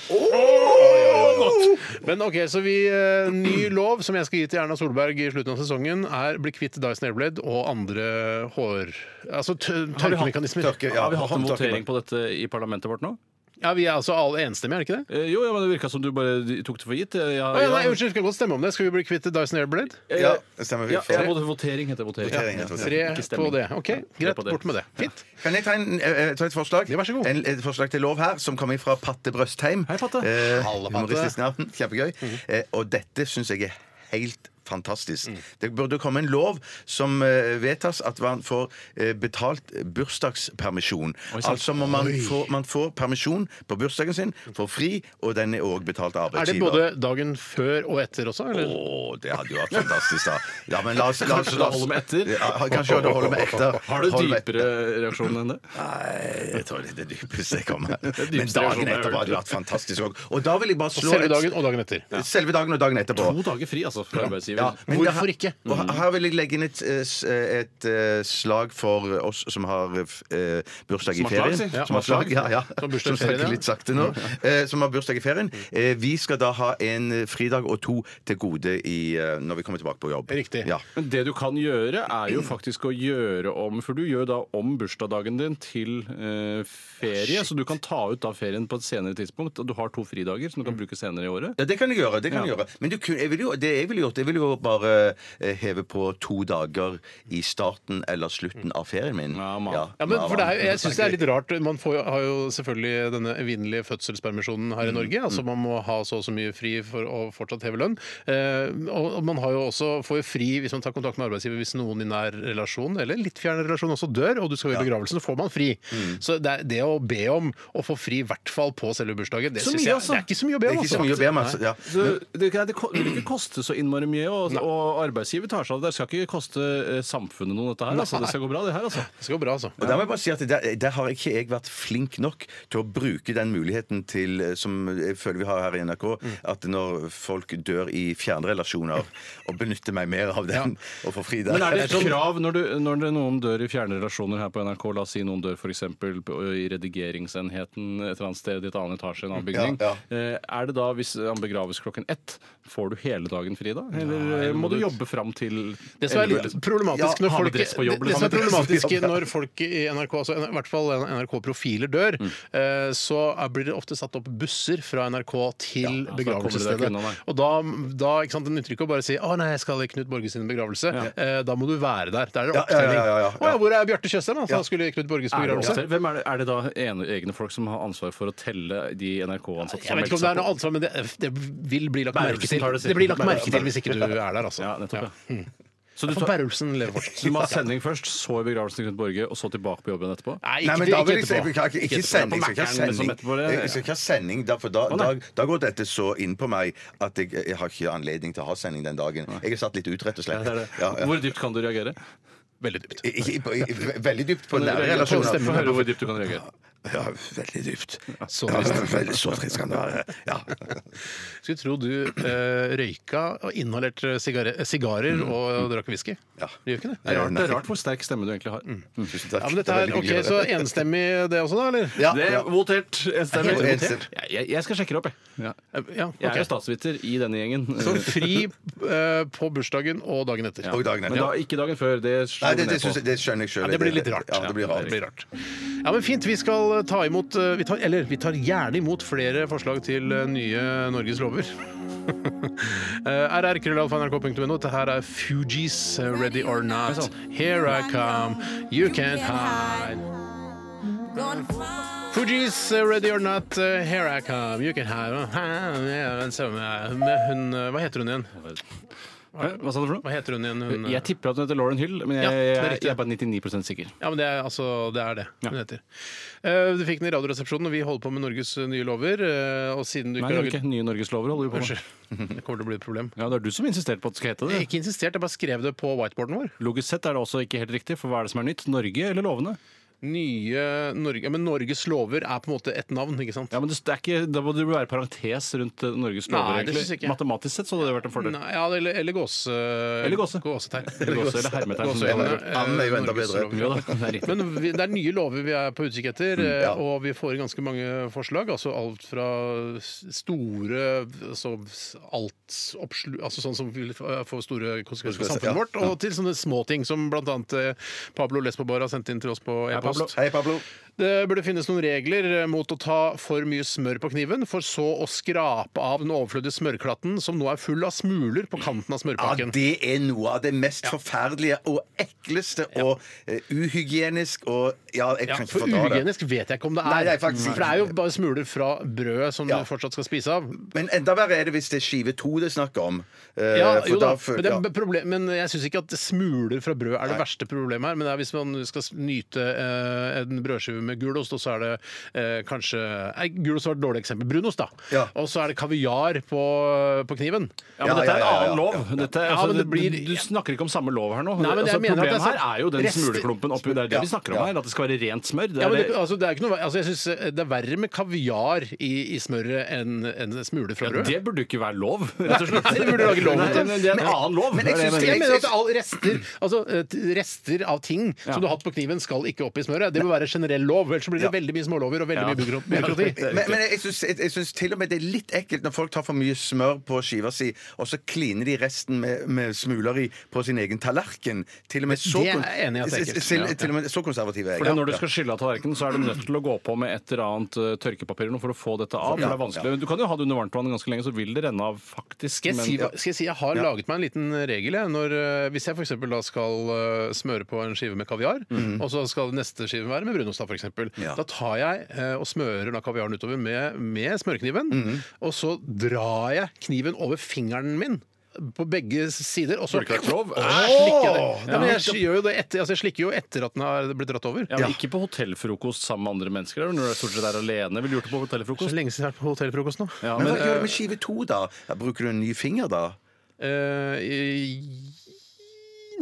[SPEAKER 5] Men ok, så vi, eh, ny lov som jeg skal gi til Erna Solberg i slutten av sesongen, er bli kvitt Dyson Airblade og andre hår... Altså tø-
[SPEAKER 7] vi hatt
[SPEAKER 5] tørkemekanismer.
[SPEAKER 6] Tørke, ja,
[SPEAKER 7] Har vi hatt en
[SPEAKER 6] håndtørke.
[SPEAKER 7] votering på dette i parlamentet vårt nå?
[SPEAKER 5] Ja, Vi er altså alle enstemmige, er det ikke det?
[SPEAKER 7] Eh, Jo, ja, men det virka som du bare tok det for gitt. Eh, Ja, Eh,
[SPEAKER 5] Å ja, nei, Unnskyld, vi skal godt stemme om det. Skal vi bli kvitt Dyson Airblade?
[SPEAKER 6] Ja, det stemmer. Vi
[SPEAKER 7] Ja,
[SPEAKER 6] får-
[SPEAKER 7] ja, både votering heter votering.
[SPEAKER 6] Votering heter votering.
[SPEAKER 5] Tre
[SPEAKER 7] Ikke
[SPEAKER 5] på
[SPEAKER 7] stemming.
[SPEAKER 5] det. Ok,
[SPEAKER 7] Tre
[SPEAKER 5] Greit,
[SPEAKER 7] på det.
[SPEAKER 5] bort med det. Fint.
[SPEAKER 6] Kan jeg ta, en, eh, ta et forslag?
[SPEAKER 5] Ja, vær så god.
[SPEAKER 6] En, et forslag til lov her, som kommer fra Patte Brøstheim.
[SPEAKER 7] Hei, Patte. Mhm.
[SPEAKER 6] Eh,
[SPEAKER 5] Halla, Patte.
[SPEAKER 6] humoristisk navn. Kjempegøy. Eh, og dette syns jeg er helt fantastisk. Det burde komme en lov som eh, vedtas at man får eh, betalt bursdagspermisjon.
[SPEAKER 7] sant.
[SPEAKER 6] altså må man, få, man får permisjon på bursdagen sin,
[SPEAKER 7] Mm.
[SPEAKER 6] får fri, og den er òg betalt av
[SPEAKER 5] Er det
[SPEAKER 6] arbeidsgiver.
[SPEAKER 5] både dagen før og etter også? Eller?
[SPEAKER 6] Å, det hadde jo vært fantastisk, da. Ja, men la oss, la oss, la
[SPEAKER 7] Kanskje det
[SPEAKER 6] oss
[SPEAKER 7] holder med etter?
[SPEAKER 6] Ja, kanskje det holder med etter.
[SPEAKER 7] Har du
[SPEAKER 6] Holder med
[SPEAKER 7] dypere reaksjon enn det?
[SPEAKER 6] Nei, jeg tror det er det dypeste jeg
[SPEAKER 5] [laughs]
[SPEAKER 6] kommer.
[SPEAKER 7] dypeste
[SPEAKER 6] Men dagen
[SPEAKER 7] reaksjonen
[SPEAKER 5] sånn
[SPEAKER 7] jeg
[SPEAKER 6] etterpå
[SPEAKER 7] har
[SPEAKER 6] hadde vært fantastisk òg. Og da vil jeg bare slå
[SPEAKER 5] Selve dagen og dagen etter.
[SPEAKER 6] et, selve dagen og dagen etterpå.
[SPEAKER 7] To dager fri, altså, fra arbeidsgiver.
[SPEAKER 6] Ja, men
[SPEAKER 5] Hvorfor
[SPEAKER 6] det her-
[SPEAKER 5] ikke? Mm.
[SPEAKER 6] Og her- her vil jeg legge inn et, eh, s- eh, et eh, slag for oss som har eh, bursdag i
[SPEAKER 7] Som har slag,
[SPEAKER 6] ferien.
[SPEAKER 7] sier.
[SPEAKER 5] Ja,
[SPEAKER 6] som har slag, ja, ja.
[SPEAKER 5] Som har bursdag i
[SPEAKER 6] Som
[SPEAKER 5] ferien, ja. Mm.
[SPEAKER 6] snakker litt sakte nå. [laughs] Eh, Som har bursdag i ferien. Eh, Vi skal da ha en eh, fridag og to til gode i, eh, når vi kommer tilbake på jobb.
[SPEAKER 5] Riktig.
[SPEAKER 6] Ja.
[SPEAKER 7] Men det du kan gjøre, er jo faktisk å gjøre om For du gjør da om bursdagen din til eh, ferie, så du kan ta ut da ferien på et senere tidspunkt. Og du har to fridager som du kan bruke senere i året.
[SPEAKER 6] Ja, det kan jeg gjøre. det kan jeg
[SPEAKER 7] Ja.
[SPEAKER 6] gjøre. Men du, kunne- jeg ville jo, det jeg ville gjort, jeg ville jo bare eh, heve på to dager i starten eller slutten av ferien min.
[SPEAKER 7] Ja, man.
[SPEAKER 5] Ja, men for det er, jo- jeg synes det er litt rart. Man får, jo- har jo selvfølgelig denne evinnelige fødselspermisjonen her i Norge. Altså Man må ha så og så mye fri for å fortsatt heve lønn. Eh, og og man har jo også, får jo fri hvis man tar kontakt med arbeidsgiver hvis noen i nær relasjon eller litt fjern relasjon også dør, og du skal i begravelsen, så får man fri. Så det, er- det å be om å få fri, i hvert fall på selve bursdagen, det
[SPEAKER 7] Så
[SPEAKER 5] synes
[SPEAKER 7] mye,
[SPEAKER 5] jeg
[SPEAKER 7] altså.
[SPEAKER 5] det er ikke så mye å be
[SPEAKER 6] Det
[SPEAKER 5] om.
[SPEAKER 6] er ikke så
[SPEAKER 5] altså.
[SPEAKER 6] mye å be om. altså. Ja.
[SPEAKER 7] Så det, det, det vil ikke koste så innmari mye, og, og arbeidsgiver tar seg av det. Det skal ikke koste eh, samfunnet noe, dette her. Altså. Det skal gå bra, det her, altså.
[SPEAKER 5] Det skal gå bra, altså.
[SPEAKER 6] Og der, må jeg bare si at der, der har ikke jeg vært flink nok til å bruke den muligheten til, eh, som jeg føler vi har her i NRK,
[SPEAKER 5] Mm.
[SPEAKER 6] at når folk dør i
[SPEAKER 5] [laughs]
[SPEAKER 6] fjernrelasjoner, å benytte meg mer av den og få fri der.
[SPEAKER 7] Men er det
[SPEAKER 5] sånn-
[SPEAKER 7] et krav når, du, når det noen dør i fjerne relasjoner her på NRK? La oss si noen dør f.eks. i redigeringsenheten et eller annet sted i et annet etasje i en annen bygning.
[SPEAKER 6] Ja,
[SPEAKER 7] Eh, Er det da, hvis han begraves klokken ett, får du hele dagen fri da? Eller eh, må du jobbe fram til
[SPEAKER 5] Det som er
[SPEAKER 7] elleve?
[SPEAKER 5] litt problematisk
[SPEAKER 7] Ja,
[SPEAKER 5] når
[SPEAKER 7] ha med
[SPEAKER 5] folk, det,
[SPEAKER 7] dress på jobb,
[SPEAKER 5] det som
[SPEAKER 7] liksom.
[SPEAKER 5] er
[SPEAKER 7] [laughs]
[SPEAKER 5] problematisk når folk i NRK, altså i hvert fall NRK-profiler, dør,
[SPEAKER 7] Mm.
[SPEAKER 5] eh, så er- blir det ofte satt opp busser fra NRK til
[SPEAKER 7] Ja, så kommer du deg
[SPEAKER 5] begravelsesstedet.
[SPEAKER 7] ikke unna, nei.
[SPEAKER 5] Og da, da ikke sant, det nytter ikke å bare si 'Å nei, jeg skal i Knut Borge sin begravelse'. Eh, da må du være der. Da er det
[SPEAKER 6] Ja, ja, ja,
[SPEAKER 5] opptelling.
[SPEAKER 6] ja, ja, ja.
[SPEAKER 5] 'Å ja, hvor er Bjarte Tjøstheim?' da? Så Han skulle i Knut Borges
[SPEAKER 7] Er det,
[SPEAKER 5] begravelse.
[SPEAKER 7] ofte- hvem er, det, er det da ene, egne folk som har ansvar for å telle de NRK-ansatte
[SPEAKER 5] Jeg
[SPEAKER 7] som
[SPEAKER 5] vet ikke om det er noe ansvar, men det, det vil bli lagt merke
[SPEAKER 7] Berlsen
[SPEAKER 5] til.
[SPEAKER 7] tar det sikkert.
[SPEAKER 5] Det blir lagt merke
[SPEAKER 7] Berlsen
[SPEAKER 5] til hvis ikke du er der, altså.
[SPEAKER 7] Ja, nettopp.
[SPEAKER 5] Ja.
[SPEAKER 7] Ja. Så du
[SPEAKER 5] For
[SPEAKER 7] tar
[SPEAKER 5] Berlsen lever fortsatt.
[SPEAKER 7] så du må ha sending først, så i begravelsen til Knut Borge, og så tilbake på jobben etterpå?
[SPEAKER 5] Nei,
[SPEAKER 6] Nei, men
[SPEAKER 5] ikke,
[SPEAKER 6] da vil
[SPEAKER 5] ikke
[SPEAKER 6] jeg, jeg,
[SPEAKER 5] etterpå.
[SPEAKER 6] beklager, ikke
[SPEAKER 7] etterpå.
[SPEAKER 6] sending.
[SPEAKER 7] På
[SPEAKER 6] Jeg skal ikke ha
[SPEAKER 7] Mac-en, liksom,
[SPEAKER 6] sending,
[SPEAKER 7] etterpå, det-
[SPEAKER 6] jeg, jeg skal ikke ha sending da, for da,
[SPEAKER 7] Å,
[SPEAKER 6] da,
[SPEAKER 7] nei.
[SPEAKER 6] da går dette så inn på meg at jeg, jeg har ikke anledning til å ha sending den dagen. Jeg er satt litt ut, rett og slett.
[SPEAKER 7] Det er det.
[SPEAKER 6] Ja, ja.
[SPEAKER 7] Hvor dypt kan du reagere?
[SPEAKER 5] Veldig dypt.
[SPEAKER 6] I- i- på- i- Veldig dypt på nære
[SPEAKER 7] Få
[SPEAKER 6] relasjoner.
[SPEAKER 7] høre hvor dypt du kan reagere.
[SPEAKER 6] Ja, veldig dypt.
[SPEAKER 5] Så
[SPEAKER 6] Ja,
[SPEAKER 5] trist.
[SPEAKER 6] veldig så trist kan det være. Ja.
[SPEAKER 5] Skulle tro du eh, røyka og inhalerte sigare- sigarer og, drakk whisky.
[SPEAKER 6] Ja.
[SPEAKER 5] Du gjør ikke det?
[SPEAKER 7] Det er rart, det
[SPEAKER 6] Nei.
[SPEAKER 7] er rart hvor sterk stemme du egentlig har.
[SPEAKER 5] Mm.
[SPEAKER 6] Tusen takk.
[SPEAKER 5] Ja, men dette her,
[SPEAKER 6] Det var
[SPEAKER 5] ok,
[SPEAKER 6] hyggelig å
[SPEAKER 5] Så
[SPEAKER 6] høre.
[SPEAKER 5] enstemmig det også, da? eller?
[SPEAKER 6] ja,
[SPEAKER 7] Det
[SPEAKER 6] ja.
[SPEAKER 7] er votert enstemmig.
[SPEAKER 6] Helt votert.
[SPEAKER 7] Jeg, jeg, jeg skal sjekke det opp, jeg. Ja.
[SPEAKER 5] Ja,
[SPEAKER 7] Jeg er jo
[SPEAKER 5] ok.
[SPEAKER 7] statsviter i denne gjengen.
[SPEAKER 5] Så fri eh, på bursdagen og dagen etter.
[SPEAKER 6] Og dagen
[SPEAKER 7] Men da,
[SPEAKER 6] etter.
[SPEAKER 7] ikke dagen før. Det slo
[SPEAKER 6] Nei,
[SPEAKER 7] vi
[SPEAKER 6] det, det,
[SPEAKER 7] ned på.
[SPEAKER 6] synes jeg- det skjønner jeg sjøl.
[SPEAKER 5] Ja, det blir litt rart.
[SPEAKER 6] Ja, det blir
[SPEAKER 5] Ja,
[SPEAKER 6] rart.
[SPEAKER 5] rart. Ja, men Fint. Vi skal eh, ta imot eh, vi tar, Eller vi tar gjerne imot flere forslag til eh, nye Norges lover. [laughs] Eh, rrkrøllalfa.nrk.no. Dette her er Fugees eh, Ready or Not. Here I come, you can't hide. Fugees eh, Ready or Not, eh, here I come, you can hide. Ja, men så, eh, Med hun eh, Hva heter hun igjen?
[SPEAKER 7] Hæ? Hva sa du for noe?
[SPEAKER 5] Hva heter hun igjen? Hun, eh,
[SPEAKER 7] Jeg tipper at hun heter Lauren Hill, men jeg,
[SPEAKER 5] Ja, det er
[SPEAKER 7] jeg,
[SPEAKER 5] riktig.
[SPEAKER 7] jeg er bare 99 sikker.
[SPEAKER 5] Ja, men det er, altså, det, er det
[SPEAKER 7] Ja.
[SPEAKER 5] hun heter. Eh, du fikk den i Radioresepsjonen, og vi holder på med Norges eh, nye lover. eh, og siden du ikke
[SPEAKER 7] Nei, det
[SPEAKER 5] har
[SPEAKER 7] er jo ikke. Nye norgeslover holder vi på med.
[SPEAKER 5] Unnskyld. [laughs] Det kommer til å bli et problem.
[SPEAKER 7] Ja, det er du som insisterte på at det skal hete
[SPEAKER 5] Jeg har
[SPEAKER 7] det.
[SPEAKER 5] ikke insistert, jeg bare skrev det på whiteboarden vår.
[SPEAKER 7] Logisk sett er det også ikke helt riktig, for hva er det som er nytt? Norge eller lovene?
[SPEAKER 5] Nye Norge, ja, Men Norges lover er på en måte et navn, ikke sant?
[SPEAKER 7] Ja, men det det er ikke, Da må det være parentes rundt eh, Norges lover.
[SPEAKER 5] Nei, det
[SPEAKER 7] egentlig.
[SPEAKER 5] synes jeg ikke.
[SPEAKER 7] Matematisk sett så hadde det vært en fordel.
[SPEAKER 5] Nei, ja, eller, eller gåse...
[SPEAKER 7] Eller gåse.
[SPEAKER 5] gåsetegn.
[SPEAKER 7] Eller gåse, eller hermetegn, som det
[SPEAKER 5] Gåseøyne,
[SPEAKER 6] heter. And er jo enda
[SPEAKER 5] Norges
[SPEAKER 6] bedre.
[SPEAKER 5] lover.
[SPEAKER 7] Jo da, det er riktig.
[SPEAKER 5] Men vi, det er nye lover vi er på utkikk etter, eh,
[SPEAKER 6] Mm, ja.
[SPEAKER 5] og vi får ganske mange forslag. Altså alt fra s- store altså s- alt oppslu, altså sånn som vil f- eh, få store konsekvenser for samfunnet vårt, og til sånne små ting som bl.a. Pablo Lesbobar har sendt inn til oss på
[SPEAKER 7] Pablo.
[SPEAKER 5] e-post.
[SPEAKER 6] Hei, Pablo.
[SPEAKER 5] Det burde finnes noen regler eh, mot å ta for mye smør på kniven, for så å skrape av den overflødige smørklatten som nå er full av smuler på kanten av
[SPEAKER 6] Ja,
[SPEAKER 5] smørpakken.
[SPEAKER 6] det er noe av det mest forferdelige og ekleste og eh, uhygienisk og Ja, jeg
[SPEAKER 5] Ja,
[SPEAKER 6] kan ikke
[SPEAKER 5] for
[SPEAKER 6] fordra det.
[SPEAKER 5] uhygienisk vet jeg ikke om det er.
[SPEAKER 6] Nei, nei, faktisk ikke.
[SPEAKER 5] For det er jo bare smuler fra brødet som
[SPEAKER 6] Ja.
[SPEAKER 5] du fortsatt skal spise av.
[SPEAKER 6] Men enda verre er det hvis det er skive to det er snakk om. Eh,
[SPEAKER 5] Ja,
[SPEAKER 6] for
[SPEAKER 5] jo da,
[SPEAKER 6] føl-
[SPEAKER 5] men, det
[SPEAKER 6] ja.
[SPEAKER 5] er problem, men jeg syns ikke at smuler fra brød er det verste problemet her. Men det er hvis man skal s- nyte eh, en brødskive med gulost, og så er det eh, kanskje nei, Gulost var et dårlig eksempel. Brunost, da.
[SPEAKER 6] Ja.
[SPEAKER 5] Og så er det kaviar på, på kniven.
[SPEAKER 7] Ja,
[SPEAKER 6] Ja,
[SPEAKER 7] men dette er en
[SPEAKER 6] ja, ja, ja,
[SPEAKER 7] annen lov. Dette, er-
[SPEAKER 5] Ja, men
[SPEAKER 7] altså,
[SPEAKER 5] det blir-
[SPEAKER 7] du, du snakker ikke om samme lov her nå.
[SPEAKER 5] Nei, men jeg
[SPEAKER 7] altså,
[SPEAKER 5] mener at
[SPEAKER 7] problemet
[SPEAKER 5] det er
[SPEAKER 7] her er jo den
[SPEAKER 5] rester-
[SPEAKER 7] smuleklumpen oppi der. Det
[SPEAKER 6] Ja,
[SPEAKER 7] vi snakker om
[SPEAKER 6] ja.
[SPEAKER 7] her, at det skal være rent smør. Det
[SPEAKER 5] Ja,
[SPEAKER 7] er
[SPEAKER 5] men det,
[SPEAKER 7] det-
[SPEAKER 5] altså, det er ikke noe, altså, jeg synes eh, det er verre med kaviar i, i smøret enn enn smuler fra brød.
[SPEAKER 7] det burde jo ikke være lov, rett og slett.
[SPEAKER 5] Nei, [laughs] det burde lage lov mot
[SPEAKER 7] Nei,
[SPEAKER 5] det.
[SPEAKER 7] men det er en annen lov.
[SPEAKER 6] men jeg
[SPEAKER 7] Det er det
[SPEAKER 6] synes
[SPEAKER 7] jeg
[SPEAKER 5] Jeg
[SPEAKER 7] mener.
[SPEAKER 5] mener at all rester,
[SPEAKER 7] [clears throat]
[SPEAKER 5] altså, eh, t- rester av ting
[SPEAKER 7] Ja.
[SPEAKER 5] som du har hatt på kniven, skal ikke opp i smøret. Det bør være generell lov, ellers så blir det veldig mye smålover og veldig
[SPEAKER 7] Ja.
[SPEAKER 5] mye byråkrati- byråkrati.
[SPEAKER 6] Men, men jeg syns- jeg, jeg syns til og med det er litt ekkelt når folk tar for mye smør på skiva si, og så kliner de resten med, med smuler i på sin egen tallerken. Til og med så,
[SPEAKER 5] Det er
[SPEAKER 6] kon-
[SPEAKER 5] jeg enig i at det er ekkelt.
[SPEAKER 6] s- s- til, til og med så konservative er
[SPEAKER 7] Fordi
[SPEAKER 6] jeg.
[SPEAKER 7] Når du skal skylle av tallerkenen, så er du nødt til å gå på med et eller annet eh, tørkepapir eller noe for å få dette av. For det er vanskelig. Du kan jo ha det under varmtvann ganske lenge, så vil det renne av, faktisk.
[SPEAKER 5] Skal jeg,
[SPEAKER 7] men-
[SPEAKER 5] si, hva- skal jeg si jeg har laget meg en liten regel jeg, når, eh, hvis jeg for eksempel da skal eh, smøre på en skive med kaviar,
[SPEAKER 7] Mhm.
[SPEAKER 5] og så skal neste skive være med brunost da for eksempel.
[SPEAKER 6] Ja.
[SPEAKER 5] Da tar jeg eh, og smører da kaviaren utover med, med smørkniven,
[SPEAKER 7] Mhm.
[SPEAKER 5] og så drar jeg kniven over fingeren min på begge sider, og så
[SPEAKER 7] Burde ikke vært lov.
[SPEAKER 5] Åh! slikker jeg det. Ja, men jeg, gjør jo det etter, altså, jeg slikker jo etter at den har blitt dratt over.
[SPEAKER 7] Ja, men Ikke på hotellfrokost sammen med andre mennesker. eller Når du er stort sett er alene. Vil du gjort det på
[SPEAKER 5] Så
[SPEAKER 7] hotellfrokost?
[SPEAKER 5] lenge siden jeg har vært på hotellfrokost nå.
[SPEAKER 7] Ja,
[SPEAKER 6] Men
[SPEAKER 7] men,
[SPEAKER 6] hva gjør du med skive to, da? Bruker du en ny finger da?
[SPEAKER 5] Eh,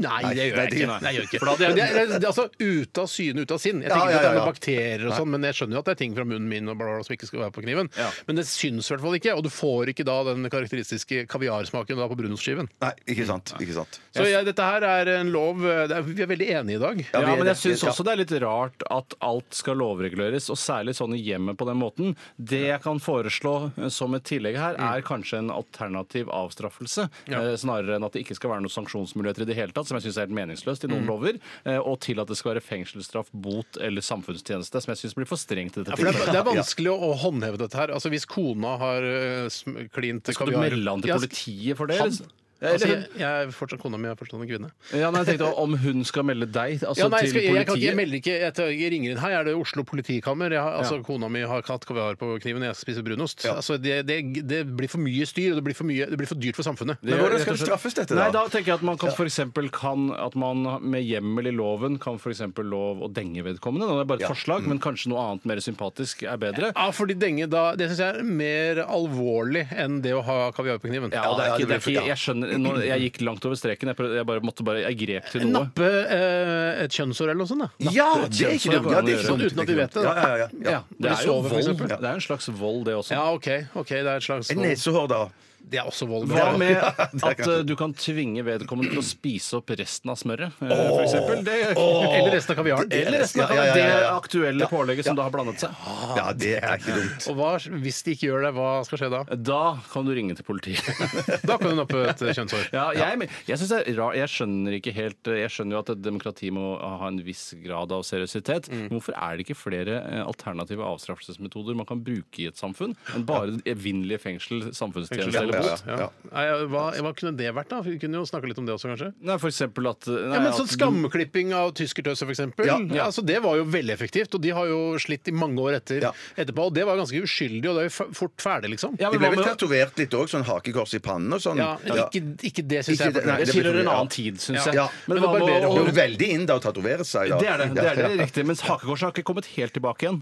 [SPEAKER 5] Nei, det gjør
[SPEAKER 6] nei,
[SPEAKER 5] jeg
[SPEAKER 6] det-
[SPEAKER 5] ikke.
[SPEAKER 6] nei.
[SPEAKER 5] Nei, jeg gjør ikke. Men det, er, det er altså ute av syne, ute av sinn. Jeg
[SPEAKER 6] Ja,
[SPEAKER 5] tenker ikke at det
[SPEAKER 6] ja,
[SPEAKER 5] er
[SPEAKER 6] ja,
[SPEAKER 5] noen
[SPEAKER 6] ja.
[SPEAKER 5] bakterier og sånn, men jeg skjønner jo at det er ting fra munnen min og bla, bla, bla, som ikke skal være på kniven.
[SPEAKER 7] Ja.
[SPEAKER 5] Men det syns i hvert fall ikke, og du får ikke da den karakteristiske kaviarsmaken da på brunostskiven.
[SPEAKER 6] Nei, ikke sant. Ikke sant.
[SPEAKER 5] Så jeg, dette her er en lov eh, det er, Vi er veldig enige i dag.
[SPEAKER 6] Ja, vi
[SPEAKER 7] ja,
[SPEAKER 6] er
[SPEAKER 7] men
[SPEAKER 6] det.
[SPEAKER 7] jeg syns
[SPEAKER 6] Ja.
[SPEAKER 7] også det er litt rart at alt skal lovreguleres, og særlig sånn i hjemmet på den måten. Det jeg kan foreslå eh, som et tillegg her,
[SPEAKER 5] Mm.
[SPEAKER 7] er kanskje en alternativ avstraffelse. eh, Snarere enn at det ikke skal være noen sanksjonsmuligheter i det hele tatt, som jeg syns er helt
[SPEAKER 5] Mm.
[SPEAKER 7] meningsløst i noen lover. eh, Og til at det skal være fengselsstraff, bot eller samfunnstjeneste, som jeg syns blir for strengt i dette
[SPEAKER 5] Ja, for det, er,
[SPEAKER 7] tilfellet.
[SPEAKER 5] det er vanskelig å, å håndheve dette her. Altså Hvis kona har eh, sm- klint
[SPEAKER 7] Skal du
[SPEAKER 5] kaviar
[SPEAKER 7] melde han til
[SPEAKER 5] Ja, altså,
[SPEAKER 7] politiet for det?
[SPEAKER 5] Han?
[SPEAKER 7] eller?
[SPEAKER 5] Altså,
[SPEAKER 7] Eller-
[SPEAKER 5] jeg, jeg er fortsatt kona mi, jeg er fortsatt en kvinne.
[SPEAKER 7] Ja, nei, jeg tenkte om hun skal melde deg altså,
[SPEAKER 5] ja, nei, jeg, skal,
[SPEAKER 7] til
[SPEAKER 5] jeg, kan ikke, jeg
[SPEAKER 7] politiet.
[SPEAKER 5] melder ikke jeg, tar- jeg ringer inn Hei, er det Oslo politikammer? Jeg, har- altså,
[SPEAKER 7] Ja.
[SPEAKER 5] Kona mi har hatt kaviar på kniven, jeg spiser brunost. Altså, det, det, det blir for mye styr, og det blir for, mye, det blir for dyrt for samfunnet.
[SPEAKER 7] Det
[SPEAKER 6] Men
[SPEAKER 7] er
[SPEAKER 6] hvordan
[SPEAKER 7] rett og
[SPEAKER 6] skal det
[SPEAKER 7] slett-
[SPEAKER 6] straffes, dette, da?
[SPEAKER 7] Nei, da tenker jeg at man kan for eksempel kan At man med hjemmel i loven kan for eksempel lov å denge vedkommende. Det er bare et forslag,
[SPEAKER 6] Mm.
[SPEAKER 7] men kanskje noe annet mer sympatisk er bedre.
[SPEAKER 5] Ja, fordi denge da, Det syns jeg er mer alvorlig enn det å ha kaviar på kniven.
[SPEAKER 7] Ja, og det
[SPEAKER 6] ja,
[SPEAKER 7] er ikke,
[SPEAKER 6] det
[SPEAKER 7] det er
[SPEAKER 6] blir-
[SPEAKER 7] ikke,
[SPEAKER 6] ja.
[SPEAKER 7] jeg skjønner, nå, jeg gikk langt over streken. Jeg, prøvde, jeg bare måtte bare Jeg grep til noe.
[SPEAKER 5] Nappe eh, et kjønnsår eller noe sånt, da.
[SPEAKER 6] Ja, det er ikke dumt! Ja, det er ikke
[SPEAKER 5] Sånn
[SPEAKER 6] dumt.
[SPEAKER 5] uten at vi vet det.
[SPEAKER 6] Ja,
[SPEAKER 5] Da.
[SPEAKER 6] ja, ja, ja.
[SPEAKER 5] Ja,
[SPEAKER 7] Det
[SPEAKER 5] når de
[SPEAKER 7] er jo
[SPEAKER 5] sover, for
[SPEAKER 7] vold.
[SPEAKER 5] eksempel.
[SPEAKER 7] Det er en slags vold, det også.
[SPEAKER 5] Ja, OK. ok, Det er et slags
[SPEAKER 6] Et
[SPEAKER 5] vold.
[SPEAKER 6] Nesehår, da.
[SPEAKER 5] Det er også vold.
[SPEAKER 7] Hva
[SPEAKER 6] [laughs]
[SPEAKER 7] med
[SPEAKER 6] det
[SPEAKER 7] at
[SPEAKER 6] kan-
[SPEAKER 7] eh, du kan tvinge vedkommende til å spise opp resten av smøret, eh, for eksempel? Det,
[SPEAKER 5] Eller resten av kaviaren.
[SPEAKER 7] eller resten av
[SPEAKER 6] Ja, ja, ja, ja,
[SPEAKER 7] det
[SPEAKER 6] ja.
[SPEAKER 7] aktuelle pålegget som da har blandet seg.
[SPEAKER 6] Ja, det er ikke dumt.
[SPEAKER 5] Og hva, hvis de ikke gjør det, hva skal skje da?
[SPEAKER 7] Da kan du ringe til
[SPEAKER 6] [laughs]
[SPEAKER 7] politiet.
[SPEAKER 5] Da kan hun nappe et
[SPEAKER 7] [laughs]
[SPEAKER 5] kjønnsår.
[SPEAKER 7] Ja, jeg, men jeg synes det er rar, jeg skjønner ikke helt eh, Jeg skjønner jo at et demokrati må ha en viss grad av seriøsitet. Men hvorfor er det ikke flere eh, alternative avstraffelsesmetoder man kan bruke i et samfunn, enn bare evinnelige fengsel, samfunnstjeneste eller bot?
[SPEAKER 5] Ja. Nei, hva, hva kunne det vært, da? Vi kunne jo snakka litt om det også, kanskje.
[SPEAKER 7] Nei, for eksempel at eh,
[SPEAKER 5] Ja,
[SPEAKER 7] nei,
[SPEAKER 5] men
[SPEAKER 7] at
[SPEAKER 5] sånn Skamklipping av tyskertøser, f.eks. Ja,
[SPEAKER 7] ja.
[SPEAKER 5] Altså, det var jo veldig effektivt. Og de har jo slitt i mange år etter,
[SPEAKER 6] Ja.
[SPEAKER 5] etterpå. Og det var ganske uskyldig, og det er jo f- fort ferdig, liksom.
[SPEAKER 7] Ja,
[SPEAKER 6] De
[SPEAKER 7] men
[SPEAKER 6] ble
[SPEAKER 7] hva
[SPEAKER 6] vel
[SPEAKER 7] med
[SPEAKER 6] tatovert litt òg, sånn hakekors i pannen og sånn.
[SPEAKER 5] Ja, Ikke, ikke det syns
[SPEAKER 6] Ikke
[SPEAKER 5] jeg.
[SPEAKER 6] det- nei,
[SPEAKER 5] er
[SPEAKER 7] Det
[SPEAKER 5] fornuftig.
[SPEAKER 6] det blir for
[SPEAKER 7] tilhører
[SPEAKER 6] mye,
[SPEAKER 7] en
[SPEAKER 6] ja.
[SPEAKER 7] annen tid, syns jeg.
[SPEAKER 6] Ja.
[SPEAKER 7] Men
[SPEAKER 5] Men
[SPEAKER 7] hva med
[SPEAKER 5] barberer
[SPEAKER 7] å
[SPEAKER 6] Det er jo veldig inn da å tatovere seg. Da.
[SPEAKER 7] det er det. det
[SPEAKER 6] Ja,
[SPEAKER 7] er det
[SPEAKER 6] ja.
[SPEAKER 7] riktig. Mens hakekorset har ikke kommet helt tilbake igjen,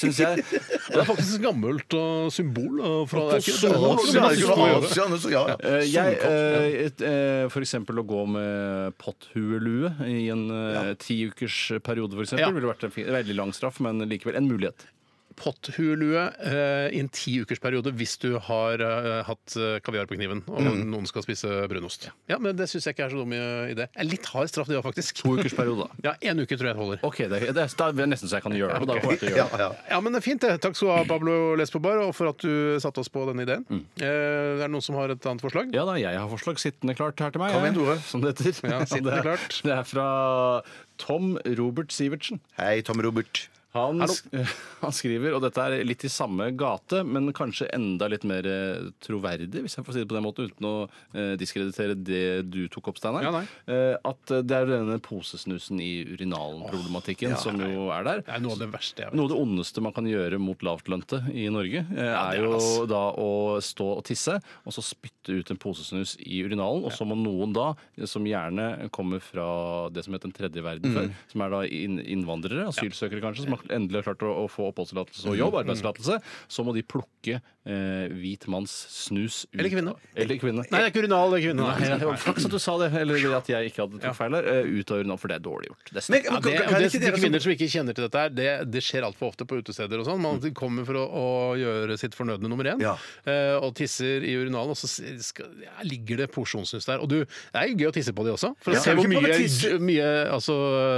[SPEAKER 7] syns jeg.
[SPEAKER 5] det er faktisk et gammelt uh, symbol. Uh, fra, det er ikke- det er
[SPEAKER 6] Å,
[SPEAKER 5] ikke-
[SPEAKER 6] så er det
[SPEAKER 5] det
[SPEAKER 6] ikke noe
[SPEAKER 5] er
[SPEAKER 6] annet,
[SPEAKER 5] ikke-
[SPEAKER 6] sånn, så- ja, ja.
[SPEAKER 7] Eh, Jeg, eh, et, eh, for eksempel å gå med potthuelue i en eh, tiukersperiode, for eksempel,
[SPEAKER 5] Ja.
[SPEAKER 7] ville vært en fin, veldig lang straff, men likevel en mulighet.
[SPEAKER 5] Potthuelue eh, i en ti ukers periode hvis du har eh, hatt eh, kaviar på kniven og
[SPEAKER 6] Mm.
[SPEAKER 5] noen skal spise brunost. Ja, men det syns jeg ikke er så dum i- idé. Det er Litt hard straff, det òg, faktisk.
[SPEAKER 7] To ukers periode, da.
[SPEAKER 5] Ja, én uke tror jeg holder.
[SPEAKER 7] [laughs] Ok, det, det, er- det er nesten så jeg kan gjøre det. Da kommer jeg til å
[SPEAKER 6] Ja,
[SPEAKER 7] gjøre det.
[SPEAKER 6] ja.
[SPEAKER 5] Ja, men det er Fint, det. Takk skal du ha, Pablo Les på bar, og for at du satte oss på denne ideen. Eh, er det noen som har et annet forslag?
[SPEAKER 7] Ja da, jeg har forslag sittende klart her til meg.
[SPEAKER 6] Kom igjen,
[SPEAKER 7] jeg,
[SPEAKER 6] Tore.
[SPEAKER 7] Som det heter.
[SPEAKER 5] Ja, sittende
[SPEAKER 7] [laughs] det, er,
[SPEAKER 5] klart.
[SPEAKER 7] det er fra Tom Robert Sivertsen.
[SPEAKER 6] Hei, Tom Robert.
[SPEAKER 7] Han, sk- [laughs] han skriver, og dette er litt i samme gate, men kanskje enda litt mer eh, troverdig, hvis jeg får si det på den måten, uten å eh, diskreditere det du tok opp, Steinar.
[SPEAKER 5] Ja, nei.
[SPEAKER 7] eh, at eh, det er denne posesnusen i urinalen-problematikken som jo er der.
[SPEAKER 5] Det er noe av det verste jeg vet.
[SPEAKER 7] Noe av det ondeste man kan gjøre mot lavtlønte i Norge, eh,
[SPEAKER 5] det er
[SPEAKER 7] er jo
[SPEAKER 5] det,
[SPEAKER 7] da å stå og tisse, og så spytte ut en posesnus i urinalen. Og så må noen da, eh, som gjerne kommer fra det som het den tredje verden før, som er da inn innvandrere, asylsøkere kanskje, som har endelig har klart å, å få oppholdstillatelse og jobb, arbeidstillatelse, så må de plukke eh, hvit manns snus ut.
[SPEAKER 5] Eller kvinne.
[SPEAKER 7] Eller kvinne.
[SPEAKER 5] Nei, det er ikke urinal, det er kvinne.
[SPEAKER 7] Nei, det var Flaks at du sa det, eller at jeg ikke hadde tok feil der. eh, Ut av urinalen, for det er dårlig gjort. Det er
[SPEAKER 6] Men,
[SPEAKER 7] stygt.
[SPEAKER 5] Ja,
[SPEAKER 6] kan,
[SPEAKER 5] det,
[SPEAKER 6] kan,
[SPEAKER 5] og det,
[SPEAKER 6] ikke
[SPEAKER 5] de
[SPEAKER 6] dere som
[SPEAKER 5] kvinner som ikke kjenner til dette, her, det, det skjer altfor ofte på utesteder. og sånn. Man kommer for å, å gjøre sitt fornødne nummer én
[SPEAKER 6] Ja.
[SPEAKER 5] eh, og tisser i urinalen, og så s- skal, ja, ligger det porsjonssnus der. Og du, det er jo gøy å tisse på de også, for
[SPEAKER 6] Ja,
[SPEAKER 5] å se
[SPEAKER 6] men
[SPEAKER 5] hvor
[SPEAKER 6] du kan
[SPEAKER 5] mye,
[SPEAKER 6] bare tisse- Mm.
[SPEAKER 5] mye altså,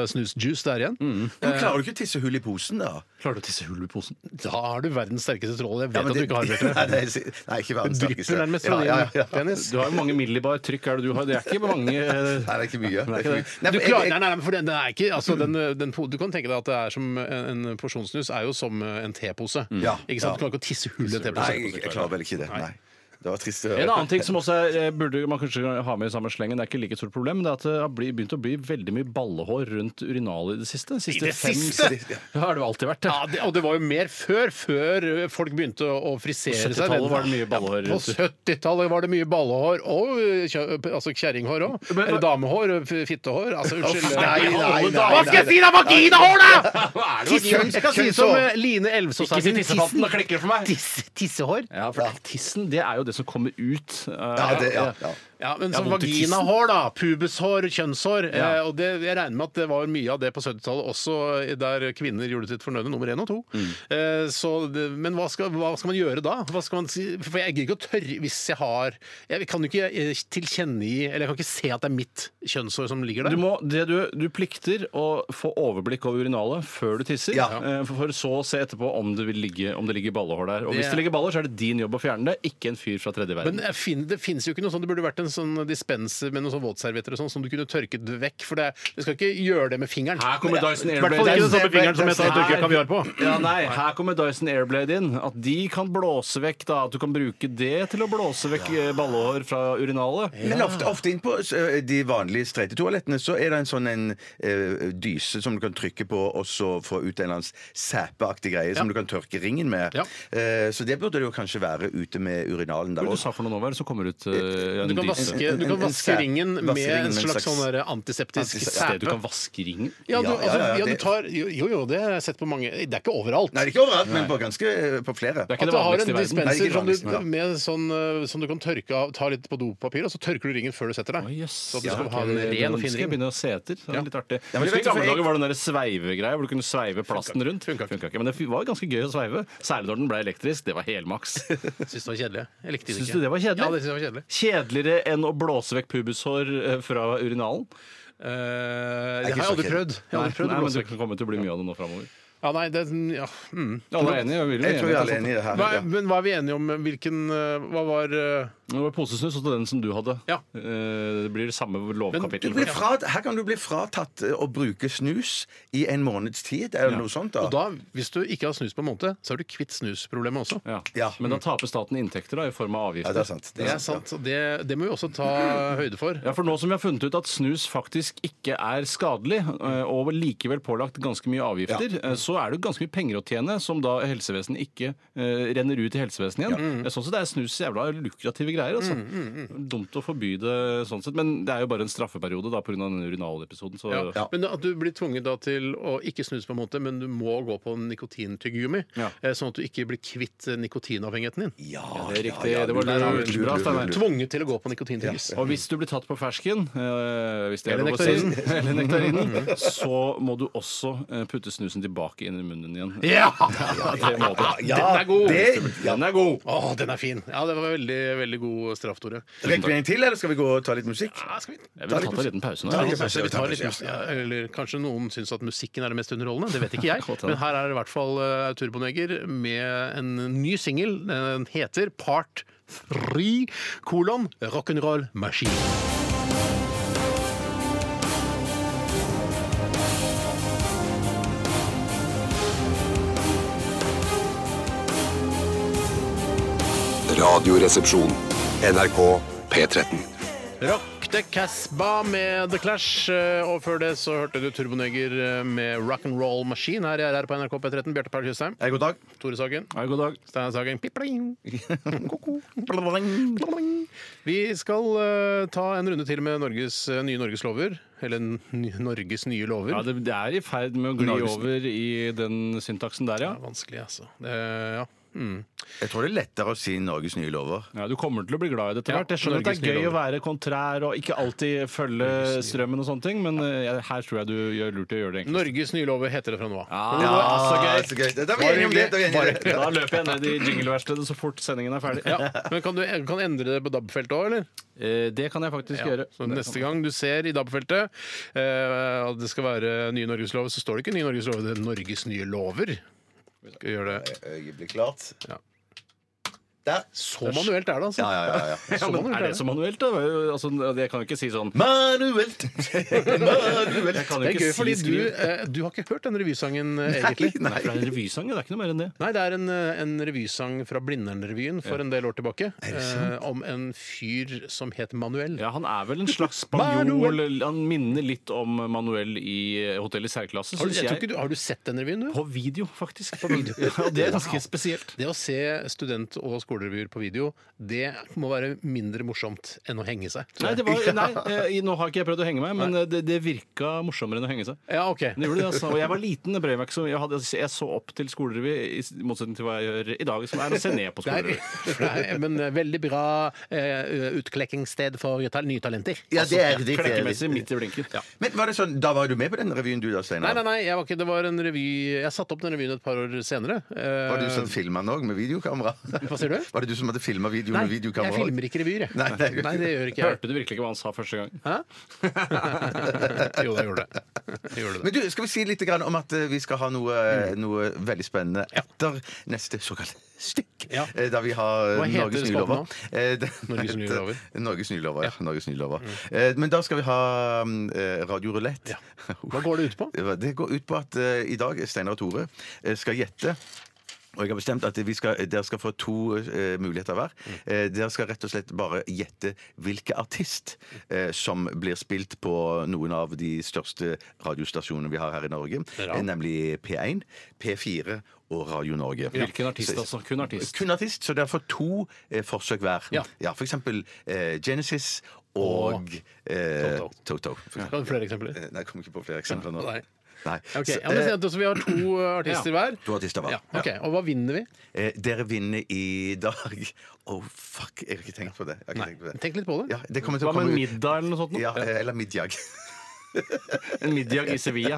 [SPEAKER 5] snusjuice det er igjen.
[SPEAKER 6] Men Klarer du ikke å tisse hull i posen, da?
[SPEAKER 7] Klarer du å tisse hull i posen?
[SPEAKER 5] Da har du verdens sterkeste trål. Jeg vet
[SPEAKER 6] Ja, men
[SPEAKER 5] at du
[SPEAKER 6] det-
[SPEAKER 5] ikke har
[SPEAKER 6] Nei,
[SPEAKER 5] Bjarte.
[SPEAKER 6] det er, nei, ikke verdens
[SPEAKER 5] Det
[SPEAKER 6] sterkeste.
[SPEAKER 5] drypper nærmest fra
[SPEAKER 6] Ja, ja, ja.
[SPEAKER 5] din penis.
[SPEAKER 7] Du har jo mange millibar trykk er det du har. Det er ikke mange
[SPEAKER 6] Nei, det er ikke mye.
[SPEAKER 7] Nei,
[SPEAKER 6] Det
[SPEAKER 7] ikke
[SPEAKER 6] er
[SPEAKER 7] det.
[SPEAKER 6] ikke mye. Nei,
[SPEAKER 5] du,
[SPEAKER 6] men jeg-
[SPEAKER 5] klarer,
[SPEAKER 6] jeg-
[SPEAKER 5] nei, nei, nei, for den, den er ikke, altså, den, den, po- du kan tenke deg at det er som eh, en, en porsjonssnus er jo som eh, en tepose.
[SPEAKER 6] Ja.
[SPEAKER 5] Ikke sant?
[SPEAKER 6] Ja.
[SPEAKER 5] Du kan ikke Mm. tisse hull i en tepose.
[SPEAKER 6] Nei, jeg, jeg klarer vel ikke det. Nei. Det var trist å høre.
[SPEAKER 7] En annen ting som også er, eh, burde man kanskje ha med i samme slengen, det er ikke like stort problem, men det er at det har bli- begynt å bli veldig mye ballehår rundt urinalet i det siste. De
[SPEAKER 5] I
[SPEAKER 7] siste
[SPEAKER 5] det
[SPEAKER 7] fem-
[SPEAKER 5] siste?
[SPEAKER 7] Ja, har det jo alltid vært. det.
[SPEAKER 5] Ja, det, og det var jo mer før, før eh, folk begynte å å frisere seg.
[SPEAKER 7] 70-tallet var det mye ballehår
[SPEAKER 5] Ja, på
[SPEAKER 7] rundt.
[SPEAKER 5] 70-tallet var det mye ballehår, og eh, kjø- altså kjerringhår òg. Eller damehår, eh, f- fittehår. Altså, unnskyld.
[SPEAKER 6] nei, nei, nei, nei,
[SPEAKER 5] Hva skal jeg si da? Vaginahår, da! Tissehår. Jeg kan si
[SPEAKER 6] Kjønnshår.
[SPEAKER 5] som eh, Line Elvsås
[SPEAKER 7] Ikke si tissefatten, da klikker det for meg.
[SPEAKER 5] Tisse, tissehår?
[SPEAKER 7] Ja, for tissen, det er jo det som kommer ut. eh,
[SPEAKER 6] Ja, det, ja, ja.
[SPEAKER 5] Ja, men
[SPEAKER 7] Jeg har
[SPEAKER 5] så
[SPEAKER 7] vondt i tissen.
[SPEAKER 5] vaginahår, da. Pubeshår, kjønnshår.
[SPEAKER 7] Ja.
[SPEAKER 5] Eh, og det, jeg regner med at det var mye av det på 70-tallet også, der kvinner gjorde sitt fornødne nummer én og to.
[SPEAKER 7] Mm.
[SPEAKER 5] Eh, så det, men hva skal, hva skal man gjøre da? Hva skal man si? For jeg gidder ikke å tørre hvis jeg har Jeg kan jo ikke eh, tilkjennegi Eller jeg kan ikke se at det er mitt kjønnshår som ligger
[SPEAKER 7] Du,
[SPEAKER 5] der.
[SPEAKER 7] må, det du, du plikter å få overblikk over urinalet før du tisser,
[SPEAKER 6] Ja.
[SPEAKER 7] eh, for, for så å se etterpå om det, vil ligge, om det ligger ballehår der. Og
[SPEAKER 5] Det-
[SPEAKER 7] hvis det ligger ballehår, så er det din jobb å fjerne det, ikke en fyr fra tredje verden.
[SPEAKER 5] men jeg fin- det fins jo ikke noe sånn, det burde vært en sånn dispenser med noen sånn våtservietter og sånn, som du kunne tørket vekk. For det, du skal ikke gjøre det med fingeren.
[SPEAKER 7] Her kommer Dyson
[SPEAKER 5] I hvert fall ikke
[SPEAKER 7] Airblade
[SPEAKER 5] den samme fingeren som jeg sa jeg tørket kaviar på.
[SPEAKER 7] Ja, nei, her kommer Dyson Airblade inn. At de kan blåse vekk, da. At du kan bruke det til å blåse vekk eh, ballehår fra urinalet.
[SPEAKER 6] Men ofte, ofte inn på eh, de vanlige streite toalettene så er det en sånn en eh, dyse som du kan trykke på og så få ut en eller annen sæpeaktig greie som du kan tørke ringen med.
[SPEAKER 5] Ja.
[SPEAKER 6] Eh, så det burde det jo kanskje være ute med urinalen der
[SPEAKER 7] Hva var det du
[SPEAKER 6] også.
[SPEAKER 7] sa for noe nå, hva er det som kommer ut? eh, en
[SPEAKER 5] Du kan
[SPEAKER 7] dyse?
[SPEAKER 5] vaske, du
[SPEAKER 6] En- en-
[SPEAKER 5] kan
[SPEAKER 6] en
[SPEAKER 5] vaske
[SPEAKER 6] sæ-
[SPEAKER 5] ringen
[SPEAKER 6] vaske
[SPEAKER 5] med en
[SPEAKER 6] ringen med en
[SPEAKER 5] slags
[SPEAKER 6] slags-
[SPEAKER 5] sånn der antiseptisk
[SPEAKER 6] Antiseptisk-
[SPEAKER 7] Det du
[SPEAKER 5] sæpe.
[SPEAKER 7] kan vaske ringen
[SPEAKER 5] Ja, du,
[SPEAKER 6] Ja, ja,
[SPEAKER 5] altså,
[SPEAKER 6] ja,
[SPEAKER 5] ja, du
[SPEAKER 6] det-
[SPEAKER 5] tar, jo, jo, det har jeg sett på mange Det er ikke overalt.
[SPEAKER 6] Nei, det er ikke overalt, men på ganske eh, på flere.
[SPEAKER 7] Det
[SPEAKER 5] At
[SPEAKER 7] er ikke
[SPEAKER 5] du
[SPEAKER 7] det
[SPEAKER 5] har en
[SPEAKER 6] Nei, det
[SPEAKER 7] vanligste i verden.
[SPEAKER 6] er
[SPEAKER 5] dispenser
[SPEAKER 6] ikke
[SPEAKER 5] som du,
[SPEAKER 6] det vanligste, nei.
[SPEAKER 5] med sånn, eh, som du kan tørke av, ta litt på dopapir, og så tørker du ringen før du setter deg.
[SPEAKER 7] Å, jøss.
[SPEAKER 5] Så at du
[SPEAKER 7] Ja,
[SPEAKER 5] skal
[SPEAKER 7] ok.
[SPEAKER 5] ha en ren og fin
[SPEAKER 7] Skal jeg
[SPEAKER 5] ring.
[SPEAKER 7] begynne å se etter? Det er
[SPEAKER 5] Ja.
[SPEAKER 7] litt artig.
[SPEAKER 6] Ja, men
[SPEAKER 7] Husker
[SPEAKER 6] vet
[SPEAKER 7] I
[SPEAKER 6] du,
[SPEAKER 7] gamle
[SPEAKER 6] for jeg-
[SPEAKER 7] dager var det den der sveivegreia hvor du kunne sveive plasten rundt.
[SPEAKER 5] Funka ikke.
[SPEAKER 7] Funka ikke. Men det var ganske gøy å sveive. Særlig når den ble elektrisk. Det var helmaks.
[SPEAKER 5] [laughs] Syns det var kjedelig. Jeg likte det ikke.
[SPEAKER 7] Syns du det var kjedelig?
[SPEAKER 5] Ja, det synes jeg var kjedelig.
[SPEAKER 7] Kjedeligere enn å blåse vekk pubeshår eh, fra urinalen.
[SPEAKER 5] Eh,
[SPEAKER 6] ikke
[SPEAKER 5] det har jeg
[SPEAKER 6] så
[SPEAKER 5] aldri
[SPEAKER 6] kjedelig.
[SPEAKER 5] prøvd. Jeg har aldri prøvd
[SPEAKER 7] nei,
[SPEAKER 5] å
[SPEAKER 7] men
[SPEAKER 5] blåse
[SPEAKER 7] du
[SPEAKER 5] vekk.
[SPEAKER 7] kommer til å bli mye av det nå framover.
[SPEAKER 5] Ja, nei, det, ja. Mm.
[SPEAKER 7] Alle er enige?
[SPEAKER 6] Jeg tror vi er alle
[SPEAKER 7] sånn-
[SPEAKER 6] enige i det her.
[SPEAKER 5] Hva,
[SPEAKER 6] Ja.
[SPEAKER 5] men hva er vi enige om? Hvilken eh, Hva var eh,
[SPEAKER 7] Det var posesnus og den som du hadde.
[SPEAKER 5] Ja.
[SPEAKER 7] Eh, Det blir det samme
[SPEAKER 6] Du
[SPEAKER 7] lovkapittel.
[SPEAKER 6] blir fra, her kan du bli fratatt eh, å bruke snus i en måneds tid, eller noe sånt.
[SPEAKER 5] Og
[SPEAKER 6] da.
[SPEAKER 5] da, hvis du ikke har snus på en måned, så er du kvitt snusproblemet også.
[SPEAKER 7] Ja.
[SPEAKER 6] Ja.
[SPEAKER 7] Men da taper staten inntekter da, i form av
[SPEAKER 6] Ja,
[SPEAKER 7] avgifter.
[SPEAKER 6] det er sant.
[SPEAKER 5] Det er sant. og Det, det må vi også ta høyde for.
[SPEAKER 7] Ja, for nå som vi har funnet ut at snus faktisk ikke er skadelig, eh, og likevel pålagt ganske mye avgifter, eh, så er det jo ganske mye penger å tjene som da helsevesenet ikke eh, renner ut i helsevesenet igjen.
[SPEAKER 5] Mm.
[SPEAKER 7] Jeg Sånn sett er snus jævla lukrative greier, altså. Dumt å forby det sånn sett, men det er jo bare en straffeperiode da pga. den urinalepisoden, så
[SPEAKER 5] Ja. Men at du blir tvunget da til å ikke snuse, på en måte, men du må gå på nikotintyggegummi,
[SPEAKER 7] Ja.
[SPEAKER 5] eh, sånn at du ikke blir kvitt eh, nikotinavhengigheten din.
[SPEAKER 6] Ja,
[SPEAKER 7] Det er riktig.
[SPEAKER 6] ja, ja,
[SPEAKER 7] det var
[SPEAKER 6] lurt,
[SPEAKER 7] lurt,
[SPEAKER 6] lurt,
[SPEAKER 7] lurt,
[SPEAKER 6] lurt,
[SPEAKER 7] bra,
[SPEAKER 6] lurt,
[SPEAKER 7] Steinar.
[SPEAKER 6] lurt.
[SPEAKER 5] Tvunget til å gå på nikotintyggis.
[SPEAKER 7] Og hvis du blir tatt på fersken, eh, hvis det er
[SPEAKER 5] Eller
[SPEAKER 7] lov å si,
[SPEAKER 5] nektarinen. Mm.
[SPEAKER 7] [laughs] eller nektarinen, så må du også eh, putte snusen tilbake inn i munnen igjen.
[SPEAKER 5] Ja!
[SPEAKER 7] Det må du.
[SPEAKER 5] Den er god!
[SPEAKER 6] Det, ja.
[SPEAKER 7] Den er god!
[SPEAKER 5] Å, den er fin! Ja, det var veldig, veldig god straff, Tore.
[SPEAKER 6] Rekker vi en til, eller skal vi gå og ta litt musikk?
[SPEAKER 5] Ja, skal vi
[SPEAKER 7] Jeg vil ta en liten pause nå.
[SPEAKER 5] Ja,
[SPEAKER 6] Ja,
[SPEAKER 7] jeg.
[SPEAKER 5] vi
[SPEAKER 6] vi tar- vi
[SPEAKER 5] tar
[SPEAKER 6] tar-
[SPEAKER 5] litt
[SPEAKER 6] ja.
[SPEAKER 5] mus- ja, eller kanskje noen syns at musikken er det mest underholdende. Det vet ikke
[SPEAKER 6] [laughs]
[SPEAKER 5] jeg.
[SPEAKER 7] Godt hende.
[SPEAKER 5] Men her er det i hvert fall eh, Turboneger med en ny singel. Den heter Part 3 kolon rock'n'roll machine.
[SPEAKER 2] Radioresepsjon. NRK P13.
[SPEAKER 5] Rock the Casbah med The Clash. eh, Og før det så hørte du Turboneger eh, med Rock'n'Roll Machine her i RR på NRK P13. Bjarte Paul Tjøstheim.
[SPEAKER 6] Hei, god dag.
[SPEAKER 5] Tore Sagen.
[SPEAKER 7] Ja, god dag.
[SPEAKER 5] Steinar Sagen. Pipling. Vi skal eh, ta en runde til med Norges eh, nye Norges lover. Eller n- ny- Norges nye lover.
[SPEAKER 7] Ja, det, det er i ferd med å gli
[SPEAKER 6] Norges-
[SPEAKER 7] over i den syntaksen der, ja.
[SPEAKER 5] Det er vanskelig, altså. Det, ja. Mm.
[SPEAKER 6] Jeg tror det er lettere å si Norges nye lover.
[SPEAKER 7] ja. Du kommer til å bli glad i det etter
[SPEAKER 5] Ja,
[SPEAKER 7] hvert. Jeg skjønner at
[SPEAKER 5] Norges
[SPEAKER 7] det er
[SPEAKER 5] nye
[SPEAKER 7] gøy å
[SPEAKER 5] lover.
[SPEAKER 7] være kontrær og ikke alltid følge strømmen og sånne ting, men eh, her tror jeg du gjør lurt i å gjøre det enkelt.
[SPEAKER 5] Norges nye lover heter det fra nå av.
[SPEAKER 6] Ah, så gøy. Da er vi enige om det. Da er vi enige om det.
[SPEAKER 7] Da løper jeg ned i jingleverkstedet så fort sendingen er ferdig.
[SPEAKER 5] Ja. Men kan du kan endre det på DAB-feltet òg, eller?
[SPEAKER 7] Eh, Det sånn. kan jeg faktisk gjøre.
[SPEAKER 5] Så neste gang du ser i DAB-feltet eh, at det skal være nye Norges lover, så står det ikke nye Norges lover, det er Norges nye lover. Skal vi gjøre det.
[SPEAKER 6] Øyeblikk klart.
[SPEAKER 5] Ja.
[SPEAKER 6] Der.
[SPEAKER 5] Så manuelt er det, altså.
[SPEAKER 6] Ja, ja, ja, ja.
[SPEAKER 7] Ja,
[SPEAKER 5] Så
[SPEAKER 7] men
[SPEAKER 5] manuelt
[SPEAKER 7] Sånn er det så manuelt, da? Altså, jeg kan jo ikke si
[SPEAKER 5] [laughs]
[SPEAKER 7] sånn
[SPEAKER 6] Manuelt! Manuelt.
[SPEAKER 7] jeg kan jo
[SPEAKER 5] Det er
[SPEAKER 7] ikke
[SPEAKER 5] gøy,
[SPEAKER 7] si
[SPEAKER 5] fordi du,
[SPEAKER 7] skriv.
[SPEAKER 5] eh, du har ikke hørt den revysangen, eh,
[SPEAKER 6] [laughs]
[SPEAKER 5] egentlig.
[SPEAKER 7] Nei, for det er en revysang, ja, det er ikke noe mer enn det.
[SPEAKER 5] Nei, det er en, eh, en revysang fra Blindern-revyen for en del år tilbake. Eh, om en fyr som het Manuel.
[SPEAKER 7] Ja, Han er vel en slags spanjol.
[SPEAKER 5] Manuel.
[SPEAKER 7] Han minner litt om Manuel i Hotell i særklasse,
[SPEAKER 5] Har du,
[SPEAKER 7] syns
[SPEAKER 5] jeg tror
[SPEAKER 7] jeg.
[SPEAKER 5] ikke du, har du sett den revyen, du?
[SPEAKER 7] På video, faktisk. På video. [laughs] Ja, det er ganske spesielt.
[SPEAKER 5] Det å se student- og skolerevyer på video, det må være mindre morsomt enn å henge seg. tror
[SPEAKER 7] Nei,
[SPEAKER 5] jeg.
[SPEAKER 7] det var, nei, eh, nå har ikke jeg prøvd å henge meg, men eh, det, det virka morsommere enn å henge seg.
[SPEAKER 5] Ja, ok.
[SPEAKER 7] Det gjorde det, altså. Og jeg var liten, det brød meg ikke så mye. Jeg, hadde, jeg så opp til skolerevy, i motsetning til hva jeg gjør i dag, som er å se ned på
[SPEAKER 5] [laughs] Det er,
[SPEAKER 7] skolerevy.
[SPEAKER 5] det er- men veldig bra eh, utklekkingssted for ta- nye talenter. Altså,
[SPEAKER 6] Ja, det er riktig. det er
[SPEAKER 7] Altså, Klekkemessig
[SPEAKER 6] riktig.
[SPEAKER 7] midt i blinken.
[SPEAKER 6] Men var det sånn, Da var du med på den revyen, du da,
[SPEAKER 5] Nei,
[SPEAKER 6] Steinar?
[SPEAKER 5] nei, nei, jeg var ikke, det var en revy Jeg satte opp den revyen et par år senere. Eh,
[SPEAKER 6] Var det du som filma den òg, med videokamera?
[SPEAKER 5] Hva sier du?
[SPEAKER 6] Var det du som hadde filma videoen
[SPEAKER 5] Nei,
[SPEAKER 6] med
[SPEAKER 5] jeg
[SPEAKER 6] videokamera? også?
[SPEAKER 5] filmer ikke revyer, jeg.
[SPEAKER 6] Nei, det gjør
[SPEAKER 5] Nei, det gjør ikke jeg.
[SPEAKER 7] Hørte du virkelig ikke hva han sa første gang?
[SPEAKER 6] [laughs]
[SPEAKER 5] Hæ? [laughs] jo, det gjorde det. Jeg gjorde det. Mm.
[SPEAKER 6] Men du, Skal vi si litt grann om at eh, vi skal ha noe, eh, noe veldig spennende etter neste såkalt stikk?
[SPEAKER 5] Ja.
[SPEAKER 6] Eh, Da vi har eh,
[SPEAKER 5] Hva heter
[SPEAKER 6] Norges nye
[SPEAKER 5] spalten
[SPEAKER 6] lover. Eh, det-
[SPEAKER 5] Norges nye lover.
[SPEAKER 6] Norges nye lover, ja. Norges nye lover. Eh, Men da skal vi ha mm, eh, Radio [laughs] Rulett. Oh.
[SPEAKER 5] Hva går det ut på?
[SPEAKER 6] Det går ut på at eh, i dag Steinar og Tore eh, skal gjette. Og jeg har bestemt at vi skal, Dere skal få to eh, muligheter hver. Eh, dere skal rett og slett bare gjette hvilken artist eh, som blir spilt på noen av de største radiostasjonene vi har her i Norge.
[SPEAKER 5] Bra.
[SPEAKER 6] Eh, nemlig P1, eh, P4 og Radio Norge.
[SPEAKER 7] Hvilken artist, altså? Kun artist.
[SPEAKER 6] Kun artist, så derfor to eh, forsøk hver.
[SPEAKER 5] Ja.
[SPEAKER 6] for eksempel eh, Genesis og eh,
[SPEAKER 5] Toto.
[SPEAKER 6] Toto. for
[SPEAKER 5] Kan
[SPEAKER 6] eksempel.
[SPEAKER 5] du flere eksempler?
[SPEAKER 6] Eh, Nei, jeg kommer ikke på flere eksempler nå.
[SPEAKER 5] Nei.
[SPEAKER 6] Nei.
[SPEAKER 5] Ok,
[SPEAKER 6] Så,
[SPEAKER 5] ja, men
[SPEAKER 6] eh,
[SPEAKER 5] så- så Vi har
[SPEAKER 6] [clears throat]
[SPEAKER 5] to eh, artister hver.
[SPEAKER 6] to artister hver.
[SPEAKER 5] Ja, ok, Og hva vinner vi?
[SPEAKER 6] Eh, dere vinner i dag. [laughs] Oh, fuck, jeg har ikke tenkt på det. Jeg har ikke tenkt på det.
[SPEAKER 5] Tenk litt på det.
[SPEAKER 6] Ja, det kommer til å
[SPEAKER 7] Hva med
[SPEAKER 6] komme
[SPEAKER 7] en
[SPEAKER 6] ut.
[SPEAKER 7] middag eller noe sånt? nå?
[SPEAKER 6] Ja, eh, eller middag. [laughs]
[SPEAKER 7] En middag i Sevilla.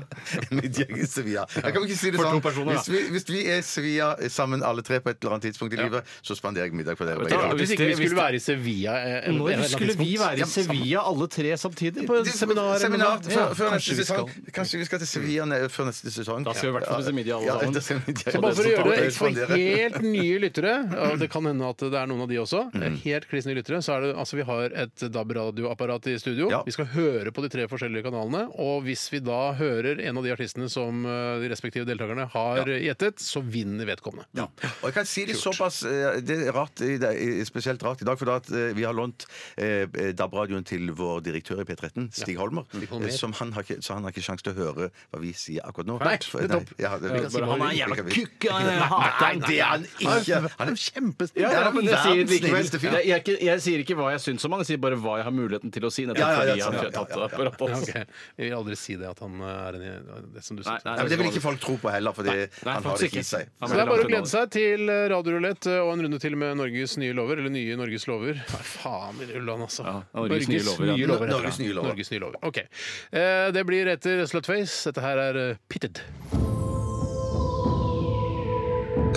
[SPEAKER 6] middag i Sevilla. Jeg kan ikke si det
[SPEAKER 7] For to
[SPEAKER 6] sånn.
[SPEAKER 7] personer, da.
[SPEAKER 6] Hvis vi, hvis vi er Sevilla eh, sammen alle tre på et eller annet tidspunkt i livet, så spanderer jeg middag på dere.
[SPEAKER 7] Vet
[SPEAKER 6] begge
[SPEAKER 7] du hva,
[SPEAKER 6] to.
[SPEAKER 7] hvis
[SPEAKER 5] Hvis ikke vi
[SPEAKER 7] det- hvis
[SPEAKER 5] skulle være i Sevilla eh, en- en eller
[SPEAKER 7] Når
[SPEAKER 5] annen
[SPEAKER 7] skulle vi
[SPEAKER 5] tidspunkt.
[SPEAKER 7] være i Sevilla alle tre samtidig? På
[SPEAKER 6] Det-
[SPEAKER 7] et seminar? eller
[SPEAKER 6] seminar
[SPEAKER 7] noe sånt? Ja,
[SPEAKER 6] før, før
[SPEAKER 7] kanskje
[SPEAKER 6] neste
[SPEAKER 7] vi
[SPEAKER 6] sesong.
[SPEAKER 7] skal.
[SPEAKER 6] Kanskje vi skal til Sevilla ne- før neste sesong.
[SPEAKER 7] Da skal vi i hvert fall til middag alle
[SPEAKER 6] Ja, [laughs]
[SPEAKER 7] sammen.
[SPEAKER 6] da skal vi til middag.
[SPEAKER 5] Så bare for å
[SPEAKER 7] Ja,
[SPEAKER 5] gjøre det
[SPEAKER 6] Så
[SPEAKER 5] for
[SPEAKER 6] tar vi det
[SPEAKER 5] helt nye lyttere, og det kan hende at det er noen av de også, eh, helt kliss nye lyttere, så er det altså vi har et DAB-radioapparat i studio.
[SPEAKER 6] Ja.
[SPEAKER 5] Vi skal høre på de tre forskjellige kanalene, og hvis vi da hører en av de artistene som eh, de respektive deltakerne har eh, gjettet, så vinner vedkommende.
[SPEAKER 6] Og jeg kan si det såpass eh, Det er rart, i dag- i- spesielt rart i dag, for da at eh, vi har lånt eh, DAB-radioen til vår direktør i P13, Stig Holmer,
[SPEAKER 5] Holmer.
[SPEAKER 6] eh, som han har ikke, så han har ikke sjanse til å høre hva vi sier akkurat nå.
[SPEAKER 5] Nei,
[SPEAKER 6] For-
[SPEAKER 5] nettopp.
[SPEAKER 6] ja, det- vi kan si
[SPEAKER 7] Bare,
[SPEAKER 6] hva
[SPEAKER 7] han er en
[SPEAKER 6] vi- vi
[SPEAKER 7] jævla
[SPEAKER 6] kan-
[SPEAKER 7] kukk! han, jeg hater han.
[SPEAKER 6] Nei, det er han ikke! Han er kjempesnill!
[SPEAKER 7] Ja, ja, men jeg sier det likevel.
[SPEAKER 6] snilleste fyr.
[SPEAKER 7] Jeg, jeg, er ikke- jeg sier ikke hva jeg syns om han, jeg sier bare hva jeg har muligheten til å si. Nettopp
[SPEAKER 6] Ja, ja, ja,
[SPEAKER 7] fordi
[SPEAKER 6] sånn,
[SPEAKER 7] han
[SPEAKER 6] ja,
[SPEAKER 7] har tatt
[SPEAKER 6] ja,
[SPEAKER 7] det
[SPEAKER 6] ja, ja.
[SPEAKER 7] apparat.
[SPEAKER 5] Ja, ok. Jeg vil aldri si det at han eh, er en det som du
[SPEAKER 7] Nei,
[SPEAKER 5] synes.
[SPEAKER 7] nei,
[SPEAKER 6] Nei, men det vil ikke folk tro på heller, fordi
[SPEAKER 7] Nei,
[SPEAKER 6] han har det
[SPEAKER 7] faktisk
[SPEAKER 6] ikke i
[SPEAKER 7] ikke.
[SPEAKER 6] seg.
[SPEAKER 7] Han
[SPEAKER 5] Så Altså, det er bare å
[SPEAKER 7] langt unna
[SPEAKER 5] glede seg til Radio Roulette og en runde til med Norges nye lover. Eller nye Norges lover. Nei, faen i rullan, altså.
[SPEAKER 7] Ja, Norges nye lover, ja.
[SPEAKER 5] nye lover, heter
[SPEAKER 6] Norges
[SPEAKER 5] det.
[SPEAKER 6] nye lover.
[SPEAKER 5] Norges nye lover. Ok. Eh, Det blir etter Slutface. Dette her er eh, Pitted.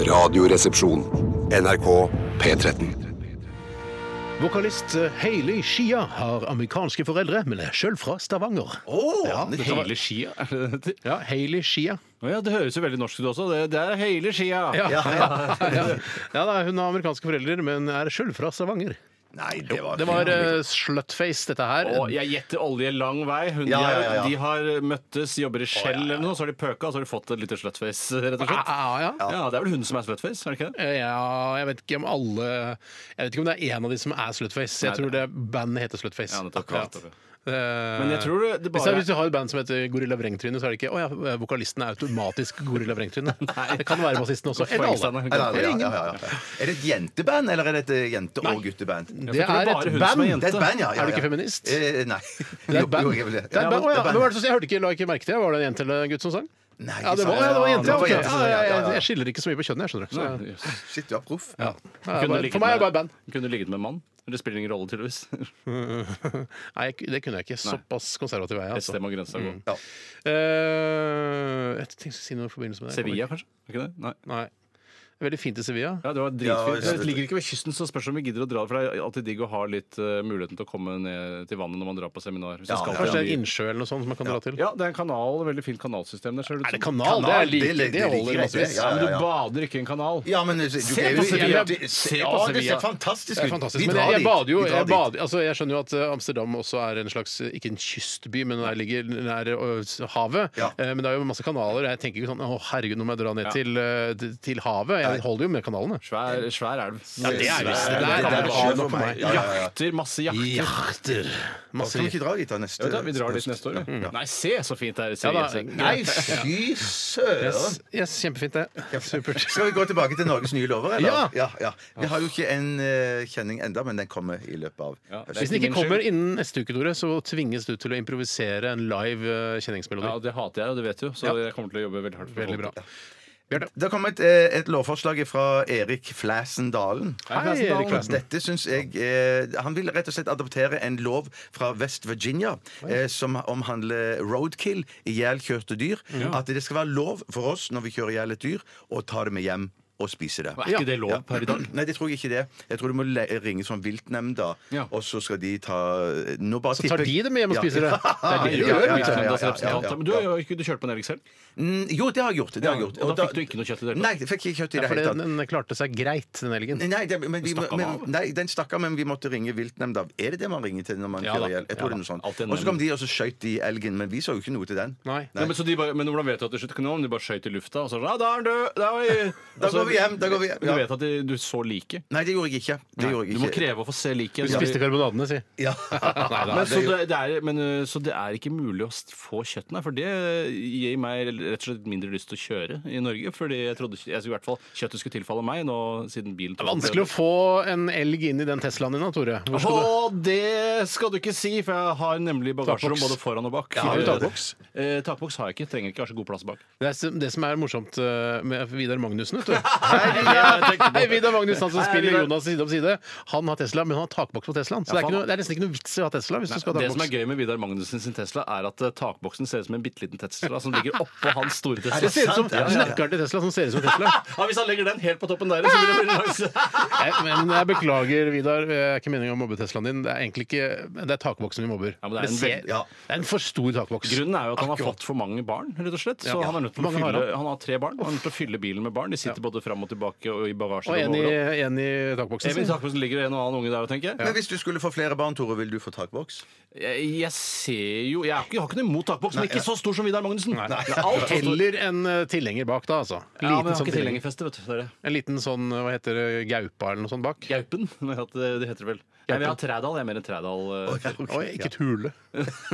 [SPEAKER 2] Radioresepsjon. NRK P13.
[SPEAKER 5] Vokalist eh, Hayley Shia har amerikanske foreldre, men er sjøl fra Stavanger.
[SPEAKER 6] Åh,
[SPEAKER 7] det.
[SPEAKER 6] nettopp.
[SPEAKER 7] Hele skia? er det det heter?
[SPEAKER 5] Ja, Hayley Shia.
[SPEAKER 7] Å Ja, det høres jo veldig norsk ut også. Det, det er hele skia!
[SPEAKER 5] Ja, ja,
[SPEAKER 6] Ja, ja.
[SPEAKER 5] da, hun har amerikanske foreldre, men er sjøl fra Stavanger.
[SPEAKER 6] Nei, det var
[SPEAKER 5] Det var eh, Slutface, dette her.
[SPEAKER 7] Og jeg gjetter olje lang vei. Hun,
[SPEAKER 6] Ja, ja, ja, ja.
[SPEAKER 7] De har møttes, jobber i Shell eller noe, så har de pøka, og så har de fått et lite slutface, rett og
[SPEAKER 6] Ah,
[SPEAKER 7] slett.
[SPEAKER 5] Ja, ja.
[SPEAKER 7] Ja, det er vel hun som er slutface, er det ikke det?
[SPEAKER 5] Eh, Ja, jeg vet ikke om alle Jeg vet ikke om det er en av de som er Slutface. Jeg
[SPEAKER 7] Nei,
[SPEAKER 5] tror det bandet heter Slutface.
[SPEAKER 7] Ja, nettopp,
[SPEAKER 5] Akkurat.
[SPEAKER 7] nettopp,
[SPEAKER 5] Eh,
[SPEAKER 7] Men jeg tror det- det bare-
[SPEAKER 5] hvis, jeg, hvis du har et band som heter Gorilla Vrengtryne, så er det ikke Å ja, vokalisten er automatisk Gorilla Vrengtryne.
[SPEAKER 7] Nei.
[SPEAKER 5] det kan være bassisten også. Eller alle.
[SPEAKER 6] Nei,
[SPEAKER 7] Poengsteiner.
[SPEAKER 6] nei,
[SPEAKER 5] Eller
[SPEAKER 6] ja,
[SPEAKER 5] ingen.
[SPEAKER 6] ja, ja, ja. Er det et jenteband, eller er det et eh, jente- og gutteband?
[SPEAKER 5] Det
[SPEAKER 7] tror
[SPEAKER 5] er
[SPEAKER 7] det er bare
[SPEAKER 5] et
[SPEAKER 7] hun som er
[SPEAKER 5] band.
[SPEAKER 7] jente.
[SPEAKER 6] Det er et band, ja. ja, ja.
[SPEAKER 5] Er du ikke feminist?
[SPEAKER 6] Eh, nei.
[SPEAKER 5] Det er et band.
[SPEAKER 6] Jo, jo, jeg vil det.
[SPEAKER 5] Det er et
[SPEAKER 6] Ja,
[SPEAKER 5] band. Å,
[SPEAKER 6] det
[SPEAKER 5] ja.
[SPEAKER 6] er
[SPEAKER 5] Hvem var det som- Jeg hørte ikke, la ikke merke til det. Var det en jente eller en gutt som sang?
[SPEAKER 6] Nei,
[SPEAKER 5] Ja, det
[SPEAKER 6] ikke
[SPEAKER 5] var, ja,
[SPEAKER 6] sant.
[SPEAKER 5] det var
[SPEAKER 6] Ja,
[SPEAKER 5] jente. Ja, ok.
[SPEAKER 6] det var jente,
[SPEAKER 5] ja,
[SPEAKER 6] ja,
[SPEAKER 5] jeg,
[SPEAKER 6] ja, ja.
[SPEAKER 5] jeg skiller ikke så mye på kjønn, jeg, skjønner du. Så,
[SPEAKER 7] Nei, jøss.
[SPEAKER 6] Shit, du er proff.
[SPEAKER 5] ja. Ja,
[SPEAKER 7] Kunne
[SPEAKER 5] bare-
[SPEAKER 7] ligget
[SPEAKER 5] For meg er det
[SPEAKER 7] med-
[SPEAKER 5] bare band. [laughs]
[SPEAKER 7] Kunne ligget med mann. Det spiller ingen rolle, tydeligvis.
[SPEAKER 5] Nei, jeg- det kunne jeg ikke. Såpass konservativ er jeg.
[SPEAKER 7] Et
[SPEAKER 5] Altså.
[SPEAKER 7] sted må grensa gå.
[SPEAKER 5] Eh, jeg tenkte jeg skulle si noe i forbindelse med det.
[SPEAKER 7] Sevilla, kanskje? Er ikke det? Nei.
[SPEAKER 5] Nei. Veldig fint i Sevilla.
[SPEAKER 7] Ja, det var
[SPEAKER 6] Ja,
[SPEAKER 7] dritfint.
[SPEAKER 6] jeg-
[SPEAKER 7] det ligger ikke ved kysten, så spørs om vi gidder å dra. For det er alltid digg å ha litt eh, muligheten til å komme ned til vannet når man drar på seminar. Hvis man skal til
[SPEAKER 5] Kanskje det er en
[SPEAKER 7] en by.
[SPEAKER 5] innsjø eller noe sånt som man kan dra til?
[SPEAKER 7] ja, det er en kanal. Veldig fint kanalsystem der. ser det ut
[SPEAKER 5] Er det
[SPEAKER 7] som.
[SPEAKER 5] kanal? Det er like,
[SPEAKER 6] Kanal, det-
[SPEAKER 5] det,
[SPEAKER 6] det liker
[SPEAKER 5] holder
[SPEAKER 6] jeg,
[SPEAKER 5] massevis.
[SPEAKER 6] ja,
[SPEAKER 7] Ja,
[SPEAKER 6] ja.
[SPEAKER 7] men du bader ikke i en kanal.
[SPEAKER 6] Ja, men eh, du,
[SPEAKER 7] Se på Sevilla. Se på
[SPEAKER 6] Å, det
[SPEAKER 7] Sevilla.
[SPEAKER 6] ser fantastisk ut!
[SPEAKER 5] Det er fantastisk.
[SPEAKER 6] Vi
[SPEAKER 5] Men
[SPEAKER 6] drar
[SPEAKER 5] jeg, jeg
[SPEAKER 6] dit.
[SPEAKER 5] bader jo
[SPEAKER 6] Vi drar
[SPEAKER 5] jeg,
[SPEAKER 6] dit.
[SPEAKER 5] bader, altså, jeg skjønner jo at eh, Amsterdam også er en slags eh, ikke en kystby, men der ligger nær eh, havet.
[SPEAKER 6] Ja.
[SPEAKER 5] Eh, Men det er jo masse kanaler. og Jeg tenker ikke sånn å herregud, nå må jeg dra ned til, eh, til- til havet. Jeg holder jo med kanalene.
[SPEAKER 7] Svær, svær elv.
[SPEAKER 5] Ja, det er visst.
[SPEAKER 6] Det
[SPEAKER 5] Det er
[SPEAKER 6] er- det er sjø
[SPEAKER 5] kanalen
[SPEAKER 6] for
[SPEAKER 5] for
[SPEAKER 6] meg.
[SPEAKER 5] meg.
[SPEAKER 6] Ja, ja, ja.
[SPEAKER 7] Jakter, masse jakter.
[SPEAKER 5] Jakter.
[SPEAKER 6] Kan vi
[SPEAKER 5] Masse
[SPEAKER 6] ikke dra dit da neste
[SPEAKER 7] Ja, da, vi drar dit neste år.
[SPEAKER 5] Mm.
[SPEAKER 7] ja. Nei, se så fint det er i
[SPEAKER 5] Ja, da.
[SPEAKER 7] Sevilla.
[SPEAKER 6] Nei, fy søren!
[SPEAKER 5] yes, yes, kjempefint det. Supert.
[SPEAKER 6] Skal vi gå tilbake til Norges nye lover, eller?
[SPEAKER 5] Ja.
[SPEAKER 6] ja, ja. Vi har jo ikke en eh, kjenning enda, men den kommer i løpet av
[SPEAKER 7] Ja, det er
[SPEAKER 5] Hvis
[SPEAKER 6] høsten.
[SPEAKER 5] den ikke
[SPEAKER 7] Min
[SPEAKER 5] kommer
[SPEAKER 7] skyld.
[SPEAKER 5] innen neste uke, Tore, så tvinges du til å improvisere en live eh, kjenningsmelodi.
[SPEAKER 7] Ja, det hater jeg, og det vet du, så jeg kommer til å jobbe veldig hardt. for å
[SPEAKER 5] Veldig
[SPEAKER 7] få
[SPEAKER 5] bra.
[SPEAKER 7] det.
[SPEAKER 6] Det har kommet eh, et lovforslag fra Erik Flæsen Dalen.
[SPEAKER 5] Hei, Erik Klassen.
[SPEAKER 6] Dette syns jeg eh, Han vil rett og slett adoptere en lov fra West Virginia eh, som omhandler roadkill, ihjelkjørte dyr. At det skal være lov for oss når vi kjører i hjel et dyr, å ta det med hjem og spise det.
[SPEAKER 7] Er ikke det lov per i dag?
[SPEAKER 6] [clears throat] Nei, det tror jeg ikke det. Jeg tror du må le ringe sånn viltnemnda,
[SPEAKER 7] Ja.
[SPEAKER 6] og så skal de ta eh, nå bare
[SPEAKER 5] Så tar
[SPEAKER 6] tipper-
[SPEAKER 5] de dem hjem og spiser det. Det er
[SPEAKER 7] Nei,
[SPEAKER 5] det
[SPEAKER 7] det
[SPEAKER 5] de
[SPEAKER 7] gjør
[SPEAKER 5] gjør.
[SPEAKER 7] jeg
[SPEAKER 5] vet du.
[SPEAKER 7] ikke,
[SPEAKER 6] ja, ja,
[SPEAKER 7] nemndas
[SPEAKER 6] ja, ja,
[SPEAKER 7] representant.
[SPEAKER 6] ja.
[SPEAKER 7] Men du har jo ikke du kjørt på en elg selv?
[SPEAKER 6] Mm, Jo, det har jeg gjort. Det har jeg
[SPEAKER 7] Ja,
[SPEAKER 6] gjort.
[SPEAKER 7] og da fikk du ikke noe kjøtt i det hele tatt?
[SPEAKER 6] Nei, jeg fikk ikke kjøtt i det
[SPEAKER 5] For
[SPEAKER 6] hele tatt.
[SPEAKER 5] den klarte seg greit, den elgen.
[SPEAKER 6] Nei, det, men vi,
[SPEAKER 7] Stakk han
[SPEAKER 6] men,
[SPEAKER 7] av?
[SPEAKER 6] nei, den stakk av, men vi måtte ringe viltnemnda. Er det det man ringer til når man
[SPEAKER 7] Ja da,
[SPEAKER 6] kjører ihjel? Jeg
[SPEAKER 7] ja
[SPEAKER 6] tror
[SPEAKER 7] da.
[SPEAKER 6] det er noe sånt.
[SPEAKER 7] Alltid en
[SPEAKER 6] Og så kom de og så skjøt de elgen, men vi så jo ikke noe til den.
[SPEAKER 5] Nei.
[SPEAKER 7] Ja, men, så de bare, men hvordan vet du at de skjøt kanon? De bare skjøt i lufta, og så sånn, ja, da er han død! Da er vi,
[SPEAKER 6] Da
[SPEAKER 7] altså,
[SPEAKER 6] går vi hjem! Da går vi hjem.
[SPEAKER 7] Du
[SPEAKER 6] Ja.
[SPEAKER 7] vet at de- du så liket?
[SPEAKER 6] Nei, det gjorde jeg ikke. Det gjorde jeg
[SPEAKER 7] Du må
[SPEAKER 6] ikke.
[SPEAKER 7] kreve å få se liket.
[SPEAKER 5] Du spiste karbonadene, si.
[SPEAKER 6] Ja.
[SPEAKER 7] [laughs]
[SPEAKER 6] [laughs]
[SPEAKER 5] da,
[SPEAKER 7] Men, så,
[SPEAKER 6] det-
[SPEAKER 7] det, det er, men øh, så det er ikke mulig å st- få kjøtt, nei. For det gir meg rett og slett mindre lyst til å kjøre i Norge. Fordi jeg trodde ikke- jeg, skulle i hvert fall kjøttet skulle tilfalle meg nå siden bilen
[SPEAKER 5] Det er vanskelig å få en elg inn i den Teslaen din, da, Tore. Hvor skal du?
[SPEAKER 7] Å, det skal du ikke si, for jeg har nemlig bagasjerom
[SPEAKER 5] Takboks.
[SPEAKER 7] både foran og bak.
[SPEAKER 5] har du takboks?
[SPEAKER 7] Eh, takboks har jeg ikke. Trenger ikke, jeg har så god plass bak.
[SPEAKER 5] Det, er, s- det som er morsomt eh, med Vidar Magnussen,
[SPEAKER 7] [laughs]
[SPEAKER 5] vet du.
[SPEAKER 7] jeg tenkte på.
[SPEAKER 5] Hei, Vidar Magnussen, han som
[SPEAKER 7] Hei,
[SPEAKER 5] spiller
[SPEAKER 7] Vidar.
[SPEAKER 5] Jonas side om side. Han har Tesla, men han har takboks på Teslaen. Så det er, ikke noe, det er nesten ikke noe vits i å ha Tesla hvis du skal ha
[SPEAKER 7] Det som er
[SPEAKER 5] takboks.
[SPEAKER 7] gøy med Vidar Magnussen sin Tesla, er at eh, takboksen ser ut som en bitte liten Tesla som ligger oppå hans store Tesla.
[SPEAKER 5] [laughs] Det ser ut som
[SPEAKER 7] Sant, ja, ja, ja.
[SPEAKER 5] nøkkelen til Tesla som ser ut som
[SPEAKER 7] [laughs]
[SPEAKER 5] Tesla.
[SPEAKER 7] Ja, hvis han legger den helt på toppen der, så blir det
[SPEAKER 5] [laughs]
[SPEAKER 7] langs.
[SPEAKER 5] Jeg, men jeg beklager, Vidar. Jeg er ikke meningen å mobbe Teslaen din. Det er egentlig ikke Det er takboksen vi mobber.
[SPEAKER 7] Ja, men det er en
[SPEAKER 5] ser-
[SPEAKER 7] veld-
[SPEAKER 6] ja.
[SPEAKER 5] det er en for stor takboks.
[SPEAKER 7] Grunnen er jo at han har
[SPEAKER 5] Akkurat.
[SPEAKER 7] fått for mange barn, rett og slett. Så
[SPEAKER 5] Ja.
[SPEAKER 7] han er nødt til
[SPEAKER 5] Hvor
[SPEAKER 7] å
[SPEAKER 5] mange har
[SPEAKER 7] fylle
[SPEAKER 5] han?
[SPEAKER 7] Han har tre barn. Han er nødt til å fylle bilen med barn. De sitter både fram og tilbake og i bagasjen.
[SPEAKER 5] Og en i,
[SPEAKER 7] overalt.
[SPEAKER 5] en i takboksen.
[SPEAKER 7] Even
[SPEAKER 5] sin.
[SPEAKER 7] Takbussen ligger det en og annen unge der, tenker jeg.
[SPEAKER 6] Men hvis du skulle få flere barn, Tore, vil du få takboks?
[SPEAKER 7] Jeg, jeg ser jo Jeg, har ikke- jeg har ikke noe imot takboks, men ikke så stor som Vidar Magnussen. Nei. Det er alt for stor.
[SPEAKER 5] Eller en eh, tilhenger bak, da, altså.
[SPEAKER 7] Ja, men jeg har
[SPEAKER 5] sånn
[SPEAKER 7] ikke
[SPEAKER 5] tilhenger.
[SPEAKER 7] tilhengerfeste, vet du. Det er det.
[SPEAKER 5] En liten sånn, hva heter det, gaupa eller noe sånt bak.
[SPEAKER 7] Gaupen, [laughs] men at det det heter det vel. Nei, men jeg har Trædal. Jeg er mer en Trædal. eh,
[SPEAKER 5] Oi, ikke et hule.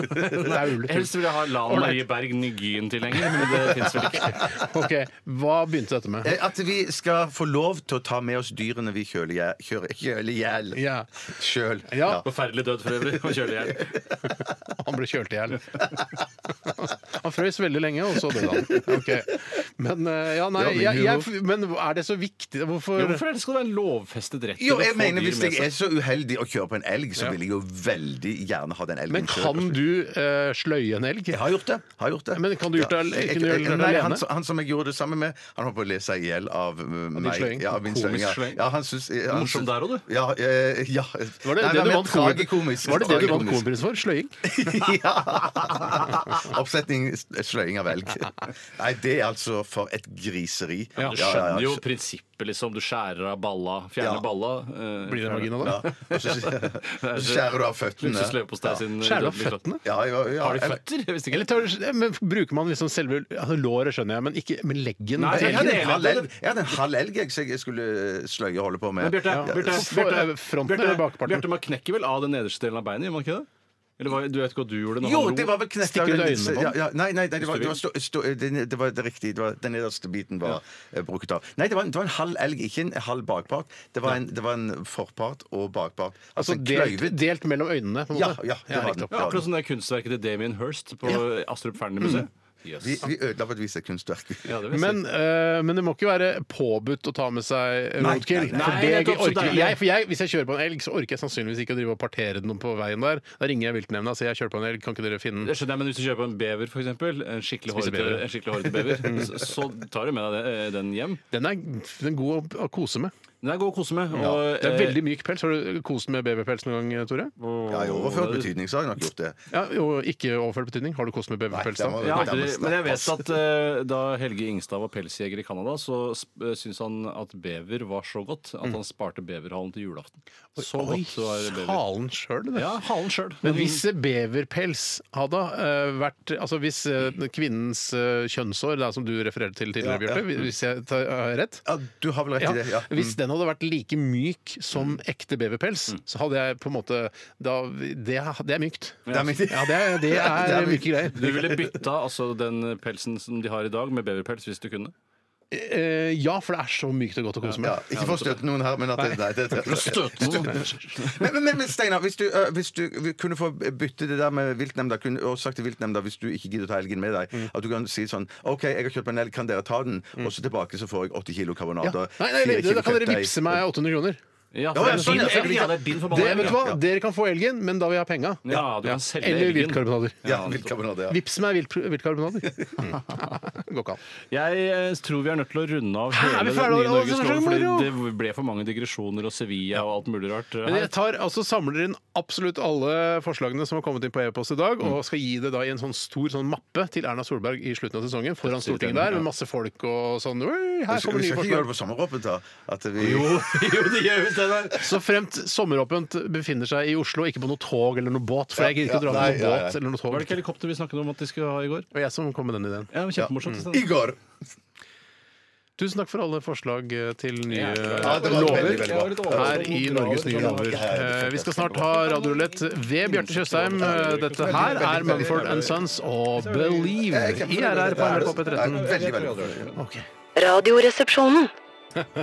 [SPEAKER 5] Raule
[SPEAKER 7] Helst vil jeg ha Lan Marie Berg Nygyen-tilhenger, men det fins vel ikke.
[SPEAKER 5] [laughs] Ok, Hva begynte dette med?
[SPEAKER 6] Eh, At vi skal få lov til å ta med oss dyrene vi kjøler jæ- kjører- kjøler ihjel.
[SPEAKER 5] Ja,
[SPEAKER 6] Sjøl.
[SPEAKER 5] ja
[SPEAKER 7] Forferdelig død for øvrig. Og kjøler [laughs] jeg.
[SPEAKER 5] [laughs] Han ble kjølt i hjel. [laughs] Han frøys veldig lenge, og så døde han. Ok. Men, eh, ja, nei,
[SPEAKER 6] Det var min
[SPEAKER 5] jeg, jeg, men er det så viktig? Hvorfor
[SPEAKER 7] Ja, hvorfor er det skal det være en lovfestet rett til
[SPEAKER 6] Jo,
[SPEAKER 7] å
[SPEAKER 6] jeg
[SPEAKER 7] få
[SPEAKER 6] mener
[SPEAKER 7] dyr
[SPEAKER 6] Hvis
[SPEAKER 7] med
[SPEAKER 6] jeg
[SPEAKER 7] seg?
[SPEAKER 6] er så uheldig å kjøre på en elg, så vil jeg jo veldig gjerne ha den elgen.
[SPEAKER 5] Men
[SPEAKER 6] selv.
[SPEAKER 5] kan du eh, sløye en elg?
[SPEAKER 6] Jeg har gjort det. har gjort det.
[SPEAKER 5] Men kan du gjort det al-
[SPEAKER 6] Ja, jeg-
[SPEAKER 5] kunne du gjort det
[SPEAKER 6] nei,
[SPEAKER 5] alene?
[SPEAKER 6] Han, som- han som jeg gjorde det sammen med, han holdt på å le seg i hjel av uh, meg.
[SPEAKER 5] sløying?
[SPEAKER 6] Ja, av min
[SPEAKER 7] Komisk
[SPEAKER 6] sløying, ja.
[SPEAKER 7] sløying?
[SPEAKER 6] Ja, han syns- han
[SPEAKER 7] Morsom
[SPEAKER 6] syns-
[SPEAKER 7] der også, du.
[SPEAKER 6] Ja. eh, ja.
[SPEAKER 5] Var det
[SPEAKER 6] Nei,
[SPEAKER 5] det
[SPEAKER 6] men
[SPEAKER 5] du vant Coen-
[SPEAKER 6] tragikomisk.
[SPEAKER 5] Var det det du vant
[SPEAKER 6] Tragikomisk.
[SPEAKER 5] Kobrisen for? Sløying?
[SPEAKER 6] ja. Oppsetning sløying av elg. Nei, det er altså for et griseri.
[SPEAKER 7] Ja, du skjønner jo prinsippet, liksom. Du skjærer av balla, fjerner
[SPEAKER 6] Ja.
[SPEAKER 7] balla. eh,
[SPEAKER 5] Blir det vagina
[SPEAKER 6] Ja.
[SPEAKER 5] da?
[SPEAKER 6] Og så så skjærer du av føttene.
[SPEAKER 7] Luksusløpostei sin
[SPEAKER 5] Skjærer du av
[SPEAKER 7] dødelige kraft.
[SPEAKER 5] føttene?
[SPEAKER 6] Ja, ja, ja.
[SPEAKER 7] Har de føtter? Jeg visste
[SPEAKER 5] Eller
[SPEAKER 7] ikke.
[SPEAKER 5] tar, du- men bruker man liksom selve altså, Låret skjønner jeg, men ikke med leggen?
[SPEAKER 7] Nei,
[SPEAKER 5] på
[SPEAKER 6] Jeg
[SPEAKER 7] det er
[SPEAKER 5] elgen?
[SPEAKER 6] hadde en halv elg, jeg hadde en halv elg jeg, så jeg skulle sløye og holde på med.
[SPEAKER 7] Men Bjarte,
[SPEAKER 5] Ja.
[SPEAKER 7] Bjarte,
[SPEAKER 5] Så får-
[SPEAKER 7] Bjarte,
[SPEAKER 5] fronten
[SPEAKER 7] Bjarte,
[SPEAKER 5] eller bakparten?
[SPEAKER 7] Bjarte, man knekker vel av den nederste delen av beinet, gjør man ikke det? Eller hva, du vet ikke hva du gjorde når
[SPEAKER 6] Jo,
[SPEAKER 7] han
[SPEAKER 6] det var vel knekt
[SPEAKER 5] Stikker du
[SPEAKER 6] av den-
[SPEAKER 5] øynene på den?
[SPEAKER 6] Ja, ja, nei, nei, nei, det var, det var, stå, stå, det, det var det riktige. Det var, den nederste biten var eh, brukt av. Nei, det var, en- det var en halv elg, ikke en halv bakpart. Det var en, det var en forpart og bakpart.
[SPEAKER 5] Altså
[SPEAKER 6] Altså,
[SPEAKER 5] delt,
[SPEAKER 6] kløyvet.
[SPEAKER 5] delt mellom øynene? På en
[SPEAKER 6] Ja,
[SPEAKER 5] måte.
[SPEAKER 6] ja, det var
[SPEAKER 5] riktig.
[SPEAKER 6] den.
[SPEAKER 7] Ja, akkurat som det kunstverket til Damien Hirst på Astrup Fearnley-museet. Yes.
[SPEAKER 6] Vi, vi ødela på et vis et kunstverk.
[SPEAKER 7] Ja, det vil jeg si.
[SPEAKER 5] Mm. Men, eh, men det må ikke være påbudt å ta med seg roadkill.
[SPEAKER 6] nei, nei.
[SPEAKER 5] For,
[SPEAKER 7] Nei,
[SPEAKER 5] det
[SPEAKER 7] nettopp, så
[SPEAKER 5] orker,
[SPEAKER 7] deilig.
[SPEAKER 5] jeg, for jeg, hvis jeg kjører på en elg, så orker jeg sannsynligvis ikke å drive og partere den på veien der. Da ringer jeg viltnemnda og sier jeg kjører på en elg, kan ikke dere finne
[SPEAKER 7] Det
[SPEAKER 5] den?
[SPEAKER 7] skjønner jeg, men Hvis du kjøper en bever, for eksempel, en skikkelig
[SPEAKER 5] Spiser
[SPEAKER 7] hårete
[SPEAKER 5] bever. Mm.
[SPEAKER 7] en skikkelig hårete bever, så- så tar du med deg det- eh, den hjem.
[SPEAKER 5] Den er, den er god å, å kose med.
[SPEAKER 7] Den er god å kose med. Og,
[SPEAKER 5] Det er
[SPEAKER 7] eh,
[SPEAKER 5] veldig myk pels. Har du kost med beverpels noen gang, Tore?
[SPEAKER 6] Ja, I overført betydning så har jeg nok gjort det.
[SPEAKER 5] Ja, og ikke overført betydning. Har du kost med beverpels
[SPEAKER 6] Nei, det
[SPEAKER 5] da?
[SPEAKER 6] var-
[SPEAKER 7] Jeg har aldri,
[SPEAKER 6] Nærmest,
[SPEAKER 7] men jeg vet
[SPEAKER 6] nærmest.
[SPEAKER 7] at eh, da Helge Ingstad var pelsjeger i Canada, så sp- eh, syntes han at bever var så godt at han sparte beverhalen til julaften. Så
[SPEAKER 5] Mm. Oi,
[SPEAKER 7] godt var bever.
[SPEAKER 5] halen sjøl, det.
[SPEAKER 7] Ja, halen sjøl.
[SPEAKER 5] Men hvis beverpels hadde eh, vært Altså hvis eh, kvinnens eh, kjønnsår, da, som du refererte til tidligere, Bjarte, hvis jeg tar har jeg rett
[SPEAKER 6] Ja, du har vel rett
[SPEAKER 5] ja.
[SPEAKER 6] i det. Mm. Ja. Mm.
[SPEAKER 5] Hvis den hadde vært like myk som ekte beverpels, så hadde jeg på en måte da, det, det er mykt.
[SPEAKER 6] Det er mitt-
[SPEAKER 5] Ja, det er,
[SPEAKER 6] [laughs]
[SPEAKER 5] det er,
[SPEAKER 6] Det er mykt.
[SPEAKER 5] myke greier.
[SPEAKER 7] Du ville bytta altså, den pelsen som de har i dag, med beverpels hvis du kunne?
[SPEAKER 5] Eh, ja, for det er så mykt og godt å kose med.
[SPEAKER 6] Mm. Ja, ikke for å støte noen her, men at det, nei, det, det, Men, men, men Steinar, hvis du, ø, hvis du kunne få bytte det der med viltnemnda kunne- og sagt til viltnemnda hvis du ikke gidder å ta elgen med deg,
[SPEAKER 5] Mm.
[SPEAKER 6] at du kan si sånn OK, jeg har kjøpt meg en elg, kan dere ta den? Og så tilbake så får jeg 80 kilo
[SPEAKER 5] Ja.
[SPEAKER 6] karbonader.
[SPEAKER 5] Nei, nei, nei, da kan dere vippse meg 800 kroner.
[SPEAKER 7] Ja,
[SPEAKER 6] Ja,
[SPEAKER 7] for det er
[SPEAKER 6] sånn,
[SPEAKER 7] din
[SPEAKER 6] ja,
[SPEAKER 7] elg, ja.
[SPEAKER 6] ja.
[SPEAKER 7] Det er din
[SPEAKER 5] Det,
[SPEAKER 7] forbanna
[SPEAKER 5] vet
[SPEAKER 7] elg.
[SPEAKER 5] du hva? Dere kan få elgen, men da vil jeg ha penga.
[SPEAKER 7] Ja, du kan selge
[SPEAKER 5] Eller
[SPEAKER 7] elgen.
[SPEAKER 5] viltkarbonader.
[SPEAKER 6] Ja, viltkarbonader. Ja.
[SPEAKER 5] Vips meg vilt- viltkarbonader.
[SPEAKER 6] [laughs]
[SPEAKER 5] Mm. Går ikke an.
[SPEAKER 7] Jeg eh, tror vi er nødt til å runde av
[SPEAKER 5] Hæ, er vi
[SPEAKER 7] hele
[SPEAKER 5] ferdige? Å, det
[SPEAKER 7] den nye
[SPEAKER 5] er så
[SPEAKER 7] Norgesloven,
[SPEAKER 5] moro!
[SPEAKER 7] fordi det ble for mange digresjoner og Sevilla og alt mulig rart.
[SPEAKER 5] Men
[SPEAKER 7] Her.
[SPEAKER 5] jeg tar, altså, samler inn absolutt alle forslagene som har kommet inn på e-post i dag,
[SPEAKER 6] Mm.
[SPEAKER 5] og skal gi det da i en sånn stor sånn mappe til Erna Solberg i slutten av sesongen foran Stortinget der, med masse folk og sånn. «Oi,
[SPEAKER 6] Vi
[SPEAKER 5] Her
[SPEAKER 6] skal
[SPEAKER 5] kommer
[SPEAKER 6] vi
[SPEAKER 5] nye
[SPEAKER 6] skal ikke gjøre
[SPEAKER 5] forslag.
[SPEAKER 6] det på sommeråpent, da? At vi
[SPEAKER 7] [laughs] Jo, jo, det gjør vi det der.
[SPEAKER 5] Så fremt sommeråpent befinner seg i Oslo, ikke på noe tog eller noe båt, for jeg gidder ikke å dra
[SPEAKER 6] Ja, ja,
[SPEAKER 5] med
[SPEAKER 6] nei,
[SPEAKER 5] noe
[SPEAKER 6] ja, ja.
[SPEAKER 5] båt eller noe
[SPEAKER 7] Var det ikke
[SPEAKER 5] tog.
[SPEAKER 7] helikopter vi snakket om at de skulle ha i går? Mm.
[SPEAKER 5] Og jeg som kom med den ideen.
[SPEAKER 7] Ja, kjempemorsomt.
[SPEAKER 6] Igor!
[SPEAKER 5] Tusen takk for alle forslag eh, til nye
[SPEAKER 7] Ja,
[SPEAKER 6] Ja, det var
[SPEAKER 5] lover
[SPEAKER 6] veldig, veldig bra.
[SPEAKER 5] her i Norges nye lover. Eh, Vi skal snart ha radiorulett ved Bjarte Tjøstheim. Eh, Dette her er Mumford and Sons og Believe i RR på NRK P13.
[SPEAKER 6] Veldig, veldig bra.
[SPEAKER 8] Radioresepsjonen.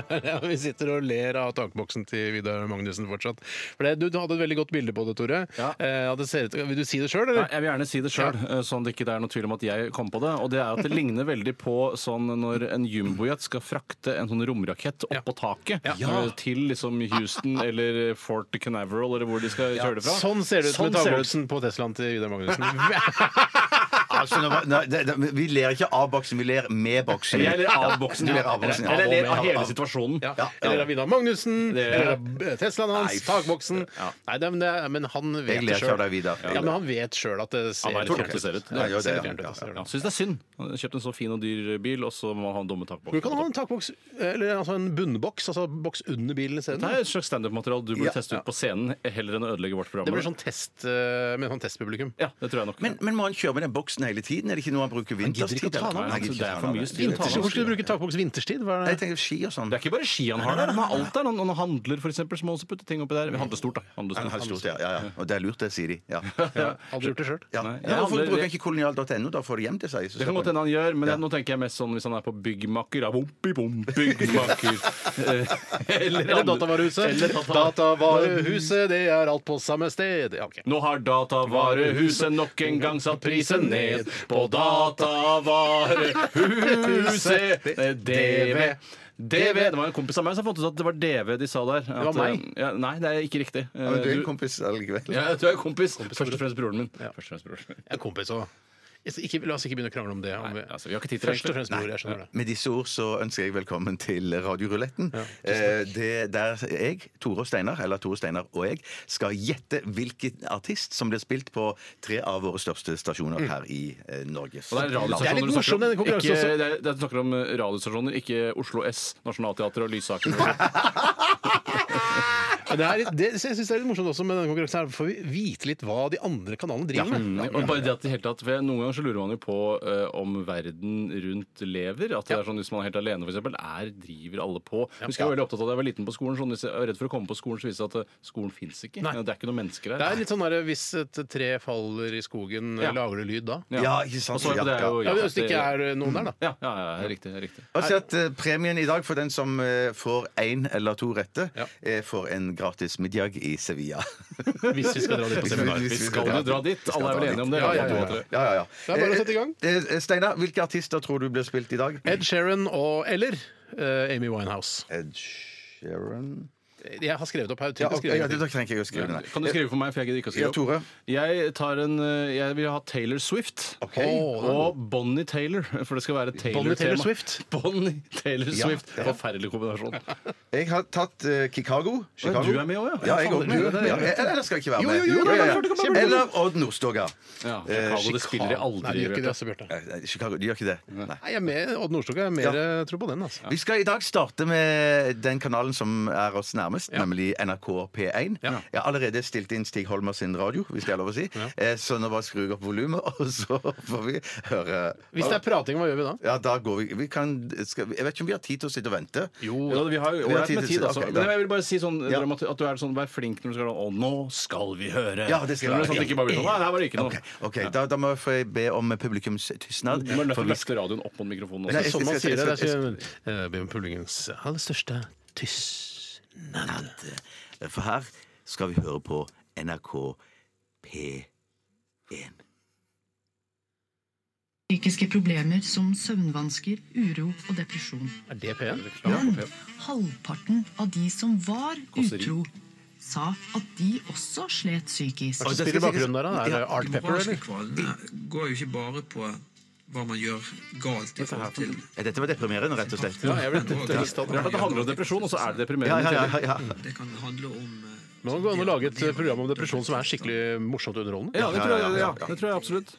[SPEAKER 5] Ja, vi sitter og ler av takboksen til Vidar Magnussen fortsatt. For det, du, du hadde et veldig godt bilde på det, Tore.
[SPEAKER 7] Ja.
[SPEAKER 5] Eh, ja, det ser ut, vil du si det sjøl,
[SPEAKER 7] Nei,
[SPEAKER 5] eller?
[SPEAKER 7] jeg vil gjerne si det sjøl, sånn det ikke er noe tvil om at jeg kom på det. Og det
[SPEAKER 5] [laughs]
[SPEAKER 7] er at det ligner veldig på sånn når en jumbojet skal frakte en sånn romrakett opp på taket eh, til liksom Houston eller Fort Canaveral eller hvor de skal kjøre det fra.
[SPEAKER 5] Sånn ser det ut
[SPEAKER 7] Sånn
[SPEAKER 5] med
[SPEAKER 7] ser det
[SPEAKER 5] takboksen på Teslaen til Vidar [laughs] Magnussen.
[SPEAKER 6] Altså, nå var- nei, det, det, vi ler ikke av boksen, vi ler med boksen.
[SPEAKER 7] Jeg ler av boksen.
[SPEAKER 6] Du ler av boksen, ja.
[SPEAKER 7] Eller jeg ler av hele
[SPEAKER 6] Av-
[SPEAKER 7] situasjonen.
[SPEAKER 5] Ja. Eller av Vidar Magnussen,
[SPEAKER 7] Det-
[SPEAKER 5] eller av eh, Teslaen hans,
[SPEAKER 6] Nei,
[SPEAKER 5] takboksen
[SPEAKER 7] Ja.
[SPEAKER 5] Nei, det, men, det, men han
[SPEAKER 6] Jeg
[SPEAKER 5] vet
[SPEAKER 6] ler
[SPEAKER 5] det
[SPEAKER 6] ikke av
[SPEAKER 5] sjøl.
[SPEAKER 6] deg, Vidar.
[SPEAKER 5] Ja, men han vet sjøl at det ser
[SPEAKER 7] Han
[SPEAKER 5] fjernt
[SPEAKER 7] vet hvordan det ser ut.
[SPEAKER 5] Ja,
[SPEAKER 6] Ja, ja,
[SPEAKER 5] det ser
[SPEAKER 6] det-
[SPEAKER 5] fjernt ut, det ser
[SPEAKER 7] Ja.
[SPEAKER 5] ut.
[SPEAKER 7] Syns det er synd. Han har Kjøpt en så fin og dyr bil, og så må han ha en dumme takboks.
[SPEAKER 5] Men Du kan ha en takboks, eller altså en bunnboks, altså boks under bilen isteden.
[SPEAKER 7] Det er et slags standup-materiale du burde
[SPEAKER 6] Ja.
[SPEAKER 7] teste ut på scenen heller enn å ødelegge vårt program.
[SPEAKER 5] Det blir sånn test eh, med sånn testpublikum.
[SPEAKER 7] Ja, det tror jeg nok.
[SPEAKER 6] Men, men må han kjøre med den boksen hele tiden? Er det ikke noe han bruker vinterstid?
[SPEAKER 5] gidder ikke å ta den av.
[SPEAKER 6] eller? Nei,
[SPEAKER 7] Altså,
[SPEAKER 6] gidder ikke
[SPEAKER 7] det er
[SPEAKER 6] ta
[SPEAKER 7] for
[SPEAKER 6] den av.
[SPEAKER 7] mye styr å ta den av.
[SPEAKER 5] Hvorfor skulle du bruke takboks vinterstid? Hva
[SPEAKER 6] Nei,
[SPEAKER 5] er
[SPEAKER 6] Jeg
[SPEAKER 5] det?
[SPEAKER 6] tenker ski og sånn.
[SPEAKER 7] Det er ikke bare ski han har der. Han har alt der. Han, han handler, for eksempel, så må han også putte ting oppi der. Vi handler stort, da. Handler
[SPEAKER 6] Han har
[SPEAKER 7] stort.
[SPEAKER 6] stort, ja, ja, ja. Og det er lurt, det, sier de.
[SPEAKER 7] [laughs]
[SPEAKER 6] Ja.
[SPEAKER 5] Ja, Aldri gjort det sjøl.
[SPEAKER 6] Ja.
[SPEAKER 7] Nei,
[SPEAKER 6] Men
[SPEAKER 7] jeg
[SPEAKER 6] Hvorfor
[SPEAKER 7] handler-
[SPEAKER 6] bruker han ikke kolonial.no? Da får de hjem til seg. så
[SPEAKER 7] Det kan
[SPEAKER 6] slipper
[SPEAKER 7] godt hende han gjør, men jeg- nå tenker jeg mest sånn hvis han er på byggmaker. Ja, bompi, bom, byggmaker. Eh, Eller,
[SPEAKER 5] Eller Datavarehuset.
[SPEAKER 7] Eller data-
[SPEAKER 5] Datavarehuset, det er alt på samme sted. Ja, ok.
[SPEAKER 7] Nå har datavarehuset nok en gang satt prisen ned på datavarehuset DV. DV, Det var en kompis av meg som fant ut at det var DV de sa der. At, eh,
[SPEAKER 5] var meg.
[SPEAKER 7] Ja, nei, det er ikke riktig. Eh,
[SPEAKER 6] Ja, men du er en kompis allikevel.
[SPEAKER 7] ja, du er en kompis. Først og fremst broren min. Først og fremst broren min.
[SPEAKER 5] Jeg er kompis òg. Ikke, la oss ikke begynne å krangle om det. Om
[SPEAKER 7] Nei,
[SPEAKER 5] vi-
[SPEAKER 7] altså, vi har ikke tid til det,
[SPEAKER 5] Først og
[SPEAKER 7] egentlig.
[SPEAKER 5] fremst bror, jeg skjønner det.
[SPEAKER 6] Med disse ord så ønsker jeg velkommen til Radioruletten. Eh, det- der jeg, Tore og Steinar, eller Tore Steinar og jeg, skal gjette hvilken artist som blir spilt på tre av våre største stasjoner her i eh, Norge.
[SPEAKER 7] Mm. Og det er
[SPEAKER 5] Det er
[SPEAKER 7] radiostasjoner
[SPEAKER 5] litt
[SPEAKER 7] du snakker
[SPEAKER 5] morsom, denne
[SPEAKER 7] om.
[SPEAKER 5] konkurransen
[SPEAKER 7] Ikke,
[SPEAKER 5] også.
[SPEAKER 7] det er, det er, du snakker om eh, radiostasjoner, ikke Oslo S, Nationaltheatret
[SPEAKER 5] [laughs]
[SPEAKER 7] og Lysaker. og sånt.
[SPEAKER 5] Men Det, er, litt- det, jeg synes det er litt morsomt også med denne konkurransen, her, for vi vite litt hva de andre kanalene driver med.
[SPEAKER 7] Mm, og bare det at det hele tatt, for jeg- Noen ganger så lurer man jo på eh, om verden rundt lever. At det er sånn Hvis man er helt alene, for eksempel, er driver alle på? Jeg husker jeg var veldig opptatt av det jeg var liten på skolen. Sånn, hvis jeg var redd for å komme på skolen, så viste det seg at eh, skolen fins ikke.
[SPEAKER 5] Nei.
[SPEAKER 7] Det er ikke noen mennesker her.
[SPEAKER 5] Det er litt sånn der, Hvis et tre faller i skogen, eh,
[SPEAKER 7] Ja.
[SPEAKER 5] lager det lyd da?
[SPEAKER 6] Ja, ikke sant?
[SPEAKER 7] Og så er det
[SPEAKER 6] Ja,
[SPEAKER 7] jo-
[SPEAKER 5] Ja,
[SPEAKER 7] ja,
[SPEAKER 5] Hvis det ikke
[SPEAKER 7] det-
[SPEAKER 5] er eh, noen der, da.
[SPEAKER 7] ja, ja, ja, riktig. riktig.
[SPEAKER 6] Altså at eh, Premien i dag for den som eh, får én eller to rette,
[SPEAKER 5] Ja.
[SPEAKER 6] eh, får en gratis middag i Sevilla.
[SPEAKER 5] [laughs] Hvis vi skal dra dit på seminar.
[SPEAKER 7] Vi skal jo dra dit. Alle er vel enige om det?
[SPEAKER 5] Ja, ja,
[SPEAKER 7] Radio
[SPEAKER 5] ja.
[SPEAKER 7] 2, 3.
[SPEAKER 6] Ja, ja, ja.
[SPEAKER 5] Det er bare å sette i gang.
[SPEAKER 6] Eh, eh, Steinar, hvilke artister tror du blir spilt i dag?
[SPEAKER 5] Ed Sheeran og eller eh, Amy Winehouse.
[SPEAKER 6] Ed Sheeran
[SPEAKER 5] Jeg har skrevet opp her.
[SPEAKER 6] Ja,
[SPEAKER 5] tenk å
[SPEAKER 6] ok,
[SPEAKER 5] skrive
[SPEAKER 6] ja,
[SPEAKER 5] ned.
[SPEAKER 6] det trenger jeg ikke å skrive ned.
[SPEAKER 7] Kan du skrive for meg, for jeg gidder ikke å
[SPEAKER 6] Ja,
[SPEAKER 7] skrive opp.
[SPEAKER 6] Tore.
[SPEAKER 7] Jeg, tar en, eh, jeg vil ha Taylor Swift.
[SPEAKER 6] Ok.
[SPEAKER 5] Å, den-
[SPEAKER 7] Og Bonnie Taylor, [laughs] for det skal være Taylor-tema.
[SPEAKER 5] Bonnie Taylor Swift.
[SPEAKER 7] [laughs] Bonnie Taylor
[SPEAKER 6] Ja,
[SPEAKER 7] Swift.
[SPEAKER 6] ja. Eh,
[SPEAKER 7] Forferdelig kombinasjon.
[SPEAKER 6] Jeg har tatt eh, Chicago. Chicago.
[SPEAKER 7] du er med også, ja?
[SPEAKER 6] ja? jeg også.
[SPEAKER 7] Ja, faen, du er med,
[SPEAKER 6] Ja,
[SPEAKER 7] det er-
[SPEAKER 6] eller skal jeg ikke være
[SPEAKER 5] Jo,
[SPEAKER 6] med?
[SPEAKER 5] jo, jo, det er
[SPEAKER 6] ja, ja.
[SPEAKER 5] klart du kan være med.
[SPEAKER 6] Eller Odd Nordstoga.
[SPEAKER 7] Ja,
[SPEAKER 6] Eh,
[SPEAKER 7] Chicago, det spiller
[SPEAKER 5] Nei,
[SPEAKER 7] de
[SPEAKER 5] de
[SPEAKER 7] aldri.
[SPEAKER 5] gjør ikke
[SPEAKER 7] vet
[SPEAKER 5] det,
[SPEAKER 7] du.
[SPEAKER 5] altså, Bjarte.
[SPEAKER 6] Nei, nei, Chicago, de gjør ikke det. Nei.
[SPEAKER 5] Nei, jeg er med Odd Nordstoga. Jeg er mer eh, tro på den. altså.
[SPEAKER 6] Vi skal i dag starte med den kanalen som er oss nærmest, nemlig NRK P1.
[SPEAKER 5] Ja.
[SPEAKER 6] Jeg har allerede stilt inn Stig Holmer sin radio, hvis det er lov å si. Eh, Så nå bare skrur jeg opp volumet, [laughs] og så får vi høre
[SPEAKER 5] Hvis det er prating, hva gjør vi da?
[SPEAKER 6] Ja, da går vi, vi kan, skal, Jeg vet ikke om vi har tid til å sitte og vente.
[SPEAKER 5] Jo,
[SPEAKER 7] Ja, vi har jo
[SPEAKER 6] Vi har
[SPEAKER 7] ålreit
[SPEAKER 6] tid
[SPEAKER 7] med
[SPEAKER 6] til-
[SPEAKER 7] tid, altså.
[SPEAKER 6] ok, da.
[SPEAKER 7] Men jeg vil bare si sånn,
[SPEAKER 6] Ja.
[SPEAKER 7] dramati- at du er sånn, vær flink når du skal Og nå skal vi høre!
[SPEAKER 6] Ja, det skal jeg
[SPEAKER 7] Skjønner du, sånn at det ikke bare blir sånn, Nei, her var det ikke noe.
[SPEAKER 6] Ok, ok, da, da må jeg be om publikums tystnad.
[SPEAKER 7] Du må
[SPEAKER 6] for
[SPEAKER 7] løfte
[SPEAKER 6] vi-
[SPEAKER 7] løfte radioen opp mot mikrofonen
[SPEAKER 6] Nei,
[SPEAKER 7] også.
[SPEAKER 6] jeg-
[SPEAKER 5] som man
[SPEAKER 6] skal-
[SPEAKER 5] sier det, det
[SPEAKER 6] jeg-
[SPEAKER 5] er ikke eh, Bjørn Pullingens aller største tystnad.
[SPEAKER 6] For her skal vi høre på NRK P1.
[SPEAKER 10] Psykiske problemer som søvnvansker, uro og depresjon.
[SPEAKER 5] Er det P1?
[SPEAKER 10] Men halvparten av de som var utro, sa at de også slet psykisk.
[SPEAKER 5] Hva spiller i bakgrunnen der, da? Er det Art Pepper, eller?
[SPEAKER 11] kvalene eh, går jo ikke bare på hva man gjør galt i forhold til
[SPEAKER 6] Ja, Dette var deprimerende, rett og slett.
[SPEAKER 5] Ja, jeg ble trist av
[SPEAKER 7] Det er
[SPEAKER 5] det.
[SPEAKER 7] klart det handler om depresjon, og så er
[SPEAKER 6] Ja, ja,
[SPEAKER 7] det deprimerende.
[SPEAKER 6] ja, ja.
[SPEAKER 11] Det kan handle om eh,
[SPEAKER 5] Nå går det an å lage et eh, program om depresjon som er skikkelig morsomt og underholdende.
[SPEAKER 7] Ja, det tror jeg, ja, det tror jeg absolutt.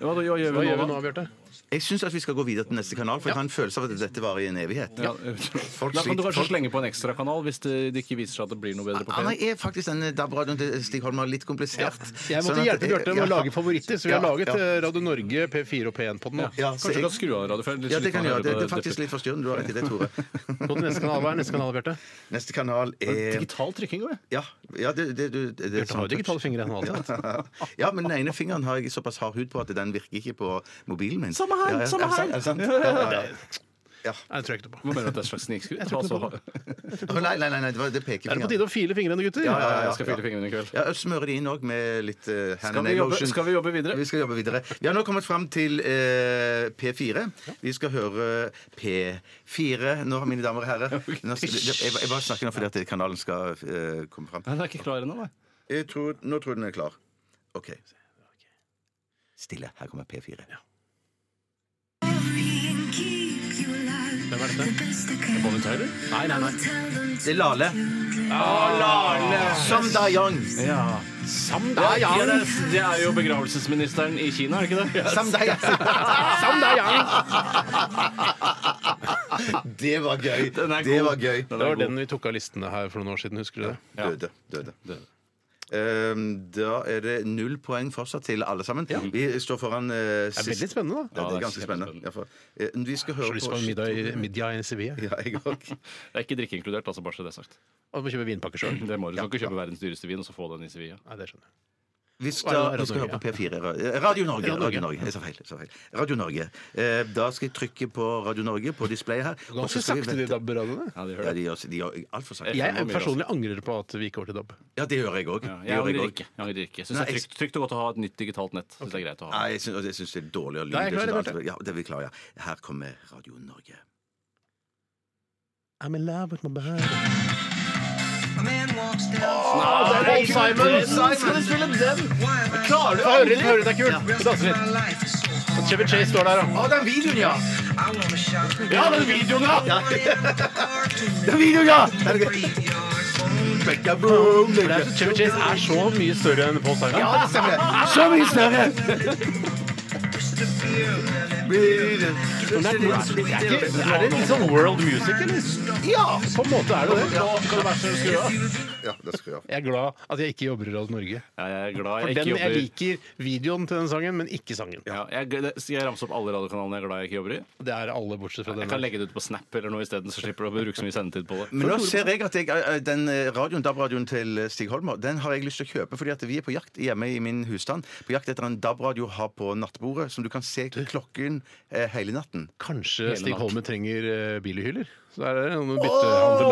[SPEAKER 7] Ja, da, ja, gjør
[SPEAKER 5] Hva
[SPEAKER 7] vi
[SPEAKER 5] gjør
[SPEAKER 7] nå,
[SPEAKER 5] vi nå,
[SPEAKER 7] da?
[SPEAKER 5] Bjarte?
[SPEAKER 6] Jeg syns at vi skal gå videre til neste kanal, for jeg har en følelse av at dette varer i en evighet.
[SPEAKER 7] Ja. Da kan du
[SPEAKER 6] sliter-
[SPEAKER 7] kanskje
[SPEAKER 6] folk-
[SPEAKER 7] slenge på en ekstrakanal hvis det, det ikke viser seg at det blir noe bedre på
[SPEAKER 6] Ja, nei,
[SPEAKER 7] P1.
[SPEAKER 6] er faktisk denne DAB-radioen til Stig Holm litt komplisert.
[SPEAKER 5] Jeg måtte
[SPEAKER 6] Sånn at-
[SPEAKER 5] hjelpe Bjarte med å
[SPEAKER 6] [laughs] ja.
[SPEAKER 5] lage favoritter, så vi har
[SPEAKER 6] Ja,
[SPEAKER 5] laget
[SPEAKER 6] ja.
[SPEAKER 5] eh, Radio Norge, P4 og P1 på den nå.
[SPEAKER 6] Ja, så
[SPEAKER 7] Kanskje du
[SPEAKER 6] jeg-
[SPEAKER 7] kan skru av radioen?
[SPEAKER 6] Ja, det kan jeg gjøre. Det, det er faktisk litt forstyrrende. Du har rett i det,
[SPEAKER 5] [laughs]
[SPEAKER 6] Tore.
[SPEAKER 5] Gå til neste kanal. Hva er neste kanal, Bjarte?
[SPEAKER 6] Neste kanal er
[SPEAKER 7] Digital trykking òg,
[SPEAKER 6] Ja, ja det, det, du- det, det
[SPEAKER 5] Bjarte har jo digitale fingre ennå. altså.
[SPEAKER 6] Ja. ja, men den ene fingeren har jeg såpass hard hud på at den virker ikke på mobilen min.
[SPEAKER 7] Samme her,
[SPEAKER 6] ja, ja,
[SPEAKER 7] samme
[SPEAKER 6] er det sant?
[SPEAKER 7] her.
[SPEAKER 6] Er det
[SPEAKER 5] [laughs]
[SPEAKER 6] sant? Ja, ja, ja.
[SPEAKER 5] Nei, det tror jeg ikke noe på.
[SPEAKER 7] Hva mener du at det er et slags snikskryt?
[SPEAKER 5] Jeg tror ikke noe på
[SPEAKER 7] Altså,
[SPEAKER 6] Å, Nei, nei, nei, nei, det var det
[SPEAKER 5] Er det på
[SPEAKER 6] pekefingeren.
[SPEAKER 5] tide å file fingrene, gutter?
[SPEAKER 6] Ja, ja, ja.
[SPEAKER 7] Jeg skal fylle fingrene i kveld.
[SPEAKER 6] Ja, Smøre det inn òg med litt uh, hand
[SPEAKER 7] Skal
[SPEAKER 6] and
[SPEAKER 7] vi,
[SPEAKER 6] egg
[SPEAKER 7] jobbe,
[SPEAKER 6] lotion.
[SPEAKER 7] skal vi jobbe videre?
[SPEAKER 6] Vi skal jobbe videre. Vi har nå kommet fram til eh, P4. Vi skal høre P4 nå, mine damer og
[SPEAKER 7] [laughs]
[SPEAKER 6] herrer. Nå skal, jeg, jeg bare snakker nå fordi at kanalen skal eh, komme fram.
[SPEAKER 7] Nei, den er ikke klar ennå, nei.
[SPEAKER 6] Jeg tror, nå tror jeg den er klar. OK. Stille. Her kommer P4.
[SPEAKER 5] Hvem er dette?
[SPEAKER 7] Bonnie Tyler? Ah,
[SPEAKER 5] Nei, nei, nei.
[SPEAKER 6] Det er Lale. Som Da Young.
[SPEAKER 7] Ja.
[SPEAKER 5] Sam
[SPEAKER 7] Ja,
[SPEAKER 5] Da
[SPEAKER 7] ja, det,
[SPEAKER 5] Yang!
[SPEAKER 7] er, det er jo begravelsesministeren i Kina, er det ikke det?
[SPEAKER 6] Som Da
[SPEAKER 7] [laughs]
[SPEAKER 6] Young. [laughs]
[SPEAKER 5] Sam Da Yang!
[SPEAKER 6] Det var gøy.
[SPEAKER 7] Den er
[SPEAKER 6] Det
[SPEAKER 7] god.
[SPEAKER 6] var gøy.
[SPEAKER 5] Det
[SPEAKER 7] Den er
[SPEAKER 5] var
[SPEAKER 7] god.
[SPEAKER 5] den vi tok av listene her for noen år siden, husker du det?
[SPEAKER 6] Døde. Døde. Ehm, da er det null poeng fortsatt til alle sammen. Vi står foran eh,
[SPEAKER 5] Det er
[SPEAKER 6] sist-
[SPEAKER 5] veldig spennende, da.
[SPEAKER 6] Ja, det
[SPEAKER 7] det
[SPEAKER 6] er
[SPEAKER 7] er
[SPEAKER 6] ganske spennende. Ja, for, eh, vi skal høre
[SPEAKER 5] Så lyst på en middag i, middag i Sevilla.
[SPEAKER 6] Ja, jeg òg.
[SPEAKER 7] [laughs] Det er ikke drikke inkludert, altså bare så det er sagt.
[SPEAKER 5] Og må kjøpe vinpakke sjøl.
[SPEAKER 7] Det må du. Du kan ikke kjøpe verdens dyreste vin og så få den i Sevilla.
[SPEAKER 5] Nei, det skjønner jeg.
[SPEAKER 6] Vi skal,
[SPEAKER 5] Radio
[SPEAKER 6] vi skal høre
[SPEAKER 5] Norge,
[SPEAKER 6] på P4. ra- eh, Radio Norge.
[SPEAKER 5] Norge.
[SPEAKER 6] Radio Norge. Jeg sa feil. jeg Sa feil. Radio Norge. Eh, Da skal jeg trykke på Radio Norge på displayet her. og så
[SPEAKER 5] Ganske
[SPEAKER 6] skal vi
[SPEAKER 5] sakte, de
[SPEAKER 6] vente-
[SPEAKER 5] DAB-radioene.
[SPEAKER 7] Ja, det
[SPEAKER 6] Ja,
[SPEAKER 7] hører jeg.
[SPEAKER 6] de gjør, de gjør altfor sakte.
[SPEAKER 7] Ja.
[SPEAKER 5] Jeg personlig angrer på at vi gikk over til DAB.
[SPEAKER 6] Ja, det gjør jeg òg.
[SPEAKER 7] Ja, jeg angrer ikke. Jeg angrer ikke. Syns det
[SPEAKER 6] Nei,
[SPEAKER 7] er
[SPEAKER 6] jeg-
[SPEAKER 7] trygt, trygt og godt å ha et nytt digitalt nett. Synes det er greit å ha.
[SPEAKER 6] Nei, jeg syns, og jeg syns det er dårligere
[SPEAKER 5] Da er
[SPEAKER 6] lyd.
[SPEAKER 5] jeg
[SPEAKER 6] Det
[SPEAKER 5] klar,
[SPEAKER 6] syns
[SPEAKER 5] Bjarte.
[SPEAKER 6] alt- ja, det er vi klare, ja. Her kommer Radio Norge.
[SPEAKER 5] I'm in love with my body. Ah,
[SPEAKER 7] Nei, Simon!
[SPEAKER 5] skal du spille den? Klarer du Hør ut, hør ut, det er kult. Danse litt. Chevy Chase står der, og
[SPEAKER 6] Å, den videoen, ja!
[SPEAKER 5] Ja, den videoen, ja!
[SPEAKER 6] Den videoen, ja! Er det gøy? Becka boom!
[SPEAKER 5] For det er så- Chevy Chase er så mye større enn Paul Simon.
[SPEAKER 6] Ja, det stemmer. det. Så mye større!
[SPEAKER 5] Men det er- det er ikke- Er det litt sånn world music, eller? Ja, på en måte er det det.
[SPEAKER 6] Ja, det skal jeg.
[SPEAKER 5] Jeg er glad at jeg ikke jobber i Radio Norge.
[SPEAKER 7] Jeg er glad
[SPEAKER 5] For
[SPEAKER 7] jeg
[SPEAKER 5] den,
[SPEAKER 7] ikke
[SPEAKER 5] jeg
[SPEAKER 7] jobber
[SPEAKER 5] liker videoen til den sangen, men ikke sangen.
[SPEAKER 7] ja, jeg, det- Skal jeg ramse opp alle radiokanalene jeg er glad jeg ikke jobber i?
[SPEAKER 5] Det er alle bortsett fra
[SPEAKER 7] Jeg kan
[SPEAKER 5] den.
[SPEAKER 7] legge det ut på Snap eller noe isteden, så slipper du å bruke så mye sendetid på det.
[SPEAKER 6] Men nå ser jeg at jeg, eh, den eh, radioen, DAB-radioen til eh, Stig Holmer den har jeg lyst til å kjøpe. fordi at vi er på jakt hjemme i min husstand på jakt etter en DAB-radio å ha på nattbordet, som du kan se klokken eh, hele natten.
[SPEAKER 5] Kanskje Stig
[SPEAKER 7] natt.
[SPEAKER 5] Holme trenger eh, bilhyller? Så er det noen
[SPEAKER 7] Eh,
[SPEAKER 5] byttehandel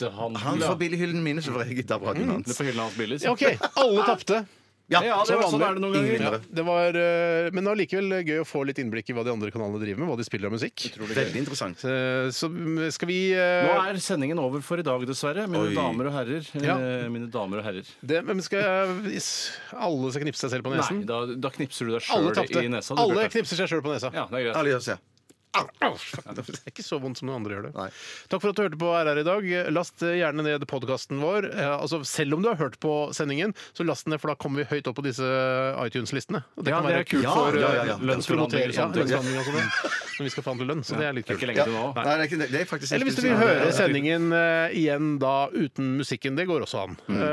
[SPEAKER 5] der.
[SPEAKER 7] Han,
[SPEAKER 6] Han får billighyllen min, så får jeg DAB-radioen
[SPEAKER 7] Mm. Det
[SPEAKER 6] hans.
[SPEAKER 7] får hyllene hans billig.
[SPEAKER 5] Ja, OK. Alle tapte.
[SPEAKER 7] Ja, det
[SPEAKER 6] som
[SPEAKER 7] var sånn
[SPEAKER 6] vanlig.
[SPEAKER 7] er det noen ganger.
[SPEAKER 6] Ingen
[SPEAKER 5] Ja,
[SPEAKER 6] vinnere.
[SPEAKER 5] det var, eh, men det var likevel gøy å få litt innblikk i hva de andre kanalene driver med, hva de spiller av musikk.
[SPEAKER 6] Veldig interessant.
[SPEAKER 5] Eh, Så mm, skal vi eh,
[SPEAKER 7] Nå er sendingen over for i dag, dessverre. Mine
[SPEAKER 6] Oi.
[SPEAKER 7] damer og herrer.
[SPEAKER 5] Ja.
[SPEAKER 7] Eh, Mine damer og herrer.
[SPEAKER 5] det, men skal jeg- is- Alle skal knipse seg selv på
[SPEAKER 7] Nei,
[SPEAKER 5] nesen?
[SPEAKER 7] da, da knipser du deg
[SPEAKER 5] Alle
[SPEAKER 7] sjøl
[SPEAKER 5] tapte.
[SPEAKER 7] i nesa. du
[SPEAKER 5] Alle
[SPEAKER 7] burde-
[SPEAKER 5] knipser seg sjøl på nesa.
[SPEAKER 7] Ja, det er greit.
[SPEAKER 6] Alle gjør seg.
[SPEAKER 5] Au, fuck. Det er ikke så vondt som noen andre gjør det.
[SPEAKER 6] Nei.
[SPEAKER 5] Takk for at du hørte på RR i dag. Last eh, gjerne ned podkasten vår. Eh, Altså, selv om du har hørt på sendingen, så last den ned, for da kommer vi høyt opp på disse eh, iTunes-listene. Og
[SPEAKER 7] Ja, det er kult
[SPEAKER 5] ja,
[SPEAKER 7] for,
[SPEAKER 5] ja, ja, ja.
[SPEAKER 7] eh, lønnsforhandlinger og Eh,
[SPEAKER 5] Ja,
[SPEAKER 7] sånt.
[SPEAKER 5] lønnsforhandlinger og sånt. Men vi skal forhandle lønn, så det er litt
[SPEAKER 7] Det er ikke
[SPEAKER 5] kult.
[SPEAKER 7] lenge til nå.
[SPEAKER 6] Nei, det er ikke det. Det er faktisk
[SPEAKER 5] Eller hvis du vil høre sendingen eh, igjen da uten musikken. Det går også an.
[SPEAKER 7] Mm.
[SPEAKER 5] Eh,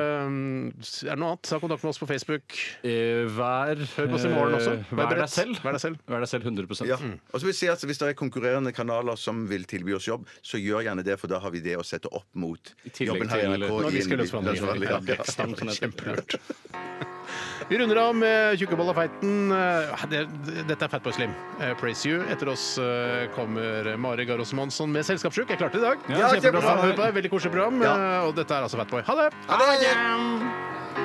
[SPEAKER 5] er det noe annet? Ta kontakt med oss på Facebook.
[SPEAKER 7] Eh, Vær
[SPEAKER 5] Hør på oss i morgen også.
[SPEAKER 7] eh, Vær deg
[SPEAKER 5] beredt.
[SPEAKER 7] selv.
[SPEAKER 5] Vær deg selv.
[SPEAKER 7] Vær deg selv 100
[SPEAKER 6] Ja. Og så vil jeg si at Hvis det er konkurrerende kanaler som vil tilby oss jobb, så gjør gjerne det, for da har vi det å sette opp mot
[SPEAKER 7] tillegg
[SPEAKER 6] jobben her i
[SPEAKER 7] til-
[SPEAKER 6] NRK.
[SPEAKER 7] Når
[SPEAKER 5] Når
[SPEAKER 6] i
[SPEAKER 5] vi
[SPEAKER 6] en
[SPEAKER 5] skal løse
[SPEAKER 6] lønnsforhandling. Ja, ja.
[SPEAKER 7] Kjempelurt.
[SPEAKER 5] Kjempelurt. sånn [laughs] Vi runder av med Tjukkeballafeiten. Eh, det- det- Dette er Fatboy Slim. Eh, Praise you. Etter oss eh, kommer Mari Garås Monsson med Selskapssjuk. Jeg klarte det i dag.
[SPEAKER 7] Ja, kjempebra.
[SPEAKER 5] Hør på deg. Veldig koselig program.
[SPEAKER 6] Ja.
[SPEAKER 5] Eh, Og dette er altså Fatboy. Ha det!
[SPEAKER 6] Ha det!